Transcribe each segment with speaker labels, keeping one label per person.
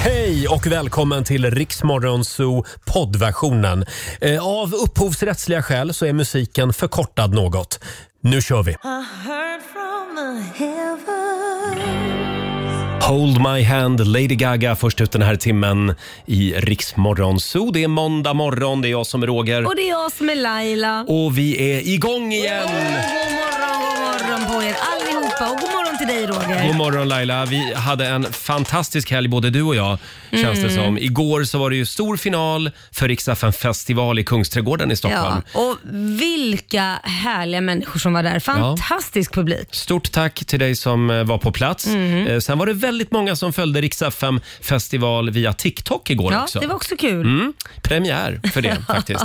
Speaker 1: Hej och välkommen till Riksmorgonzoo poddversionen. Eh, Av upphovsrättsliga skäl så är musiken förkortad något. Nu kör vi!
Speaker 2: I heard from the heavens.
Speaker 1: Hold My Hand, Lady Gaga först ut den här timmen i Riksmorgonzoo. Det är måndag morgon, det är jag som är Roger.
Speaker 2: Och det är jag som är Laila.
Speaker 1: Och vi är igång igen!
Speaker 2: God morgon, god morgon på er allihopa och god morgon till dig Roger.
Speaker 1: God morgon Laila. Vi hade en fantastisk helg både du och jag känns
Speaker 2: Mm.
Speaker 1: det som. Igår så var det ju stor final för Riksdagen festival i Kungsträdgården i Stockholm.
Speaker 2: Ja, och vilka härliga människor som var där. Fantastisk publik.
Speaker 1: Stort tack till dig som eh, var på plats.
Speaker 2: Mm.
Speaker 1: Eh, Sen var det väldigt många som följde Riks-FM festival via TikTok igår
Speaker 2: Ja,
Speaker 1: också.
Speaker 2: det var också kul.
Speaker 1: Mm, premiär för det faktiskt.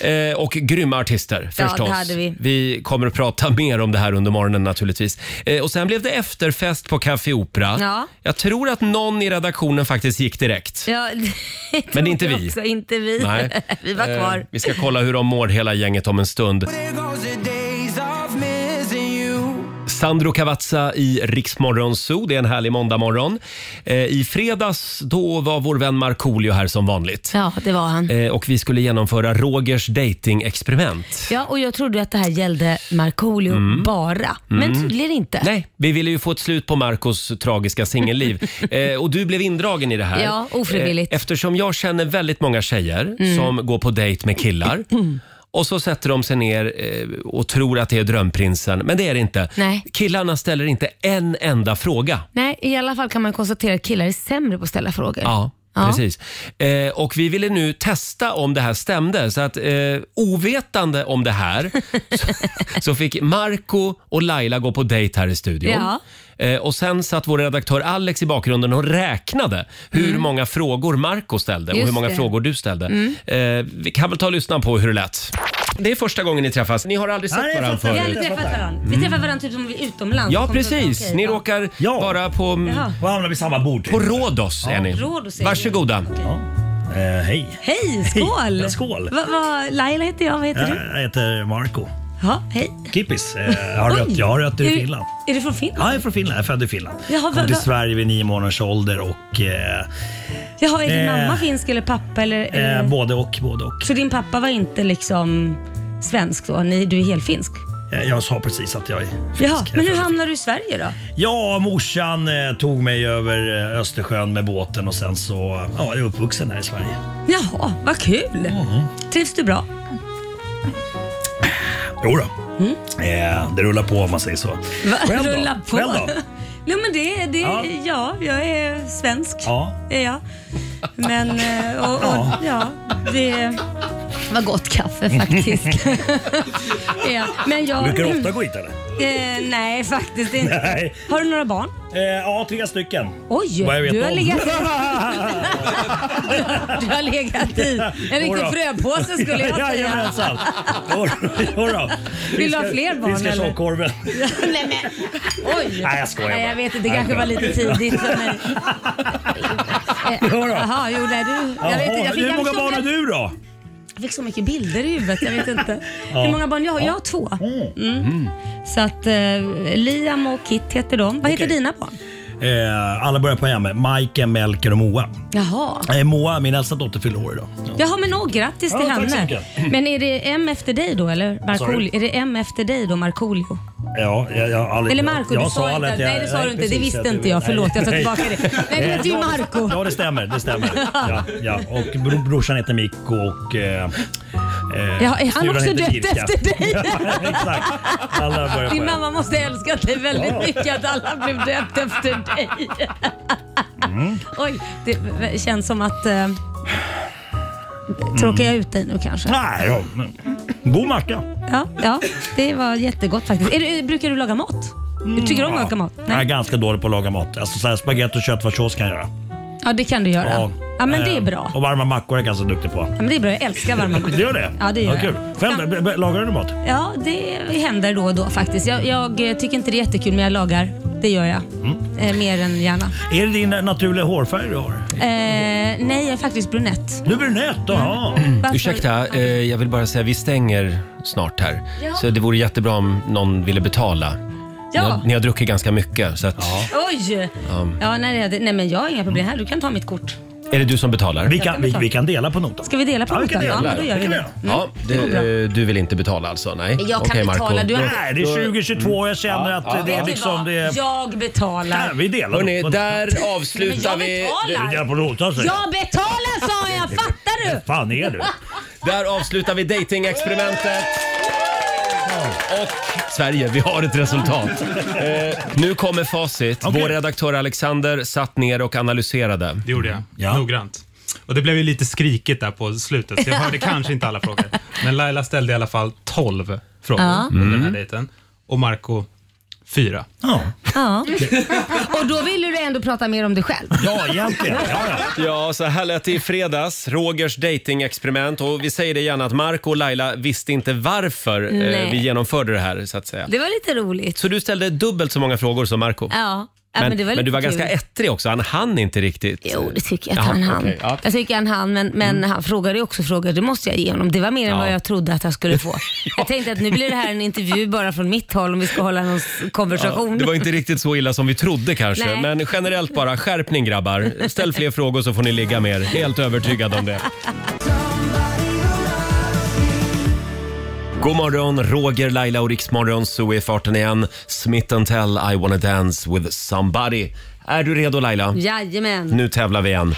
Speaker 1: Eh, och grymma artister
Speaker 2: Ja, det
Speaker 1: förstås.
Speaker 2: hade vi.
Speaker 1: kommer att prata mer om det här under morgonen naturligtvis. Eh, och sen blev det efterfest på Café Opera.
Speaker 2: Ja.
Speaker 1: Jag tror att någon i redaktionen faktiskt gick direkt.
Speaker 2: Ja,
Speaker 1: Men det är inte vi.
Speaker 2: Också, inte vi.
Speaker 1: Nej.
Speaker 2: vi var
Speaker 1: Eh,
Speaker 2: kvar.
Speaker 1: vi ska kolla hur de mår hela gänget om en stund. Sandro Cavazza i Riksmorgon Zoo. Det är en härlig måndagmorgon. Eh, I fredags då var vår vän Markoolio här som vanligt.
Speaker 2: Ja, det var han.
Speaker 1: Eh, och vi skulle genomföra Rogers dating-experiment.
Speaker 2: Ja, och jag trodde att det här gällde Markoolio bara, men tydligen inte.
Speaker 1: Mm. Nej, vi ville ju få ett slut på Marcos tragiska singelliv. Eh, och du blev indragen i det här.
Speaker 2: Ja, ofrivilligt.
Speaker 1: Eh,
Speaker 2: Mm.
Speaker 1: eftersom jag känner väldigt många tjejer som går på dejt med killar. Och så sätter de sig ner eh, och tror att det är drömprinsen, men det är det inte.
Speaker 2: Nej.
Speaker 1: Killarna ställer inte en enda fråga.
Speaker 2: Nej, i alla fall kan man konstatera att killar är sämre på att ställa frågor.
Speaker 1: Ja,
Speaker 2: Ja.
Speaker 1: precis. Eh, och vi ville nu testa om det här stämde. Så att eh, ovetande om det här så, så fick Marco och Laila gå på dejt här i studion.
Speaker 2: Ja.
Speaker 1: Eh, och sen satt vår redaktör Alex i bakgrunden och räknade hur många frågor Marco ställde och
Speaker 2: Mm. Just
Speaker 1: hur många
Speaker 2: det. Mm.
Speaker 1: frågor du ställde. Eh, vi kan väl ta och lyssna på hur det lät. Det är första gången ni träffas. Ni har aldrig sett
Speaker 3: Nej,
Speaker 1: varandra
Speaker 3: första
Speaker 2: Vi har
Speaker 1: förut.
Speaker 2: aldrig träffat varandra. Vi träffar varandra typ om vi är utomlands.
Speaker 1: Mm. Ja,
Speaker 2: Kom på-
Speaker 1: precis.
Speaker 2: okej,
Speaker 1: Ni
Speaker 2: ja.
Speaker 1: råkar
Speaker 3: Ja.
Speaker 1: vara på,
Speaker 2: Jaha.
Speaker 3: Och hamnar vid samma bord.
Speaker 1: på Rhodos. Är ni.
Speaker 2: Rhodos är det.
Speaker 1: Varsågoda.
Speaker 3: Ja. Eh, hej.
Speaker 2: Hej, skål!
Speaker 3: Ja, skål. Eh.
Speaker 2: Va, va, Laila heter jag, vad heter du?
Speaker 3: Jag heter Marco.
Speaker 2: Ja, hej.
Speaker 3: Kippis. Eh, jag har rött, jag har rötter i Finland.
Speaker 2: Är, är du från Finland?
Speaker 3: Ja, jag är från Finland. Jag är född i Finland.
Speaker 2: Jaha, va-
Speaker 3: Kom till
Speaker 2: va-
Speaker 3: Sverige vid nio månaders ålder och eh,
Speaker 2: Jaha, är din
Speaker 3: Eh.
Speaker 2: mamma finsk eller pappa? Eller, eller?
Speaker 3: eh, både och, både och.
Speaker 2: Så din pappa var inte liksom svensk då? Ni, du är helfinsk?
Speaker 3: Eh, Jag sa precis att jag är finsk.
Speaker 2: Jaha,
Speaker 3: Jag är
Speaker 2: men hur
Speaker 3: född i
Speaker 2: hamnade du i Sverige då?
Speaker 3: Ja, morsan eh, tog mig över eh, Östersjön med båten och sen så, ja, jag är uppvuxen här i Sverige.
Speaker 2: Jaha, vad kul! Trivs du bra?
Speaker 3: Jo då.
Speaker 2: Mm.
Speaker 3: Eh, det rullar på om man säger så.
Speaker 2: Va?
Speaker 3: Själv då?
Speaker 2: Rulla på.
Speaker 3: Själv då?
Speaker 2: Nej, men det, det ja.
Speaker 3: Ja.
Speaker 2: jag är svensk.
Speaker 3: Ja.
Speaker 2: Är jag. Men, eh, och, och, ja, det var gott kaffe faktiskt. ja, men jag...
Speaker 3: Brukar du ofta gå hit eller?
Speaker 2: Eh, nej, faktiskt inte.
Speaker 3: Nej.
Speaker 2: Har du några barn?
Speaker 3: Eh, ja, tre stycken.
Speaker 2: Oj,
Speaker 3: Vad jag vet
Speaker 2: du har,
Speaker 3: om.
Speaker 2: legat, du har legat i en riktig
Speaker 3: Jodå.
Speaker 2: fröpåse skulle jag säga.
Speaker 3: Jajamensan. Jodå, jodå.
Speaker 2: Vill du ha
Speaker 3: Fiskar-
Speaker 2: fler barn,
Speaker 3: Fiskar
Speaker 2: eller?
Speaker 3: tjockorven.
Speaker 2: Nej, men, oj.
Speaker 3: Nej, jag skojar bara.
Speaker 2: Nej, jag vet inte. Det
Speaker 3: Nej,
Speaker 2: kanske
Speaker 3: jag
Speaker 2: var
Speaker 3: skojar.
Speaker 2: lite tidigt för mig. Eh,
Speaker 3: Jodå.
Speaker 2: Jaha, jo, nej, du. Jag vet
Speaker 3: Jaha,
Speaker 2: inte. Jag fick,
Speaker 3: Hur många
Speaker 2: jag,
Speaker 3: barn har
Speaker 2: fick,
Speaker 3: du då?
Speaker 2: jag fick så mycket bilder i huvudet. Jag vet inte. Hur många barn jag har? Jag har två. Mm. Så att eh, Liam och Kit heter de. Vad heter
Speaker 3: Okej.
Speaker 2: dina barn?
Speaker 3: Eh, alla börjar på M. Majken, Melker och Moa.
Speaker 2: Jaha.
Speaker 3: Eh, Moa, min äldsta dotter, fyller år idag. Ja.
Speaker 2: Jaha, men åh, grattis till
Speaker 3: Ja, tack så
Speaker 2: henne.
Speaker 3: mycket.
Speaker 2: Men är det M efter dig då, eller? Markoolio?
Speaker 3: Sorry?
Speaker 2: Är det M efter dig då, Markoolio?
Speaker 3: Ja, jag, jag, aldrig,
Speaker 2: Eller Marco,
Speaker 3: jag
Speaker 2: du sa inte.
Speaker 3: aldrig att jag-
Speaker 2: nej, det sa du
Speaker 3: nej,
Speaker 2: inte. det
Speaker 3: precis,
Speaker 2: visste
Speaker 3: att-
Speaker 2: inte jag.
Speaker 3: nej,
Speaker 2: Förlåt, jag tar
Speaker 3: nej.
Speaker 2: tillbaka det. Nej, det
Speaker 3: Eh,
Speaker 2: heter ju
Speaker 3: ja,
Speaker 2: Marco.
Speaker 3: Ja, det stämmer. Det stämmer. Ja, ja. Och bro, brorsan heter Mikko och... Eh, eh,
Speaker 2: Ja, är han
Speaker 3: syrran
Speaker 2: också
Speaker 3: heter
Speaker 2: döpt
Speaker 3: Birka.
Speaker 2: efter dig?
Speaker 3: Ja, Exakt. Alla börjar på
Speaker 2: Din
Speaker 3: M.
Speaker 2: mamma måste ha älskat dig väldigt mycket att alla blev döpt efter dig.
Speaker 3: Mm.
Speaker 2: Oj, det känns som att... Eh, tråkar jag ut dig nu kanske?
Speaker 3: Nej, ja, men- God macka.
Speaker 2: Ja, ja det var jättegott faktiskt. Är du, brukar du laga mat? Du
Speaker 3: Mm.
Speaker 2: tycker om att laga mat?
Speaker 3: Jag är ganska dålig på att laga mat. Alltså så här spagetti och köttfärssås kan jag göra.
Speaker 2: Ja, det kan du göra. Ja, men det är
Speaker 3: Eh,
Speaker 2: bra.
Speaker 3: Och varma mackor är jag ganska duktig på.
Speaker 2: Ja, men det är bra. Jag älskar varma mackor.
Speaker 3: Du gör det?
Speaker 2: Ja, det gör
Speaker 3: kul.
Speaker 2: jag.
Speaker 3: Själv, b- b- lagar du mat?
Speaker 2: Ja, det händer då och då faktiskt. Jag, jag eh, tycker inte det är jättekul, men jag lagar. Det gör jag.
Speaker 3: Mm.
Speaker 2: Eh, mer än gärna.
Speaker 3: Är det din naturliga hårfärg du har?
Speaker 2: Eh, nej, jag är faktiskt brunett.
Speaker 3: Du är brunett,
Speaker 2: Mm.
Speaker 3: ja.
Speaker 2: Varför-
Speaker 1: Ursäkta, eh, jag vill bara säga vi stänger snart här.
Speaker 2: Ja.
Speaker 1: Så det vore jättebra om någon ville betala. Ni,
Speaker 2: Ja.
Speaker 1: har, ni har druckit ganska mycket. Så att,
Speaker 3: Um.
Speaker 2: Oj! Ja, nej, det- nej, men jag har inga problem här. Du kan ta mitt kort.
Speaker 1: Är det du som betalar?
Speaker 3: Vi kan, vi, vi kan dela på notan.
Speaker 2: Ska vi dela på
Speaker 3: Ja, vi kan
Speaker 2: notan?
Speaker 3: dela.
Speaker 2: men då gör
Speaker 3: Det
Speaker 2: vi
Speaker 3: kan vi
Speaker 2: det. Mm.
Speaker 3: göra.
Speaker 1: Ja, du, eh, du vill inte betala alltså? Nej.
Speaker 2: Jag kan
Speaker 1: Okej,
Speaker 2: betala,
Speaker 1: Marco.
Speaker 2: du är-
Speaker 1: Då-
Speaker 3: Nej, det är 2022 och jag känner att
Speaker 1: ja,
Speaker 3: det
Speaker 1: ja.
Speaker 3: är
Speaker 2: Vet du
Speaker 3: liksom...
Speaker 2: vad?
Speaker 3: Det är,
Speaker 2: Jag betalar.
Speaker 3: Nej, vi delar
Speaker 1: Hörrni,
Speaker 3: på-
Speaker 1: där
Speaker 2: Men
Speaker 1: avslutar
Speaker 2: jag
Speaker 1: vi...
Speaker 3: Vi delar
Speaker 2: betalar!
Speaker 3: på notan säger
Speaker 2: Jag betalar sa jag, fattar du?
Speaker 3: fan är du?
Speaker 1: Där avslutar vi datingexperimentet. Och Sverige, vi har ett resultat. Eh, nu kommer facit.
Speaker 3: Okej.
Speaker 1: Vår redaktör Alexander satt ner och analyserade.
Speaker 4: Det gjorde jag.
Speaker 5: Mm.
Speaker 3: Ja.
Speaker 4: Noggrant. Och det blev ju lite skrikigt där på slutet, så jag hörde kanske inte alla frågor. Men Laila ställde i alla fall 12 frågor
Speaker 2: Ja.
Speaker 4: under den här
Speaker 5: Mm.
Speaker 4: dejten. Och Marco 4.
Speaker 3: Ja,
Speaker 2: Ja. Och då vill du ändå prata mer om dig själv.
Speaker 3: ja egentligen. Ja, ja.
Speaker 1: Ja, så här lät det i fredags. Rogers datingexperiment. Och vi säger det gärna att Marco och Laila visste inte varför eh,
Speaker 2: Nej.
Speaker 1: vi genomförde det här, så att säga.
Speaker 2: Det var lite roligt.
Speaker 1: Så du ställde dubbelt så många frågor som Marco.
Speaker 2: Ja. Ja,
Speaker 1: Men,
Speaker 2: men, det var
Speaker 1: men
Speaker 2: lite
Speaker 1: du var
Speaker 2: kul.
Speaker 1: ganska ettrig också. Han hann inte riktigt. eh,
Speaker 2: Jo, det tycker jag att
Speaker 1: Jaha,
Speaker 2: han hann.
Speaker 1: okej, ja. Mm.
Speaker 2: Jag tycker han hann, men, men han frågade ju också frågor. Det måste jag ge honom. Det var mer än
Speaker 1: Ja.
Speaker 2: vad jag trodde att han skulle få. Jag tänkte att nu blir det här en intervju bara från mitt håll om vi ska hålla någon s- konversation.
Speaker 1: Ja, det var inte riktigt så illa som vi trodde kanske.
Speaker 2: Nej.
Speaker 1: Men generellt bara, skärpning grabbar. Ställ fler frågor så får ni ligga mer. Helt övertygad om det. God morgon, Roger, Laila och Riksmorgon. Så är farten igen. Smith Tell, I wanna dance with somebody. Är du redo Laila?
Speaker 2: Jajamän.
Speaker 1: Nu tävlar vi igen.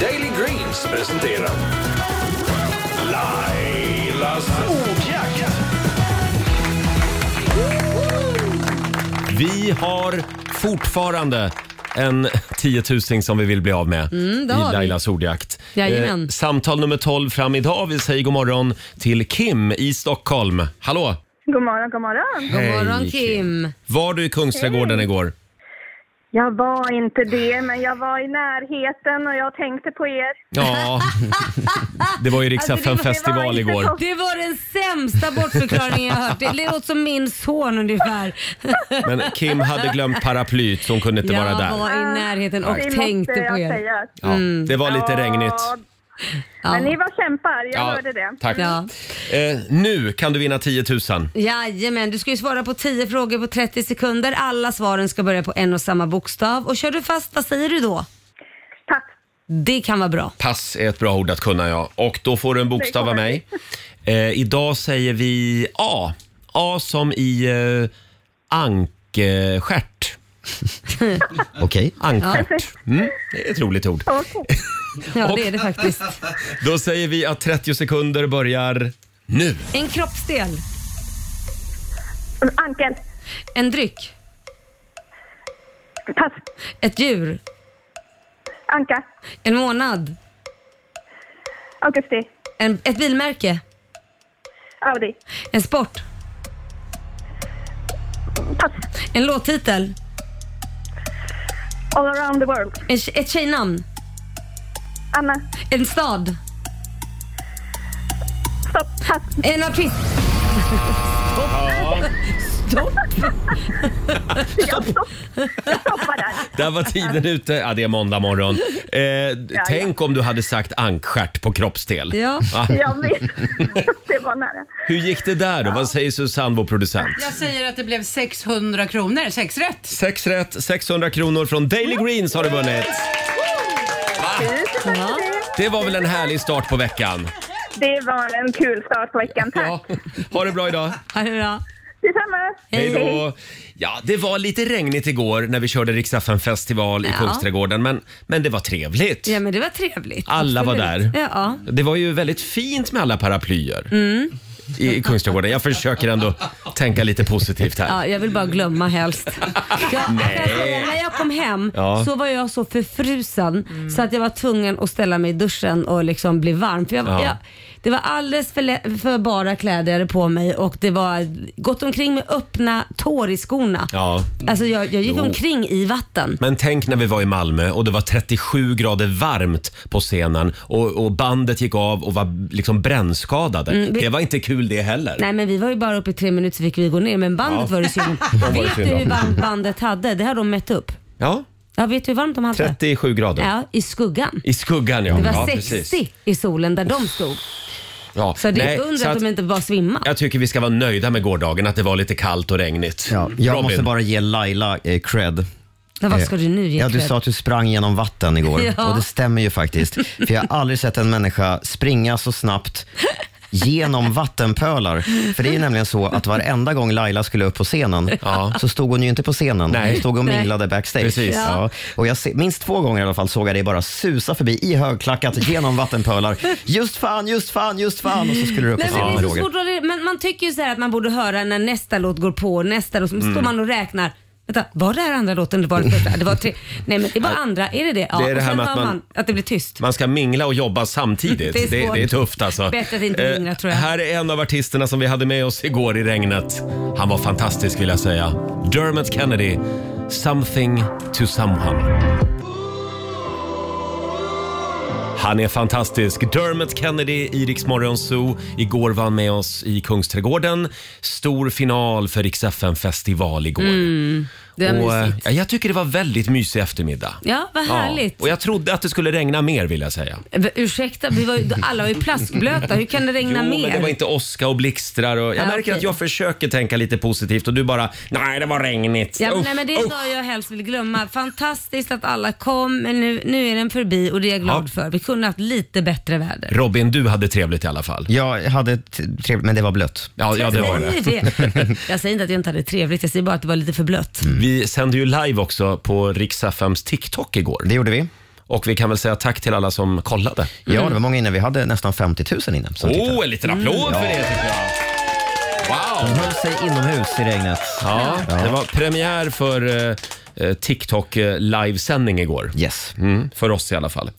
Speaker 6: Daily Greens presenterar Lailas ordjakt.
Speaker 1: Vi har fortfarande en tiotusing som vi vill bli av med
Speaker 7: Mm,
Speaker 2: det har
Speaker 1: i
Speaker 2: vi.
Speaker 1: Lailas ordjakt. Eh,
Speaker 2: Jajamän.
Speaker 1: samtal nummer 12 fram idag. Vi säger god morgon till Kim i Stockholm. Hallå!
Speaker 7: God morgon, god morgon.
Speaker 2: God
Speaker 1: Hej,
Speaker 2: morgon Kim.
Speaker 1: Var du i Kungsträdgården igår?
Speaker 7: Jag var inte det, men jag var i närheten och jag tänkte på er.
Speaker 1: Ja, det var ju Rix
Speaker 7: Alltså, det var- det var
Speaker 1: festival
Speaker 7: inte
Speaker 1: igår.
Speaker 7: så-
Speaker 2: Det var den sämsta bortförklaringen jag hört. Det låter som min son ungefär.
Speaker 1: Men Kim hade glömt paraplyt så hon kunde inte vara
Speaker 2: Jag
Speaker 1: där.
Speaker 2: var mm. i närheten och
Speaker 7: det
Speaker 2: tänkte
Speaker 7: måste jag
Speaker 2: på er.
Speaker 7: säga.
Speaker 1: Ja, det var lite regnigt.
Speaker 7: Ja,
Speaker 2: Ja.
Speaker 7: Men ni var kämpar, jag hörde det.
Speaker 1: tack.
Speaker 2: Ja.
Speaker 1: Eh, nu kan du vinna 10 000.
Speaker 2: Jajamän, du ska ju svara på 10 frågor på 30 sekunder. Alla svaren ska börja på en och samma bokstav. Och kör du fast, vad säger du då?
Speaker 7: Tack.
Speaker 2: Det kan vara bra.
Speaker 1: Pass är ett bra ord att kunna, ja. Och då får du en bokstav av mig. Eh, idag säger vi A. A som i eh, ankstjärt.
Speaker 8: Okej.
Speaker 1: Ankstjärt. Mm, det är ett roligt ord.
Speaker 7: Okej.
Speaker 2: Ja, det är det faktiskt.
Speaker 1: Då säger vi att 30 sekunder börjar nu.
Speaker 2: En kroppsdel,
Speaker 7: Ankel.
Speaker 2: en dryck,
Speaker 7: Pass.
Speaker 2: ett djur,
Speaker 7: Anka.
Speaker 2: en månad,
Speaker 7: Augusti.
Speaker 2: en, ett bilmärke,
Speaker 7: Audi.
Speaker 2: en sport,
Speaker 7: Pass.
Speaker 2: en låttitel,
Speaker 7: All around the world.
Speaker 2: en, tje- ett tjejnamn,
Speaker 7: Anna.
Speaker 2: en stad,
Speaker 7: Stopp. Pass.
Speaker 2: en artist.
Speaker 7: Stoppa där.
Speaker 1: Där var tiden ute. Ja, det är måndag morgon. Eh, Tänk om du hade sagt ankstjärt på kroppsdel.
Speaker 2: Ja.
Speaker 1: Va?
Speaker 7: Jag vet. Det var nära.
Speaker 1: Hur gick det där då? Vad säger Susanne, vår producent?
Speaker 9: Jag säger att det blev 600 kronor, sex rätt.
Speaker 1: Sex rätt, 600 kronor från Daily Greens har du vunnit.
Speaker 2: Ja.
Speaker 1: Det var väl en härlig start på veckan?
Speaker 7: Det var en kul start på veckan. Tack.
Speaker 1: Ja, ha det bra idag.
Speaker 2: Ja, det är bra.
Speaker 7: Detsamma.
Speaker 1: Hej då. Ja, det var lite regnigt igår när vi körde Riksaffen festival i
Speaker 2: Ja.
Speaker 1: Kungsträdgården, men, men det var trevligt.
Speaker 2: Ja, men det var trevligt.
Speaker 1: Alla var
Speaker 2: Absolut.
Speaker 1: där.
Speaker 2: Ja.
Speaker 1: Det var ju väldigt fint med alla paraplyer
Speaker 2: Mm.
Speaker 1: i, i Kungsträdgården. Jag försöker ändå tänka lite positivt här.
Speaker 2: Ja, jag vill bara glömma helst. Jag,
Speaker 1: Nej.
Speaker 2: När jag kom hem
Speaker 1: Ja. Mm.
Speaker 2: så var jag så förfrusen så att jag var tvungen att ställa mig i duschen och liksom bli varm. För jag,
Speaker 1: Ja.
Speaker 2: jag, det var alldeles för, lä- för bara kläder jag hade på mig och det var gått omkring med öppna tår i skorna.
Speaker 1: Ja.
Speaker 2: Alltså jag, jag gick omkring i vatten.
Speaker 1: Men tänk när vi var i Malmö och det var 37 grader varmt på scenen och, och bandet gick av och var liksom brännskadade.
Speaker 2: Mm, vi-
Speaker 1: Det var inte kul det heller.
Speaker 2: Nej men vi var ju bara uppe i tre minuter så fick vi gå ner men bandet
Speaker 1: Ja.
Speaker 2: var det synd
Speaker 1: var det
Speaker 2: Vet
Speaker 1: synd
Speaker 2: du
Speaker 1: om.
Speaker 2: hur varmt bandet hade? Det har de mätt upp.
Speaker 1: Ja,
Speaker 2: Ja, vet du hur varmt de hade?
Speaker 1: 37 grader.
Speaker 2: Ja, i skuggan.
Speaker 1: I skuggan ja.
Speaker 2: Det var
Speaker 1: ja,
Speaker 2: 60
Speaker 1: precis.
Speaker 2: i solen där de stod.
Speaker 1: Ja.
Speaker 2: Så det är
Speaker 1: Nej,
Speaker 2: ett
Speaker 1: så
Speaker 2: under att
Speaker 1: att
Speaker 2: de inte bara svimmar.
Speaker 1: Jag tycker vi ska vara nöjda med gårdagen, att det var lite kallt och regnigt.
Speaker 8: Ja, jag
Speaker 1: Robin.
Speaker 8: måste bara ge Laila eh, cred.
Speaker 2: Men vad ska du nu,
Speaker 8: Ja, du
Speaker 2: Rickard?
Speaker 8: sa att du sprang genom vatten igår
Speaker 2: Ja.
Speaker 8: och det stämmer ju faktiskt. För jag har aldrig sett en människa springa så snabbt genom vattenpölar. För det är ju nämligen så att varenda gång Laila skulle upp på scenen så stod hon ju inte på scenen. Hon stod och
Speaker 5: Nej.
Speaker 8: minglade backstage.
Speaker 5: Precis. Ja.
Speaker 8: Ja. Och jag se, minst två gånger i alla fall såg jag dig bara susa förbi i högklackat genom vattenpölar. Just fan, just fan, just fan. Och så skulle du upp på
Speaker 2: Nej, men,
Speaker 8: scenen
Speaker 2: det
Speaker 8: med
Speaker 2: är så
Speaker 8: Roger.
Speaker 2: svårt att, hålla- men man tycker ju så här att man borde höra när nästa låt går på och nästa låt. Så
Speaker 8: Mm.
Speaker 2: står man och räknar. Vänta, var det här andra låten eller var det första? Det var tre. Nej men det var andra, är det det? Ja,
Speaker 1: Det är det
Speaker 2: och
Speaker 1: här
Speaker 2: sen
Speaker 1: med
Speaker 2: hör
Speaker 1: att man-
Speaker 2: att det blir tyst.
Speaker 1: Man ska mingla och jobba samtidigt.
Speaker 2: Det är
Speaker 1: det,
Speaker 2: svårt.
Speaker 1: det är tufft alltså.
Speaker 2: Bättre att inte
Speaker 1: Eh,
Speaker 2: mingla, tror jag.
Speaker 1: Här är en av artisterna som vi hade med oss igår i regnet. Han var fantastisk vill jag säga. Dermot Kennedy, “Something to someone”. Han är fantastisk. Dermot Kennedy i Rix Morgon Zoo. Igår var han med oss i Kungsträdgården. Stor final för Rix festival igår.
Speaker 2: Mm, det är
Speaker 1: Och, eh,
Speaker 2: mysigt.
Speaker 1: ja, jag tycker det var väldigt mysig eftermiddag.
Speaker 2: Ja, vad härligt.
Speaker 1: Och jag trodde att det skulle regna mer vill jag säga.
Speaker 2: Eh, Ursäkta, vi var ju, alla var ju plastblöta. Hur kan det regna
Speaker 1: jo,
Speaker 2: mer?
Speaker 1: men det var inte åska och blixtrar. Och jag
Speaker 2: Ja,
Speaker 1: märker
Speaker 2: okej.
Speaker 1: att jag försöker tänka lite positivt och du bara, nej det var regnigt.
Speaker 2: Ja, men,
Speaker 1: Usch,
Speaker 2: nej, men det är
Speaker 1: usch."
Speaker 2: idag jag helst vill glömma. Fantastiskt att alla kom, men nu, nu är den förbi och det är jag glad
Speaker 1: Ja.
Speaker 2: för. Vi kunde haft lite bättre väder.
Speaker 1: Robin, du hade trevligt i alla fall. Mm.
Speaker 8: Jag hade trevligt, men det var blött.
Speaker 1: Ja, ja det var
Speaker 2: Nej,
Speaker 1: det.
Speaker 2: Jag säger inte att jag inte hade det trevligt, jag säger bara att det var lite för blött.
Speaker 1: Vi sände ju live också på Riks-FMs TikTok igår.
Speaker 8: Det gjorde vi.
Speaker 1: Och vi kan väl säga tack till alla som kollade.
Speaker 8: Ja, det var många inne. Vi hade nästan 50 000 inne. som tittade.
Speaker 1: Åh, Oh, en liten applåd
Speaker 8: Mm.
Speaker 1: för
Speaker 8: Ja.
Speaker 1: det tycker jag. Wow!
Speaker 8: De höll sig inomhus i regnet.
Speaker 1: Ja,
Speaker 8: Ja.
Speaker 1: det var premiär för eh, eh, TikTok eh, livesändning igår.
Speaker 8: Yes.
Speaker 1: Mm, för oss i alla fall.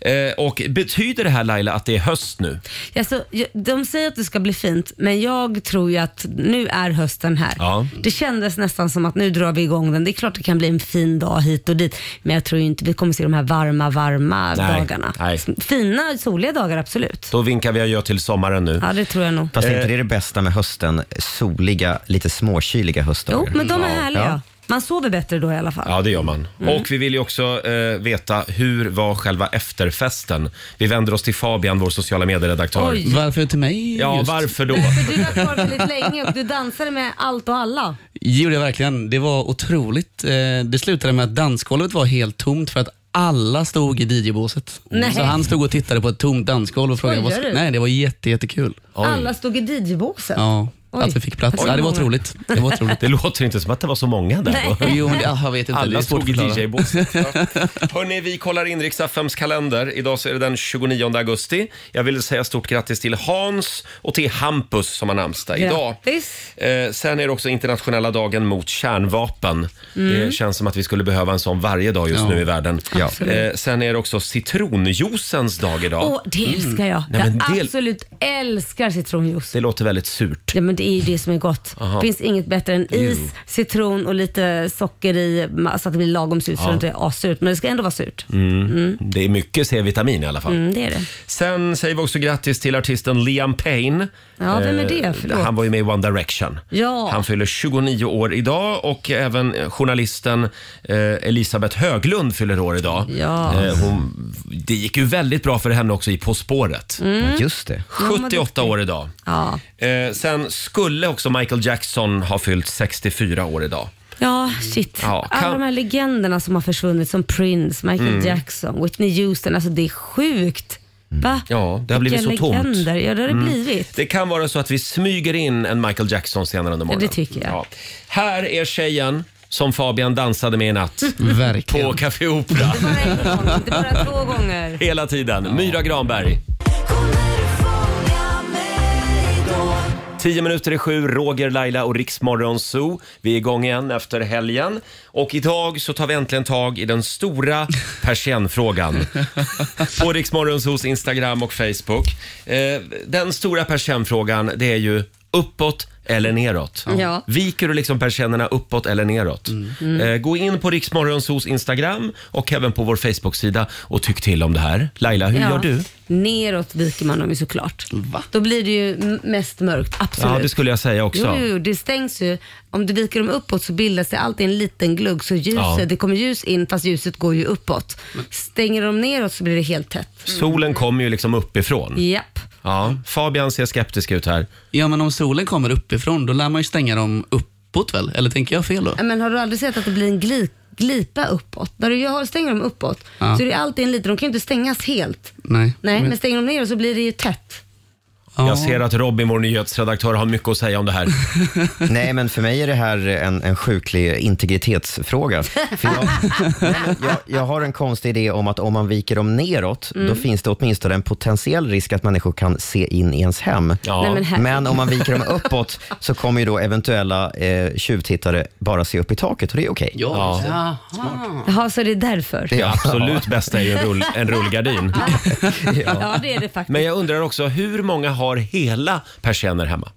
Speaker 1: Eh, och betyder det här Laila att det är höst nu?
Speaker 2: Alltså, jag- de säger att det ska bli fint, men jag tror ju att nu är hösten här.
Speaker 1: Ja.
Speaker 2: Det kändes nästan som att nu drar vi igång den. Det är klart det kan bli en fin dag hit och dit, men jag tror ju inte vi kommer se de här varma, varma
Speaker 1: Nej,
Speaker 2: dagarna.
Speaker 1: nej.
Speaker 2: Fina, soliga dagar, absolut.
Speaker 1: Då vinkar vi adjö till sommaren nu.
Speaker 2: Ja, det tror jag nog.
Speaker 8: Fast
Speaker 1: Eh.
Speaker 8: är inte det det bästa med hösten? Soliga, lite småkyliga höstdagar.
Speaker 2: Jo, men de är
Speaker 8: Ja.
Speaker 2: härliga.
Speaker 8: Ja.
Speaker 2: Man sover bättre då i alla fall.
Speaker 1: Ja, det gör man.
Speaker 2: Mm.
Speaker 1: Och vi vill ju också eh, veta hur var själva efterfesten? Vi vänder oss till Fabian, vår sociala medieredaktör.
Speaker 2: Oj.
Speaker 10: Varför till mig
Speaker 1: Ja,
Speaker 10: just?
Speaker 1: varför då?
Speaker 2: Du var kvar väldigt länge och du dansade med allt och alla.
Speaker 10: gjorde jag verkligen. Det var otroligt. Eh, Det slutade med att dansgolvet var helt tomt för att alla stod i DJ-båset.
Speaker 2: Nej.
Speaker 10: Mm, Så han stod och tittade på ett tomt dansgolv och frågade vad
Speaker 2: Skojar du?
Speaker 10: Nej, det var jätte, jättekul.
Speaker 2: Alla stod i DJ-båset.
Speaker 10: Ja,
Speaker 2: Oj.
Speaker 10: att vi fick plats.
Speaker 2: Oj.
Speaker 10: Ja, det var otroligt. Det var otroligt.
Speaker 1: Det låter inte som att det var så många där.
Speaker 10: Nej. Jo, men det- jag vet inte. Det
Speaker 1: Alla
Speaker 10: är svårt
Speaker 1: stod i
Speaker 10: att förklara.
Speaker 1: DJ-båset. Ja. Hörni, vi kollar in riks kalender. Idag så är det den 29 augusti. Jag vill säga stort grattis till Hans och till Hampus som har namnsdag idag.
Speaker 2: Grattis.
Speaker 1: Eh, sen är det också internationella dagen mot kärnvapen.
Speaker 5: Mm.
Speaker 1: Det känns som att vi skulle behöva en sån varje dag just
Speaker 5: Ja.
Speaker 1: nu i världen.
Speaker 5: Absolut.
Speaker 1: Eh, sen är det också citronjuicens dag idag.
Speaker 2: Åh, det älskar jag.
Speaker 1: Mm. Nej, men
Speaker 2: jag
Speaker 1: det,
Speaker 2: absolut älskar citronjuice.
Speaker 1: det låter väldigt surt.
Speaker 2: Ja, men det är ju det som är gott.
Speaker 1: Aha.
Speaker 2: finns inget bättre än is,
Speaker 1: Ew.
Speaker 2: citron och lite socker i ma- så att det blir lagom surt så
Speaker 1: Ja.
Speaker 2: det inte är assurt. Men det ska ändå vara surt.
Speaker 1: Mm.
Speaker 2: Mm.
Speaker 1: Det är mycket C-vitamin i alla fall.
Speaker 2: Mm, det är det.
Speaker 1: Sen säger vi också grattis till artisten Liam Payne.
Speaker 2: Ja, vem är
Speaker 1: Eh,
Speaker 2: det? Förlåt.
Speaker 1: Han var ju med i One Direction.
Speaker 2: Ja.
Speaker 1: Han fyller 29 år idag och även eh, journalisten eh, Elisabeth Höglund fyller år idag.
Speaker 2: Ja.
Speaker 1: Eh, hon, det gick ju väldigt bra för henne också i På spåret.
Speaker 2: Mm. Just
Speaker 8: det.
Speaker 2: Ja, vad
Speaker 1: 78 år idag.
Speaker 2: Ja.
Speaker 1: Eh, sen skulle också Michael Jackson ha fyllt 64 år idag.
Speaker 2: Ja, shit.
Speaker 1: Ja, kan-
Speaker 2: Alla de här legenderna som har försvunnit som Prince, Michael
Speaker 1: Mm.
Speaker 2: Jackson, Whitney Houston. Alltså det är sjukt. Va?
Speaker 1: Ja, det har blivit så
Speaker 2: Vilka
Speaker 1: tomt. Mm.
Speaker 2: legender. Ja, det har det blivit.
Speaker 1: Det kan vara så att vi smyger in en Michael Jackson senare under morgonen.
Speaker 2: Ja, det tycker jag.
Speaker 1: Ja. Här är tjejen som Fabian dansade med i natt.
Speaker 2: Mm.
Speaker 10: Verkligen.
Speaker 1: På Café Opera.
Speaker 2: Inte bara två gånger.
Speaker 1: Hela tiden. Myra Granberg. Tio minuter i sju, Roger, Laila och Riksmorgon Zoo. Vi är igång igen efter helgen. Och idag så tar vi äntligen tag i den stora persiennfrågan. På Riksmorgon Zoos Instagram och Facebook. Eh, den stora persiennfrågan, det är ju uppåt eller neråt.
Speaker 2: Mm.
Speaker 5: Ja.
Speaker 1: Viker du liksom persiennerna uppåt eller neråt?
Speaker 5: Mm.
Speaker 1: Eh, gå in på Riksmorgonsos Instagram och även på vår Facebook-sida och tyck till om det här. Laila, hur
Speaker 2: Ja.
Speaker 1: gör du?
Speaker 2: Neråt viker man dem ju såklart. Då blir det ju m- mest mörkt, absolut.
Speaker 1: Ja, det skulle jag säga också.
Speaker 2: Jo, jo, jo, det stängs ju. Om du viker dem uppåt så bildas det alltid en liten glugg. Så ljuset,
Speaker 1: Ja.
Speaker 2: det kommer ljus in fast ljuset går ju uppåt. Stänger de neråt så blir det helt tätt.
Speaker 1: Solen kommer ju liksom uppifrån.
Speaker 2: Japp.
Speaker 1: Ja, Fabian ser skeptisk ut här.
Speaker 10: Ja, men om solen kommer uppifrån, då lär man ju stänga dem uppåt väl? Eller tänker jag fel då?
Speaker 2: Men har du aldrig sett att det blir en gli- glipa uppåt. När du gör, stänger dem uppåt
Speaker 10: Ja.
Speaker 2: så är det alltid en liten, de kan ju inte stängas helt.
Speaker 10: Nej.
Speaker 2: Nej,
Speaker 1: Men-
Speaker 2: men stänger de ner så blir det ju tätt.
Speaker 1: Jag ser att Robin, vår nyhetsredaktör, har mycket att säga om det här.
Speaker 8: Nej, men för mig är det här en, en sjuklig integritetsfråga. För jag, nej, men jag, jag har en konstig idé om att om man viker dem neråt, då
Speaker 2: Mm.
Speaker 8: finns det åtminstone en potentiell risk att människor kan se in i ens hem.
Speaker 2: Nej, men
Speaker 8: men,
Speaker 2: här-
Speaker 8: om man viker dem uppåt så kommer ju då eventuella eh, tjuvtittare bara se upp i taket och det är okej.
Speaker 2: Jaha. Jaha, så det är därför?
Speaker 1: Det absolut bästa är ju en, rull, en rullgardin.
Speaker 2: Ja. det är det faktiskt.
Speaker 1: Men jag undrar också, hur många har hela persienner hemma?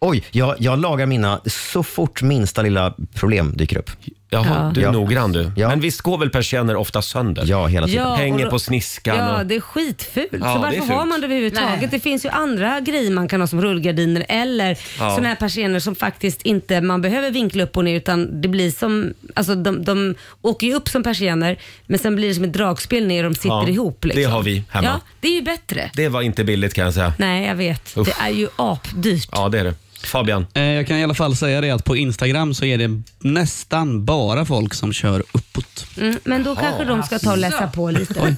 Speaker 8: Oj, jag, jag lagar mina så fort minsta lilla problem dyker upp.
Speaker 1: Jaha, du är noggrann du.
Speaker 8: Ja.
Speaker 1: Men visst går väl persienner ofta sönder?
Speaker 8: Ja, hela
Speaker 2: tiden. Ja, och
Speaker 1: Hänger
Speaker 2: då-
Speaker 1: på sniskan.
Speaker 2: Ja,
Speaker 1: och...
Speaker 2: det är skitfult.
Speaker 1: Ja,
Speaker 2: så
Speaker 1: det är
Speaker 2: varför har
Speaker 1: fult.
Speaker 2: man det överhuvudtaget?
Speaker 9: Nej.
Speaker 2: Det finns ju andra grejer man kan ha som rullgardiner eller
Speaker 1: Ja.
Speaker 2: sådana här persienner som faktiskt inte man behöver vinkla upp och ner utan det blir som, alltså de, de åker ju upp som persienner men sen blir det som ett dragspel ner och de sitter
Speaker 1: Ja,
Speaker 2: ihop. Liksom.
Speaker 1: det har vi hemma.
Speaker 2: Ja, det är ju bättre.
Speaker 1: Det var inte billigt kan jag säga.
Speaker 2: Nej, jag vet.
Speaker 1: Uff.
Speaker 2: Det är ju apdyrt.
Speaker 1: Ja, det är det. Fabian?
Speaker 10: Eh, Jag kan i alla fall säga det att på Instagram så är det nästan bara folk som kör uppåt.
Speaker 2: Mm, men då kanske de ska ta och läsa på lite.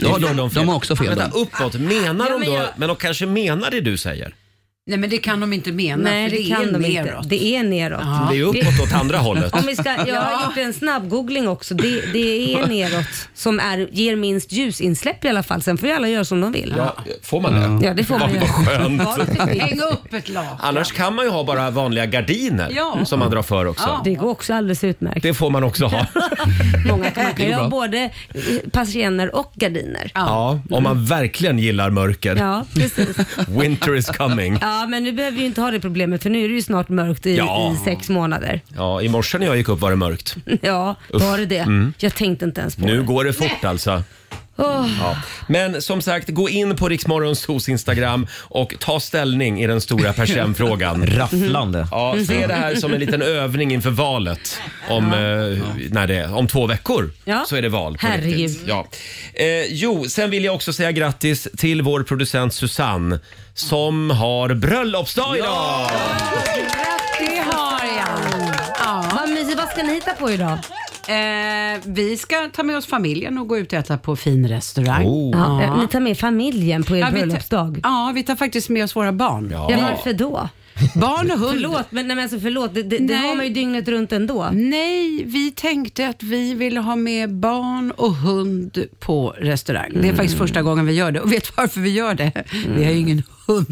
Speaker 1: Ja, de, de,
Speaker 10: har också fel.
Speaker 1: Vänta, uppåt. Menar
Speaker 9: Ja,
Speaker 1: de
Speaker 9: men
Speaker 1: då,
Speaker 9: jag-
Speaker 1: men de kanske menar det du säger?
Speaker 9: Nej men det kan de inte mena
Speaker 2: Nej,
Speaker 9: för
Speaker 2: det kan
Speaker 9: är
Speaker 2: de
Speaker 9: neråt.
Speaker 2: inte. Det är neråt.
Speaker 1: Det är ju uppåt åt andra hållet.
Speaker 2: Om vi ska, jag har gjort en snabbgoogling också. Det, det är neråt som är, ger minst ljusinsläpp i alla fall. Sen får ju alla göra som de vill.
Speaker 1: Ja, får man det?
Speaker 2: Ja, det får man
Speaker 1: Vad-
Speaker 2: göra.
Speaker 1: Vad skönt.
Speaker 9: Häng upp ett lag.
Speaker 1: Annars kan man ju ha bara vanliga gardiner
Speaker 2: Ja.
Speaker 1: som man drar för också.
Speaker 2: Det går också alldeles utmärkt.
Speaker 1: Det får man också ha.
Speaker 2: Många kan, man
Speaker 1: Det går
Speaker 2: kan ju ha
Speaker 1: bra.
Speaker 2: både eh, persienner och gardiner.
Speaker 1: Ja, om man verkligen gillar mörker.
Speaker 2: Ja, precis.
Speaker 1: Winter is coming.
Speaker 2: Ja, men nu behöver vi ju inte ha det problemet för nu är det ju snart mörkt i,
Speaker 1: Ja.
Speaker 2: i sex månader.
Speaker 1: Ja, i morse när jag gick upp var det mörkt.
Speaker 2: Ja,
Speaker 1: Uff.
Speaker 2: var det det?
Speaker 1: Mm.
Speaker 2: Jag tänkte inte ens på
Speaker 1: Nu
Speaker 2: det.
Speaker 1: går det fort alltså.
Speaker 2: Åh.
Speaker 1: Ja. Men som sagt, gå in på Riksmorgonsos Instagram och ta ställning i den stora persiennfrågan.
Speaker 8: Rafflande.
Speaker 1: Mhm. Ja,
Speaker 2: Mm.
Speaker 1: se det här som en liten övning inför valet. Om, eh, när det är, om två veckor
Speaker 2: Ja.
Speaker 1: så är det val. På
Speaker 2: Herregud.
Speaker 1: riktigt. Ja. Eh, jo, sen vill jag också säga grattis till vår producent Susanne som har bröllopsdag idag!
Speaker 9: Det har jag. Ja.
Speaker 2: Vad mysigt. Vad ska ni hitta på idag?
Speaker 9: Eh, vi ska ta med oss familjen och gå ut och äta på fin restaurang.
Speaker 10: Oh.
Speaker 2: Ja, eh, Ni tar med familjen på er
Speaker 9: Ja, vi tar-
Speaker 2: bröllopsdag?
Speaker 9: Ja, vi tar faktiskt med oss våra barn.
Speaker 2: Ja, varför då?
Speaker 9: Barn och hund.
Speaker 2: Förlåt, men, nej, men alltså, förlåt det, det, det
Speaker 9: Nej.
Speaker 2: har man ju dygnet runt ändå.
Speaker 9: Nej, vi tänkte att vi ville ha med barn och hund på restaurang. Det är faktiskt
Speaker 2: Mm.
Speaker 9: första gången vi gör det. Och vet du varför vi gör det? Vi har ju ingen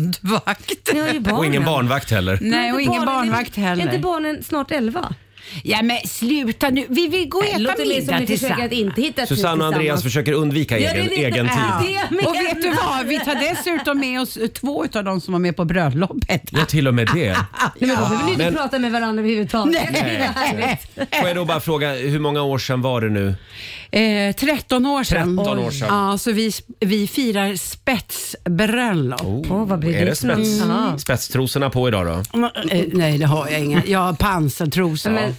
Speaker 9: hundvakt.
Speaker 1: Och ingen barnvakt heller.
Speaker 9: Nej, och ingen
Speaker 2: barnen-
Speaker 9: barnvakt
Speaker 2: Är inte
Speaker 9: heller.
Speaker 2: barnen snart 11?
Speaker 9: Ja, men sluta nu. Vi vill gå och äta
Speaker 2: låter mer som
Speaker 9: middag
Speaker 2: ni försöker att inte hitta tid
Speaker 1: Susanne och Andreas
Speaker 2: tillsammans.
Speaker 1: försöker undvika
Speaker 2: Ja, det är
Speaker 1: egen,
Speaker 2: lite-
Speaker 1: egen tid.
Speaker 2: Ja. Det
Speaker 9: Och
Speaker 2: menar
Speaker 9: vet du vad? Vi tar dessutom med oss två av de som var med på bröllopet.
Speaker 1: Ja, till och med det.
Speaker 2: Nej, men då behöver ni inte
Speaker 1: Men-
Speaker 2: prata med varandra överhuvudtaget.
Speaker 1: Nej. Får jag då bara fråga, hur många år sedan var det nu?
Speaker 9: Eh, 13 år sedan.
Speaker 1: 13 år sedan.
Speaker 9: Ja, så vi, vi firar spetsbröllop.
Speaker 2: Oh.
Speaker 1: Är det spets,
Speaker 2: Mm.
Speaker 1: spetstrosorna på idag då?
Speaker 9: Eh, nej, det har jag inga. Jag har pansartrosor.
Speaker 2: Men,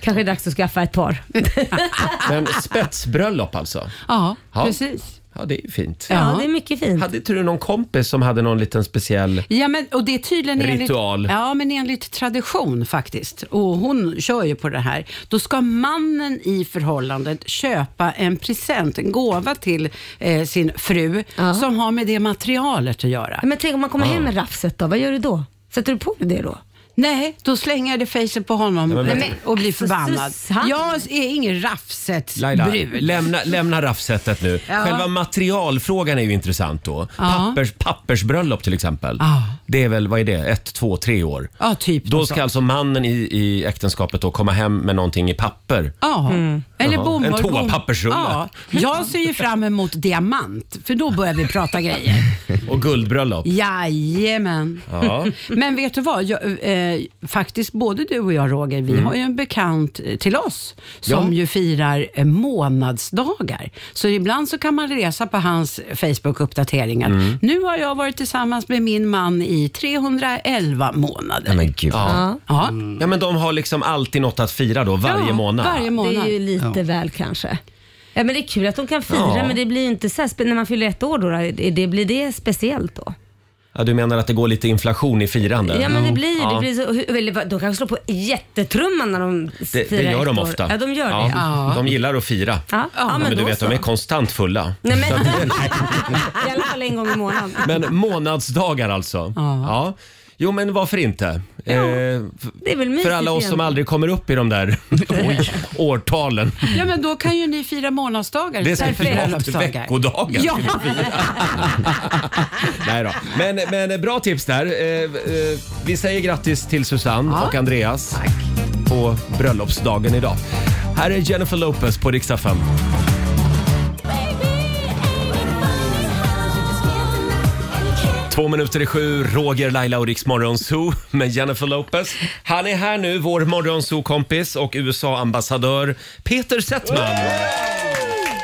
Speaker 2: kanske är det dags att skaffa ett par.
Speaker 1: Men spetsbröllop alltså?
Speaker 9: Ja,
Speaker 1: Ja.
Speaker 9: precis.
Speaker 1: Ja, det är ju fint.
Speaker 2: Ja, det är mycket fint.
Speaker 1: Hade inte du någon kompis som hade någon liten speciell...
Speaker 9: Ja, men, och det är tydligen
Speaker 1: Ritual.
Speaker 9: Enligt, ja, men enligt tradition faktiskt. Och hon kör ju på det här. Då ska mannen i förhållandet köpa en present, en gåva till eh, sin fru som har med det materialet att göra.
Speaker 2: Men tänk om man kommer hem med rafset då, vad gör du då? Sätter du på dig det då?
Speaker 9: Nej, då slänger jag det facet på honom
Speaker 1: Ja, men
Speaker 9: eh,
Speaker 1: vänta.
Speaker 9: och blir förbannad.
Speaker 2: Susanne.
Speaker 9: Jag är ingen rafset
Speaker 1: Laila,
Speaker 9: brud.
Speaker 1: lämna, lämna raffsetet nu.
Speaker 9: Ja.
Speaker 1: Själva materialfrågan är ju intressant då.
Speaker 9: Ja.
Speaker 1: Pappers, pappersbröllop till exempel.
Speaker 9: Ja.
Speaker 1: Det är väl, vad är det, ett, två, tre år?
Speaker 9: Ja, typ.
Speaker 1: Då
Speaker 9: något
Speaker 1: ska
Speaker 9: sånt.
Speaker 1: alltså mannen i, i äktenskapet då komma hem med någonting i papper.
Speaker 9: Ja, eller
Speaker 1: Jaha.
Speaker 9: bomull.
Speaker 1: En
Speaker 9: bom-
Speaker 1: toapappersrulle.
Speaker 9: Ja, jag ser ju fram emot diamant, för då börjar vi prata grejer.
Speaker 1: Och guldbröllop.
Speaker 9: Jajamän.
Speaker 1: Ja.
Speaker 9: Men vet du vad? Jag, eh, faktiskt både du och jag Roger, vi har ju en bekant eh, till oss som
Speaker 1: Mm. Ja.
Speaker 9: ju firar eh, månadsdagar. Så ibland så kan man läsa på hans Facebook-uppdateringar.
Speaker 1: Mm.
Speaker 9: Nu har jag varit tillsammans med min man i 311 månader.
Speaker 8: Nej, men gud.
Speaker 1: Ja.
Speaker 9: Ja.
Speaker 1: ja, men de har liksom alltid något att fira då, varje
Speaker 9: Ja,
Speaker 1: månad.
Speaker 9: varje månad.
Speaker 2: Det är ju lite väl kanske. Ja, men det är kul att de kan fira,
Speaker 1: Ja.
Speaker 2: men det blir ju inte så här, spe- när man fyller ett år då, då, det- det blir det speciellt då?
Speaker 1: Ja, du menar att det går lite inflation i firande?
Speaker 2: Ja men det blir ju
Speaker 1: Mm. Ja.
Speaker 2: det. Blir så, hur- eller, vad, de kanske slår på jättetrumman när de
Speaker 1: Det, det
Speaker 2: firar
Speaker 1: gör
Speaker 2: ett
Speaker 1: de
Speaker 2: år.
Speaker 1: ofta.
Speaker 2: Ja, de gör det.
Speaker 1: Ja, De gillar att fira.
Speaker 2: Ja, ja, men
Speaker 1: du
Speaker 2: då
Speaker 1: vet,
Speaker 2: så.
Speaker 1: de är konstant fulla.
Speaker 2: Nej, men, I alla fall en gång i månaden.
Speaker 1: Men månadsdagar alltså.
Speaker 2: Ja.
Speaker 1: Ja. Jo, men varför inte? Eh, f-
Speaker 2: det är väl mysigt
Speaker 1: för alla oss som
Speaker 2: egentligen.
Speaker 1: aldrig kommer upp i de där Oj, årtalen.
Speaker 9: Ja, men då kan ju ni fira månadsdagar
Speaker 1: Det ska
Speaker 9: istället för
Speaker 1: vi fira.
Speaker 9: bröllopsdagar.
Speaker 1: Veckodagar
Speaker 9: Ja.
Speaker 1: ska vi fira. Nej då. Men, men bra tips där. Eh, eh, vi säger grattis till Susanne
Speaker 4: Ja.
Speaker 1: och Andreas på bröllopsdagen idag. Här är Jennifer Lopez på riksdag 5. Två minuter i sju, Roger, Laila och Riks Morgonzoo med Jennifer Lopez. Han är här nu, vår Morgonzoo-kompis och USA-ambassadör Peter Settman.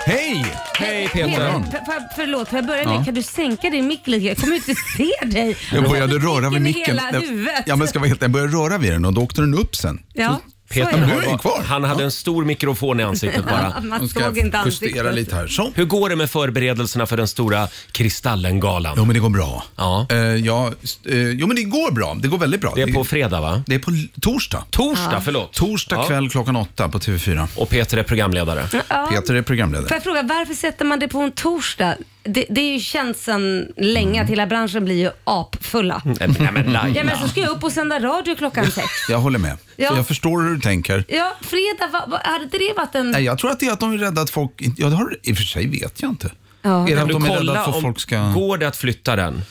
Speaker 1: Hej! Hej Peter!
Speaker 2: Peter, för, förlåt, får jag börja med,
Speaker 5: Ja.
Speaker 2: kan du sänka din mick lite? Jag kommer inte se dig.
Speaker 5: Jag började röra vid
Speaker 2: i
Speaker 5: micken.
Speaker 2: hela huvudet.
Speaker 5: Ja, men ska vara helt, jag började röra vid den och då åkte den upp sen.
Speaker 2: Ja,
Speaker 5: Peter,
Speaker 2: så är
Speaker 5: du
Speaker 2: det.
Speaker 5: är ju kvar.
Speaker 1: Han hade en stor mikrofon i ansiktet bara.
Speaker 2: Ja, man Nu ska såg jag inte ansiktet. justera lite här.
Speaker 1: Hur går det med förberedelserna för den stora Kristallengalan?
Speaker 5: Jo, men det går bra.
Speaker 1: Ja.
Speaker 5: ja, eh, jo, men det går bra. Det går väldigt bra.
Speaker 1: Det är på fredag, va?
Speaker 5: Det är på l- torsdag.
Speaker 1: Torsdag,
Speaker 2: Ja.
Speaker 1: förlåt.
Speaker 5: Torsdag kväll klockan åtta på TV4.
Speaker 1: Och Peter är programledare.
Speaker 2: Ja.
Speaker 5: Peter är
Speaker 2: Får
Speaker 5: programledare.
Speaker 2: jag fråga, varför sätter man det på en torsdag? Det, det är ju känt sedan länge att hela branschen blir ju apfulla.
Speaker 5: Nej, men
Speaker 2: Ja, men så ska jag upp och sända radio klockan sex.
Speaker 5: Jag håller med.
Speaker 2: Ja.
Speaker 5: Jag förstår hur du tänker.
Speaker 2: Ja, fredag, va, va, hade inte det varit en...
Speaker 5: Nej, jag tror att det är att de är rädda att folk... Ja, det har, I och för sig vet jag inte.
Speaker 2: Ja.
Speaker 5: Är det
Speaker 2: Kan
Speaker 5: att
Speaker 2: du
Speaker 5: de är
Speaker 2: kolla
Speaker 5: rädda för
Speaker 2: om-
Speaker 5: att folk ska...
Speaker 1: Går det att flytta den?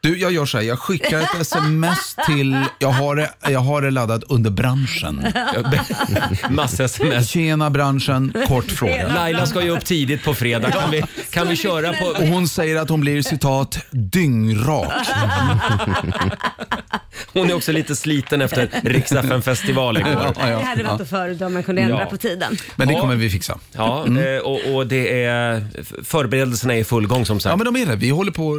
Speaker 5: Du, jag gör så här. Jag skickar ett sms till... Jag har det, jag har det laddat under branschen.
Speaker 1: Massa sms.
Speaker 5: Tjena branschen, kort fråga.
Speaker 1: Laila ska ju upp tidigt på fredag. Kan vi, kan vi köra på...
Speaker 5: Och hon säger att hon blir citat dyngrak.
Speaker 1: Hon är också lite sliten efter riksdagen festival igår.
Speaker 2: det hade varit att föredra om man kunde ändra
Speaker 1: Ja.
Speaker 2: på tiden.
Speaker 5: Men det
Speaker 1: Ja.
Speaker 5: kommer vi fixa.
Speaker 1: Ja,
Speaker 5: Mm.
Speaker 1: eh, och, och det är... Förberedelserna är i full gång som sagt.
Speaker 5: Ja, men de är det. Vi håller på...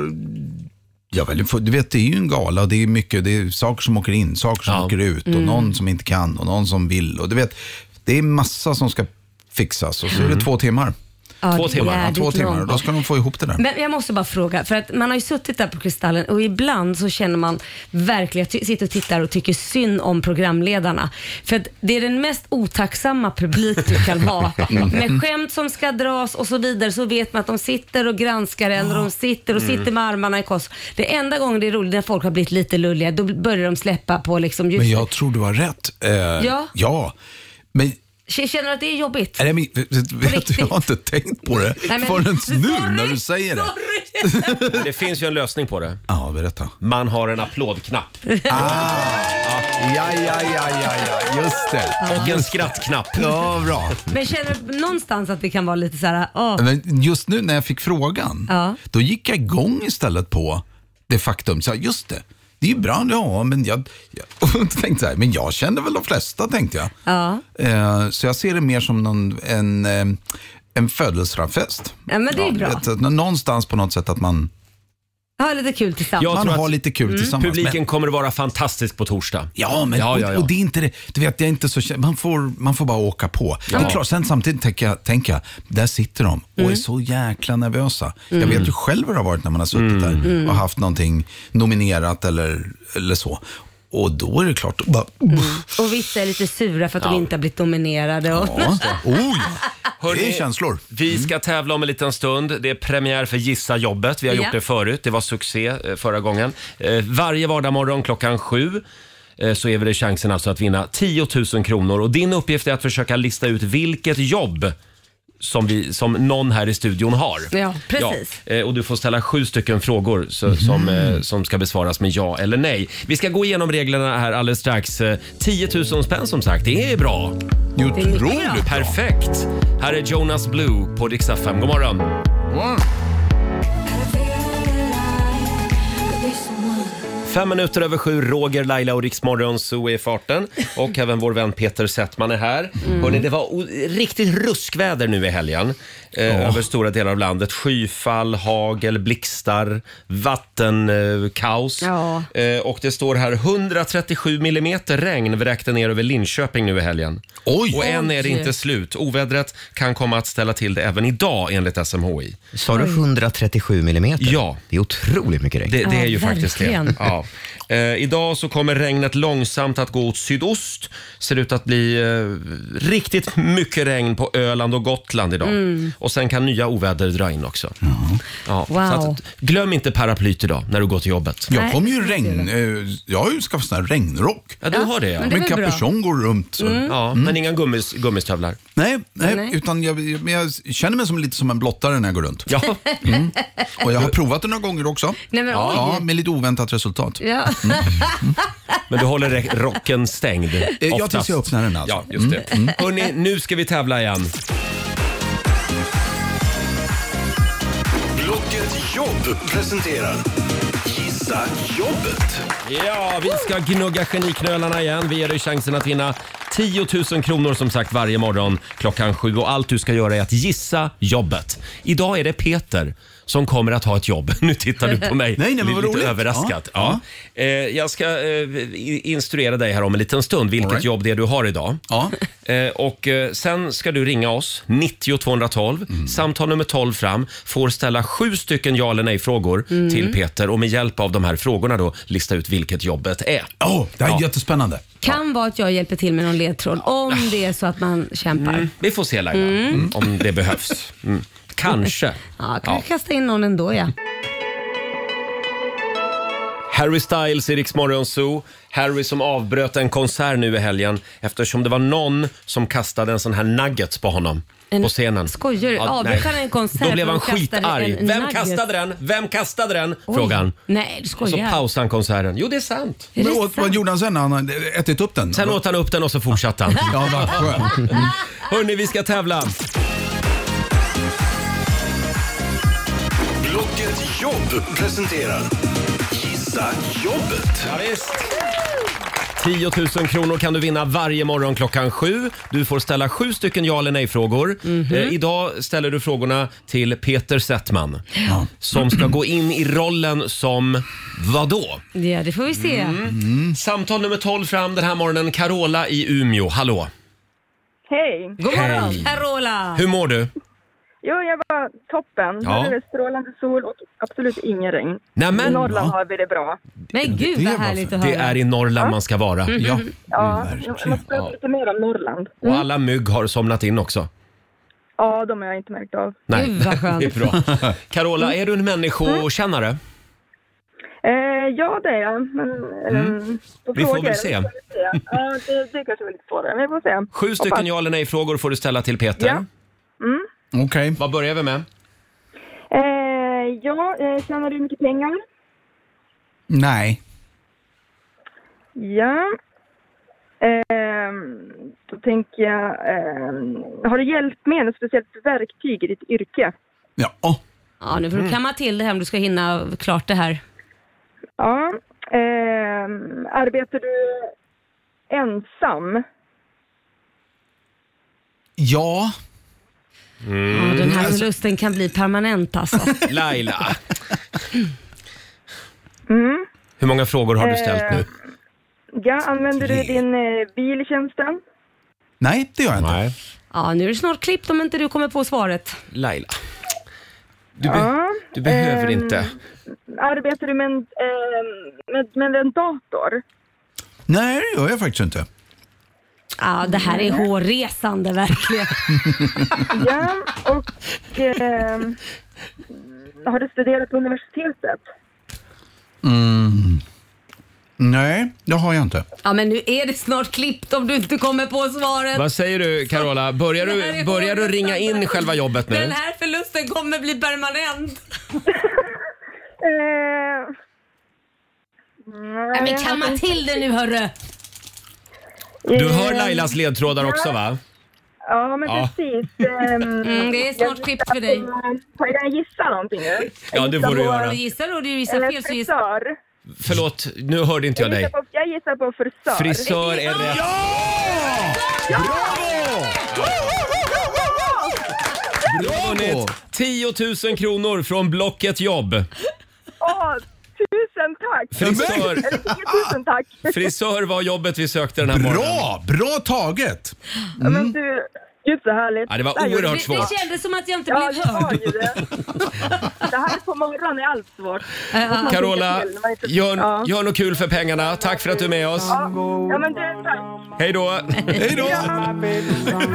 Speaker 5: Ja, väl, för- du vet, det är ju en gala och det är mycket. Det är saker som åker in, saker som åker ut och
Speaker 4: Mm.
Speaker 5: någon som inte kan och någon som vill. Och du vet, det är massa som ska fixas och så är det två timmar.
Speaker 2: Ja, det är
Speaker 5: Ja, två
Speaker 2: jävligt
Speaker 5: timmar.
Speaker 2: långt.
Speaker 5: Då ska de få ihop det där.
Speaker 2: Men jag måste bara fråga, för att man har ju suttit där på Kristallen och ibland så känner man verkligen, jag ty- sitter och tittar och tycker synd om programledarna. För att det är den mest otacksamma publik du kan ha.
Speaker 11: Mm.
Speaker 2: Med skämt som ska dras och så vidare så vet man att de sitter och granskar en och de sitter och
Speaker 11: Mm.
Speaker 2: sitter med armarna i kors. Det enda gången det är roligt när folk har blivit lite lulliga, då börjar de släppa på liksom
Speaker 5: Men
Speaker 2: ljuset.
Speaker 5: jag tror du har rätt. Eh,
Speaker 2: Ja.
Speaker 5: ja. Men,
Speaker 2: K- Känner du att det är jobbigt?
Speaker 5: nej, men vet, du, jag har inte tänkt på det
Speaker 2: Nej, men-
Speaker 5: förrän nu när du säger det.
Speaker 1: Det finns ju en lösning på det.
Speaker 5: Ja, berätta.
Speaker 1: Man har en applådknapp.
Speaker 5: Ja, ja, ja, ja, ja. just det.
Speaker 1: Och en skrattknapp.
Speaker 5: Ja, bra.
Speaker 2: Men känner du någonstans att det kan vara lite så här, "Ah, åh,
Speaker 5: Men just nu när jag fick frågan,
Speaker 2: Ja.
Speaker 5: då gick jag igång istället på det faktum. Så här, just det, det är ju bra. Ja, men jag, jag och tänkte så här, men jag känner väl de flesta, tänkte jag.
Speaker 2: ja.
Speaker 5: Eh, så jag ser det mer som någon, en, eh, en födelsedagsfest.
Speaker 2: Ja, men det är bra.
Speaker 5: vet, att någonstans på något sätt att man...
Speaker 2: Ha lite kul tillsammans. Mm.
Speaker 1: Publiken kommer att vara fantastisk på torsdag.
Speaker 5: Ja, men
Speaker 1: ja, ja, ja.
Speaker 5: Och, och det är inte det. Du vet, jag är inte så kä- man, får, man får bara åka på.
Speaker 1: Ja.
Speaker 5: Det är klart, sen samtidigt tänker jag, tänker jag där sitter de och
Speaker 1: Mm.
Speaker 5: är så jäkla nervösa.
Speaker 1: Mm.
Speaker 5: Jag vet ju själv hur det har varit när man har suttit där
Speaker 1: Mm.
Speaker 5: och haft någonting nominerat eller, eller så. Och då är det klart, då bara,
Speaker 1: Mm.
Speaker 2: Och vissa är lite sura för att
Speaker 1: Ja.
Speaker 2: de inte har blivit nominerade. Och...
Speaker 5: ja, oj,
Speaker 1: Hörrni,
Speaker 5: känslor.
Speaker 1: Vi ska tävla om en liten stund. Det är premiär för Gissa jobbet. Vi har
Speaker 2: Ja.
Speaker 1: gjort det förut. Det var succé eh, förra gången. Eh, Varje vardagsmorgon klockan sju eh, så är det chansen alltså att vinna 10 000 kronor. Och din uppgift är att försöka lista ut vilket jobb som, vi, som någon här i studion har.
Speaker 2: Ja, precis. Mhm.
Speaker 1: Ja, eh, och du får ställa sju stycken frågor så, som, eh, som ska besvaras med ja eller nej. Vi ska gå igenom reglerna här alldeles strax. Eh, 10 000 spänn som sagt, det är bra.
Speaker 5: Det är otroligt bra.
Speaker 1: Perfekt. Här är Jonas Blue på Dix FM. God morgon. Fem minuter över sju, Roger, Laila och Riksmorgon så är i farten. Och även vår vän Peter Settman är här.
Speaker 11: Mm.
Speaker 1: Hörrni, det var o- riktigt ruskväder nu i helgen. Eh, Över stora delar av landet. Skyfall, hagel, blixtar, vattenkaos.
Speaker 2: Ja.
Speaker 1: Eh, och det står här 137 millimeter regn vräkte ner över Linköping nu i helgen.
Speaker 5: Oj!
Speaker 1: Och än är det
Speaker 8: Oj.
Speaker 1: inte slut. Ovädret kan komma att ställa till det även idag enligt SMHI.
Speaker 8: Sa du 137 millimeter?
Speaker 1: Ja.
Speaker 8: Det är otroligt mycket regn.
Speaker 1: Det, det
Speaker 8: Ja,
Speaker 1: är ju faktiskt det.
Speaker 8: verkligen.
Speaker 1: Ja. Eh, idag så kommer regnet långsamt att gå åt sydost. Ser ut att bli eh, riktigt mycket regn på Öland och Gotland idag.
Speaker 2: Mm.
Speaker 1: Och sen kan nya oväder dra in också. Ja,
Speaker 2: Wow.
Speaker 1: så att, glöm inte paraplyt idag när du går till jobbet.
Speaker 5: Jag kommer ju regn... eh, Jag har ju skaffat sån här regnrock.
Speaker 1: Ja, du har det ja.
Speaker 5: Men kapuschong går runt. Så.
Speaker 1: Ja, men inga gummis, gummistövlar.
Speaker 5: Nej, nej,
Speaker 1: Mm. Nej.
Speaker 5: utan jag, men jag känner mig som lite som en blottare när jag går runt.
Speaker 1: Ja.
Speaker 5: Mm. Och jag har provat det några gånger också.
Speaker 2: Nej, men
Speaker 5: ja,
Speaker 2: oj.
Speaker 5: ja, med lite oväntat resultat.
Speaker 2: Ja.
Speaker 1: Mm. Men du håller re- rocken stängd
Speaker 5: Eh, jag
Speaker 1: oftast.
Speaker 5: tills jag öppnar den alltså.
Speaker 1: Ja, just det.
Speaker 5: Mm.
Speaker 1: Hörrni, nu ska vi tävla igen.
Speaker 4: Blocket Jobb presenterar Gissa Jobbet.
Speaker 1: Ja, vi ska gnugga geniknölarna igen. Vi ger dig chansen att vinna 10 000 kronor som sagt varje morgon klockan sju. Och allt du ska göra är att gissa jobbet. Idag är det Peter som kommer att ha ett jobb. Nu tittar du på mig
Speaker 5: Nej, nej, men
Speaker 1: lite
Speaker 5: vad roligt.
Speaker 1: överraskat. Ja.
Speaker 5: Ja.
Speaker 1: Eh, jag ska eh, i- instruera dig här om en liten stund vilket
Speaker 5: All right.
Speaker 1: jobb det är du har idag.
Speaker 5: Ja.
Speaker 1: Eh, och eh, sen ska du ringa oss, 90 212.
Speaker 5: Mm.
Speaker 1: Samtal nummer 12 fram. Får ställa sju stycken ja eller nej-frågor
Speaker 5: Mm.
Speaker 1: till Peter och med hjälp av de här frågorna då lista ut vilket jobbet är.
Speaker 5: Åh, det här är jättespännande.
Speaker 2: Kan vara att jag hjälper till med någon ledtråd om det är så att man kämpar.
Speaker 1: Mm. Vi får se Laila,
Speaker 2: Mm.
Speaker 1: Mm, om det behövs. Mm. Kanske.
Speaker 2: Ja, kan
Speaker 1: Ja.
Speaker 2: jag kasta in någon ändå ja.
Speaker 1: Harry Styles i Rix Morgon Zoo. Harry som avbröt en konsert nu i helgen eftersom det var någon som kastade en sån här nugget på honom
Speaker 2: En-
Speaker 1: på scenen.
Speaker 2: Skojar du?
Speaker 1: Ja,
Speaker 2: Avbröt
Speaker 1: nej.
Speaker 2: han en konsert
Speaker 1: Då blev
Speaker 2: för
Speaker 1: han
Speaker 2: att de kastade
Speaker 1: skitarg.
Speaker 2: en
Speaker 1: Vem
Speaker 2: nugget?
Speaker 1: kastade den? Vem kastade den?
Speaker 2: Oj.
Speaker 1: Frågade han.
Speaker 2: Nej, du
Speaker 1: Och så
Speaker 2: skojar.
Speaker 1: pausade han konserten. Jo, det är sant.
Speaker 2: Är det
Speaker 5: Men åt- vad gjorde han sen när han hade ätit upp den?
Speaker 1: Sen åt han upp den och så fortsatte han.
Speaker 5: Ja, vad skönt. Mm.
Speaker 1: Hörni, vi ska tävla.
Speaker 4: Blocket Jobb presenterar Gissa Jobbet.
Speaker 1: Ja, visst. 10 000 kronor kan du vinna varje morgon klockan sju. Du får ställa sju stycken ja eller nej-frågor. Eh, idag ställer du frågorna till Peter Settman som ska gå in i rollen som vadå?
Speaker 2: Ja, det får vi se.
Speaker 1: Mm. Samtal nummer 12 fram den här morgonen. Carola i Umeå. Hallå!
Speaker 7: Hej!
Speaker 2: God morgon
Speaker 1: Hej.
Speaker 2: Carola!
Speaker 1: Hur mår du?
Speaker 7: Jo, jag var toppen.
Speaker 1: Ja.
Speaker 7: Nu är det strålande sol och absolut ingen regn.
Speaker 1: Nämen.
Speaker 7: I Norrland har vi det bra.
Speaker 2: Men gud vad härligt att höra.
Speaker 1: Det är i Norrland man ska vara.
Speaker 5: Mm.
Speaker 1: Ja. Mm,
Speaker 7: Ja, jag måste prata lite mer om Norrland. Mm.
Speaker 1: Och alla mygg har somnat in också.
Speaker 7: Ja, de har jag inte märkt av.
Speaker 1: Nej, det är bra. Carola, är du en människokännare?
Speaker 7: Eh, ja, det är jag. Men,
Speaker 1: Mm.
Speaker 7: ehm, på
Speaker 1: Vi får
Speaker 7: frågor,
Speaker 1: väl se.
Speaker 7: vi får väl se. Ja, det, det kanske var lite svårare, men vi får se.
Speaker 1: Sju stycken
Speaker 7: Hoppas.
Speaker 1: ja eller nej-frågor får du ställa till Peter.
Speaker 7: Ja. Mm.
Speaker 5: Okej.
Speaker 1: Vad börjar vi med?
Speaker 7: Eh, ja, eh, tjänar du mycket pengar?
Speaker 5: Nej.
Speaker 7: Ja. Ehm, då tänker jag, ehm, har du hjälpt med något speciellt verktyg i ditt yrke?
Speaker 2: Ja, nu får
Speaker 1: Mm.
Speaker 2: du kamma till det här om du ska hinna klart det här.
Speaker 7: Ja. Ehm, arbetar du ensam?
Speaker 5: Ja.
Speaker 1: Mm.
Speaker 2: Ja, den här
Speaker 1: Alltså-
Speaker 2: förlusten kan bli permanent alltså.
Speaker 1: Laila,
Speaker 7: Mm.
Speaker 1: hur många frågor har du ställt nu?
Speaker 7: Ja, använder du din eh, bil i tjänsten?
Speaker 5: Nej, det gör jag inte.
Speaker 1: Nej.
Speaker 2: Ja, nu är det snart klippt om inte du kommer på svaret.
Speaker 1: Laila. Du, be-
Speaker 7: Ja,
Speaker 1: du behöver
Speaker 7: ehm,
Speaker 1: inte.
Speaker 7: Arbetar du med en, ehm, med, med en dator?
Speaker 5: Nej, det gör jag faktiskt inte.
Speaker 2: Ja, det här är hårresande verkligen.
Speaker 7: Ja, och ehm, har du studerat på universitetet?
Speaker 5: Mm. Nej, det har jag inte.
Speaker 2: Ja, men nu är det snart klippt om du inte kommer på svaret.
Speaker 1: Vad säger du Carola? Börjar
Speaker 2: Det här
Speaker 1: du,
Speaker 2: är
Speaker 1: börjar du ringa in själva jobbet
Speaker 2: Den
Speaker 1: nu?
Speaker 2: här förlusten kommer bli permanent.
Speaker 7: Eh, nej,
Speaker 2: Ja, men kamma till det nu hörru.
Speaker 1: Du hör Lailas ledtrådar också va?
Speaker 7: Ja, men
Speaker 1: Ja.
Speaker 7: precis. Ehm,
Speaker 2: Mm, det är
Speaker 7: jag
Speaker 2: snart
Speaker 7: gissar
Speaker 2: klippt för dig.
Speaker 7: på- Får jag gissa någonting nu?
Speaker 1: Ja, det
Speaker 7: Jag
Speaker 1: får du
Speaker 7: gissar på-
Speaker 1: göra.
Speaker 2: Gissar du och du gissar
Speaker 7: Eller
Speaker 2: fel så gissar
Speaker 7: frisör.
Speaker 1: Förlåt, nu hörde inte jag dig.
Speaker 7: gissar på, jag gissar på frisör.
Speaker 1: Frisör är rätt.
Speaker 7: Ja!
Speaker 1: Du har vunnit 10 000 kronor från Blocket Jobb.
Speaker 7: Åh, tusen tack!
Speaker 1: Frisör.
Speaker 7: Eller, tusen tack!
Speaker 1: Frisör var jobbet vi sökte den här
Speaker 5: Bra!
Speaker 1: morgonen.
Speaker 5: Bra taget!
Speaker 7: Ja, Men du, gud så härligt.
Speaker 1: Ja, det var
Speaker 7: här gjorde
Speaker 1: oerhört
Speaker 7: vi.
Speaker 1: svårt. Det
Speaker 2: kändes som att jag inte
Speaker 7: ja,
Speaker 2: blev
Speaker 7: det var ju Det. det här på morgonen är allt svårt. Man tänker
Speaker 1: Carola,
Speaker 7: till när man inte-
Speaker 1: gör,
Speaker 7: Ja.
Speaker 1: gör något kul för pengarna. Tack för att du är med oss.
Speaker 7: Ja, ja, men du, tack.
Speaker 1: Hej då!
Speaker 7: Hej då!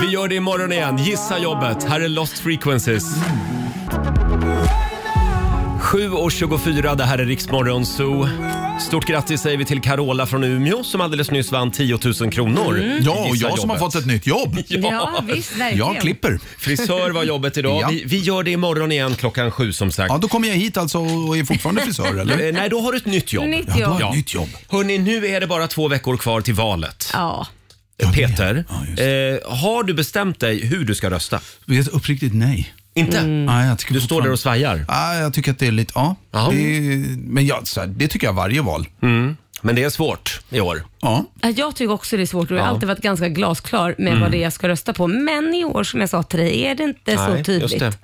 Speaker 1: Vi gör det imorgon igen. Gissa jobbet. Här är Lost Frequencies. 7.24, det här är Riksmorgon Zoo. Stort grattis säger vi till Carola från Umeå som alldeles nyss vann 10 000 kronor.
Speaker 5: Mm. Ja, och jag som har fått
Speaker 1: ett nytt jobb.
Speaker 5: Ja, visst, verkligen. Jag klipper.
Speaker 1: Frisör var jobbet idag.
Speaker 5: Ja.
Speaker 1: Vi, vi gör det imorgon igen klockan sju som sagt.
Speaker 5: Ja, då kommer jag hit alltså och är fortfarande frisör
Speaker 1: Eh,
Speaker 5: eller?
Speaker 1: Nej, då har du ett nytt jobb.
Speaker 5: Nytt Ja, då har jag ett jobb. nytt
Speaker 1: Hörni, nu är det bara två veckor kvar till valet.
Speaker 2: Ja.
Speaker 1: Peter, eh, har du bestämt dig hur du ska rösta?
Speaker 5: Vet uppriktigt nej.
Speaker 1: Inte?
Speaker 2: Mm.
Speaker 5: Nej, jag tycker
Speaker 1: Du står där och svajar?
Speaker 5: Nej, jag tycker att det är lite, ja.
Speaker 1: Ja.
Speaker 5: Det är, men jag, så här, det tycker jag varje val.
Speaker 1: Men det är svårt i år.
Speaker 5: Ja.
Speaker 2: Ja, Jag tycker också det är svårt och jag har
Speaker 5: Ja.
Speaker 2: alltid varit ganska glasklar med
Speaker 1: Mm.
Speaker 2: vad det är jag ska rösta på. Men i år, som jag sa till dig, är det inte så tydligt.
Speaker 1: Just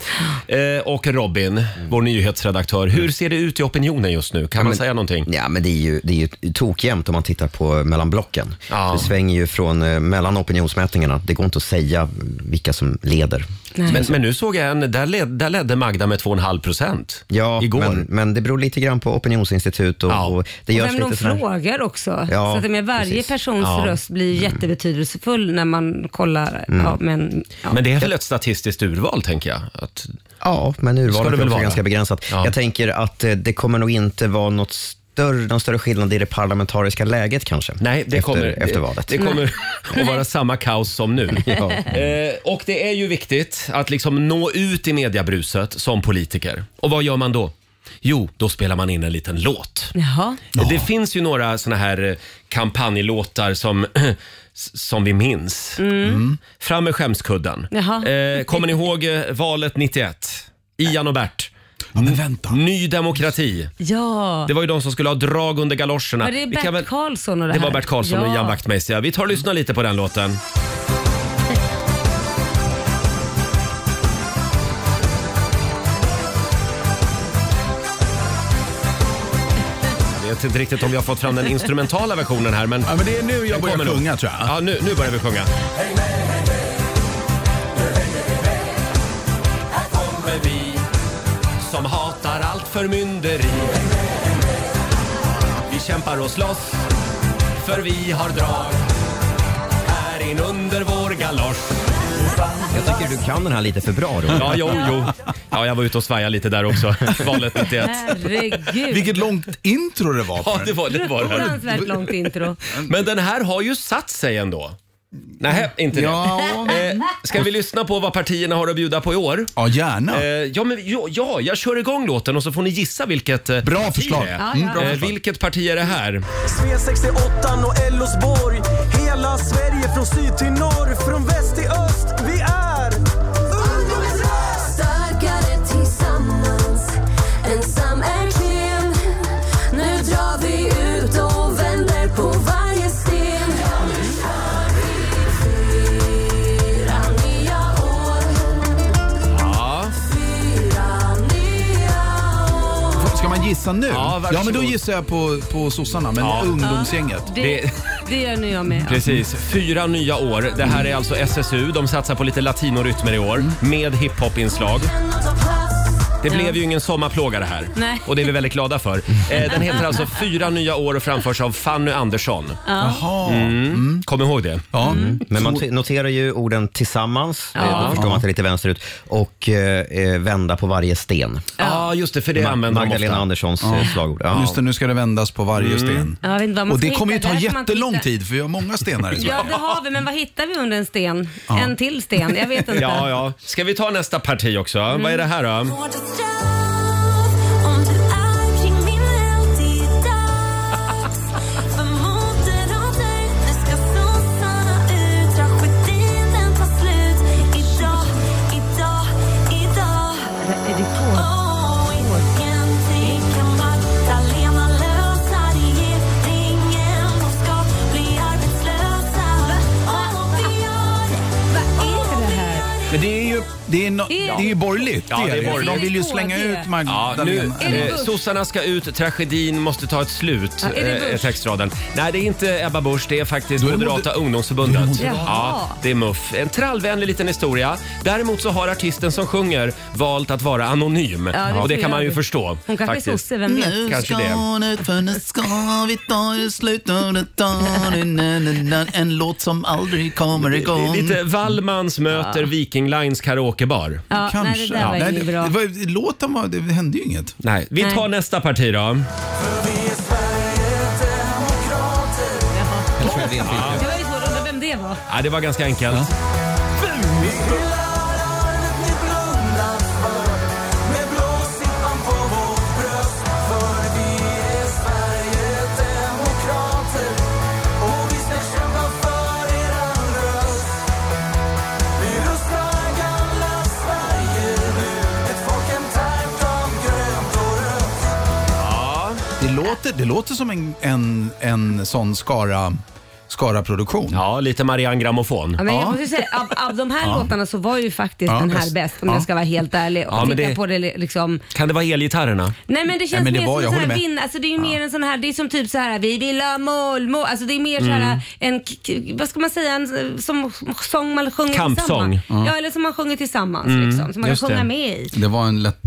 Speaker 1: det. Eh, och Robin, vår nyhetsredaktör. Hur ser det ut i opinionen just nu? Kan man säga någonting?
Speaker 8: Ja, men det är ju, det är ju tokjämnt om man tittar på mellan blocken. Det svänger ju från eh, mellan opinionsmätningarna. Det går inte att säga vilka som leder.
Speaker 1: Nej. Men- nu såg jag en, där, led, där ledde Magda med 2,5 procent
Speaker 8: ja,
Speaker 1: igår.
Speaker 8: Men, men det beror lite grann på opinionsinstitut och, och det
Speaker 2: Och
Speaker 8: görs
Speaker 2: vem de
Speaker 8: lite sådär-
Speaker 2: frågar också.
Speaker 8: Ja,
Speaker 2: så att med varje
Speaker 8: precis.
Speaker 2: persons
Speaker 8: Ja.
Speaker 2: röst blir jättebetydelsefull när man kollar.
Speaker 8: Mm.
Speaker 2: Ja, men, ja.
Speaker 1: Men det är väl ett statistiskt urval, tänker jag? Att,
Speaker 8: Ja, men
Speaker 1: Ska det
Speaker 8: urvalet
Speaker 1: väl
Speaker 8: är också
Speaker 1: vara?
Speaker 8: ganska begränsat. Jag tänker att eh, det kommer nog inte vara något större, någon större skillnad i det parlamentariska läget kanske.
Speaker 1: Nej, det
Speaker 8: efter,
Speaker 1: kommer,
Speaker 8: Efter valet.
Speaker 1: Det, det kommer att vara samma kaos som nu.
Speaker 8: Ja.
Speaker 1: Eh, och det är ju viktigt att liksom nå ut i mediabruset som politiker. Och vad gör man då? Jo, då spelar man in en liten låt.
Speaker 2: Jaha.
Speaker 1: Det finns ju några såna här eh, kampanjlåtar som, som vi minns.
Speaker 2: Mm. Mm.
Speaker 1: Fram med skämskudden.
Speaker 2: Jaha.
Speaker 1: Eh, kommer ni ihåg eh, valet 91? Ian och Bert. men vänta. Ny demokrati.
Speaker 2: ja.
Speaker 1: Det var ju de som skulle ha drag under galoscherna.
Speaker 2: var det
Speaker 1: Vi kan
Speaker 2: Bert
Speaker 1: väl-
Speaker 2: Karlsson och det
Speaker 1: det
Speaker 2: här?
Speaker 1: var Bert Karlsson
Speaker 2: ja.
Speaker 1: och Jan Wachtmeister. ja. Vi tar och lyssnar lite på den låten. Vet inte riktigt om vi har fått fram den instrumentala versionen här men... Ja,
Speaker 5: men det är nu jag börjar sjunga,
Speaker 1: tror jag. Ja, nu, nu börjar vi sjunga. Kommer vi som hatar allt förmynderi Vi kämpar och slåss för vi har drag här in under vår galosch
Speaker 8: Jag tycker du kan den här lite för bra då.
Speaker 1: Ja, jo, jo. Ja, jag var ute och svajade lite där också. Valet 91.
Speaker 2: Herregud.
Speaker 5: Vilket långt intro det var. på
Speaker 1: Ja,
Speaker 5: den.
Speaker 1: det var det. Var det.
Speaker 2: Fruktansvärt långt intro.
Speaker 1: Men den här har ju satt sig ändå. Nej, inte
Speaker 5: Ja.
Speaker 1: det. Eh, ska vi lyssna på vad partierna har att bjuda på i år?
Speaker 5: Ja, gärna.
Speaker 1: Eh, ja, men, ja, ja, jag kör igång låten och så får ni gissa vilket eh,
Speaker 5: Bra
Speaker 1: parti
Speaker 5: förslag.
Speaker 1: det är.
Speaker 5: Ja, ja. Mm, bra
Speaker 1: Eh,
Speaker 5: förslag.
Speaker 1: vilket parti är det här?
Speaker 11: V68 och Elfsborg Hela Sverige från syd till norr, från väst till öst Vi är ungdomens röst!
Speaker 6: Starkare tillsammans, ensam är klen Nu drar vi ut och vänder på varje sten Fyra nya år,
Speaker 1: Ja.
Speaker 6: fyra nya år
Speaker 5: Ska man gissa nu?
Speaker 1: Ja, varsågod.
Speaker 5: ja men då gissar jag på, på sossarna, men
Speaker 1: Ja.
Speaker 5: ungdomsgänget.
Speaker 2: Det, det gör nu jag med.
Speaker 1: Precis, fyra nya år. Det här är alltså SSU. De satsar på lite latinorytmer i år med hiphop-inslag. Det
Speaker 2: Ja.
Speaker 1: blev ju ingen sommarplåga det här.
Speaker 2: Nej.
Speaker 1: Och det är vi väldigt glada för. Eh, den heter alltså Fyra nya år och framförs av Fanny Andersson.
Speaker 5: Jaha.
Speaker 1: Mm. Kom ihåg det.
Speaker 5: Ja.
Speaker 8: Men man t- noterar ju orden tillsammans, eh,
Speaker 1: Ja.
Speaker 8: då förstår man att det är lite vänsterut, och eh, eh, vända på varje sten.
Speaker 1: Ja, just det, för det
Speaker 8: Ma-
Speaker 1: använder de
Speaker 8: Magdalena
Speaker 1: ofta.
Speaker 8: Anderssons
Speaker 5: Ja.
Speaker 8: eh, slagord. Ja.
Speaker 5: Just det, nu ska det vändas på varje
Speaker 8: Mm.
Speaker 5: sten.
Speaker 2: Ja, jag vet inte vad man
Speaker 5: Och det
Speaker 2: ska
Speaker 5: kommer ju
Speaker 2: hitta.
Speaker 5: ta
Speaker 2: Det här ska man
Speaker 5: jättelång
Speaker 2: hitta.
Speaker 5: tid för vi har många stenar i
Speaker 2: Ja, det har vi, men vad hittar vi under en sten?
Speaker 1: Ja.
Speaker 2: En till sten? Jag vet inte.
Speaker 1: Ja, ja. Ska vi ta nästa parti också? Vad är det här då?
Speaker 6: Är det på? Åh, ingenting kan Magdalena lösa
Speaker 5: Men det är ju, det är no,
Speaker 6: Är-
Speaker 5: det är ju borgerligt.
Speaker 1: Ja, det är borgerligt.
Speaker 5: De vill ju slänga ut
Speaker 1: Ja,
Speaker 5: Magdalena.
Speaker 1: nu,
Speaker 5: Eller-
Speaker 1: eh, sossarna ska ut, tragedin måste ta ett slut.
Speaker 5: Ja, är det
Speaker 1: eh,
Speaker 5: Busch?
Speaker 1: är textraden. Nej, det är inte Ebba Busch, det är faktiskt
Speaker 5: är det
Speaker 1: Moderata
Speaker 5: moder-
Speaker 1: ungdomsförbundet.
Speaker 5: Då är det Moderata.
Speaker 1: ja, det är MUF. En trallvänlig liten historia. Däremot så har artisten som sjunger valt att vara anonym.
Speaker 6: Ja, det
Speaker 1: och det
Speaker 6: får jag
Speaker 1: kan man ju
Speaker 6: aldrig.
Speaker 1: förstå.
Speaker 6: Hon kanske är
Speaker 1: faktiskt.
Speaker 6: sosse, vem vet?
Speaker 1: Kanske det.
Speaker 12: nu för nu ska vi ta det slut och det tar det- na- na- na- En låt som aldrig kommer
Speaker 1: Det
Speaker 12: igång.
Speaker 1: är Lite Wallmans möter Viking Lines karaokebar.
Speaker 12: Ja, nej, det
Speaker 5: Kanske.
Speaker 12: där var
Speaker 5: Nej,
Speaker 12: inget
Speaker 5: det-
Speaker 12: bra.
Speaker 5: det var- Låten var, det hände ju inget.
Speaker 1: Nej, vi tar nästa parti då.
Speaker 2: Det var ju svårt att undra vem det var.
Speaker 1: Ja, det var ganska enkelt.
Speaker 5: Det låter, det låter som en, en, en sån skara, skara produktion.
Speaker 1: Ja, lite Marianne Grammofon.
Speaker 2: Ja, men jag måste säga, av, av de här
Speaker 1: Ja.
Speaker 2: låtarna så var ju faktiskt
Speaker 1: Ja,
Speaker 2: den här
Speaker 1: bäst.
Speaker 2: bäst om
Speaker 1: Ja.
Speaker 2: jag ska vara helt ärlig. Och
Speaker 1: Ja, men
Speaker 2: titta
Speaker 1: det-
Speaker 2: på det li- liksom.
Speaker 1: Kan det vara elgitarrerna?
Speaker 2: Nej men det känns
Speaker 1: men det
Speaker 2: mer
Speaker 1: var- jag
Speaker 2: som en sån
Speaker 1: håller
Speaker 2: här
Speaker 1: med.
Speaker 2: vinn, alltså det är ju mer en sån här, det är som typ så här vi vill ha mål, mål. Alltså det är mer så här
Speaker 1: Mm.
Speaker 2: en, k- k- vad ska man säga, en som, sång man sjunger
Speaker 5: Kampsång. Ja.
Speaker 2: tillsammans. Ja eller som man sjunger tillsammans
Speaker 5: Mm,
Speaker 2: liksom, som man kan
Speaker 1: just det.
Speaker 2: sjunga med i.
Speaker 5: Det var en lätt,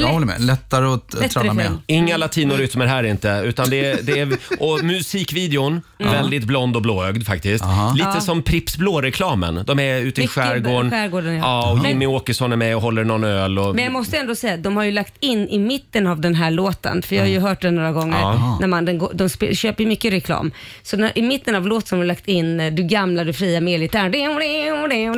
Speaker 5: jag håller med, lättare att
Speaker 2: Lättare
Speaker 5: tralla med.
Speaker 2: film.
Speaker 1: Inga latinorytmer här inte. Utan det är, det är, och musikvideon,
Speaker 5: Ja.
Speaker 1: väldigt blond och blåögd faktiskt. Lite
Speaker 2: Mm. Ja.
Speaker 1: som Pripps Blå-reklamen. De är ute i
Speaker 2: Mycket
Speaker 1: skärgården.
Speaker 2: skärgården, ja.
Speaker 1: ja. och
Speaker 2: Ja.
Speaker 1: Jimmy Åkesson är med och håller någon öl. Och,
Speaker 2: Men jag måste ändå säga, de har ju lagt in i mitten av den här låten, för jag har ju hört den några gånger,
Speaker 1: Mm. Ja.
Speaker 2: när man, den, går- de spe, köper ju mycket reklam. Så när, i mitten av låten har de lagt in eh, Du gamla, du fria med elgitarr.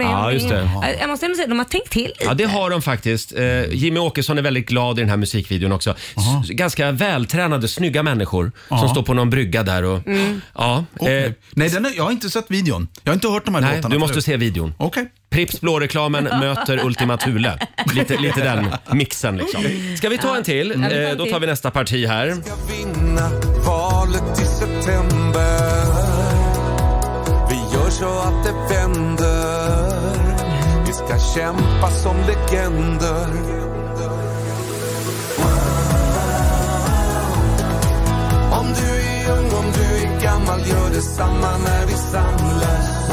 Speaker 1: Ja, just det.
Speaker 2: Jag- Jag måste ändå säga, de har tänkt till.
Speaker 1: Ja, det har de faktiskt. Eh, Jimmy Åkesson är väldigt glad i den här musikvideon också. S- ganska vältränade, snygga människor
Speaker 5: Aha.
Speaker 1: som står på någon brygga där. Och,
Speaker 5: Mm.
Speaker 1: ja, eh,
Speaker 5: Nej, den är, jag har inte sett videon. Jag har inte hört de här
Speaker 1: nej,
Speaker 5: låtarna
Speaker 1: du måste
Speaker 5: förut.
Speaker 1: se videon.
Speaker 5: Okej.
Speaker 1: Pripps Blå-reklamen möter Ultima Thule. Lite, lite den mixen liksom. Ska vi ta en till?
Speaker 4: Ja, vi tar en
Speaker 1: Eh, Då
Speaker 4: till.
Speaker 1: tar vi nästa parti här.
Speaker 4: vinna valet i september Vi gör så att det vänder Vi ska kämpa som legender Om du är ung, om du är gammal gör detsamma när vi samlas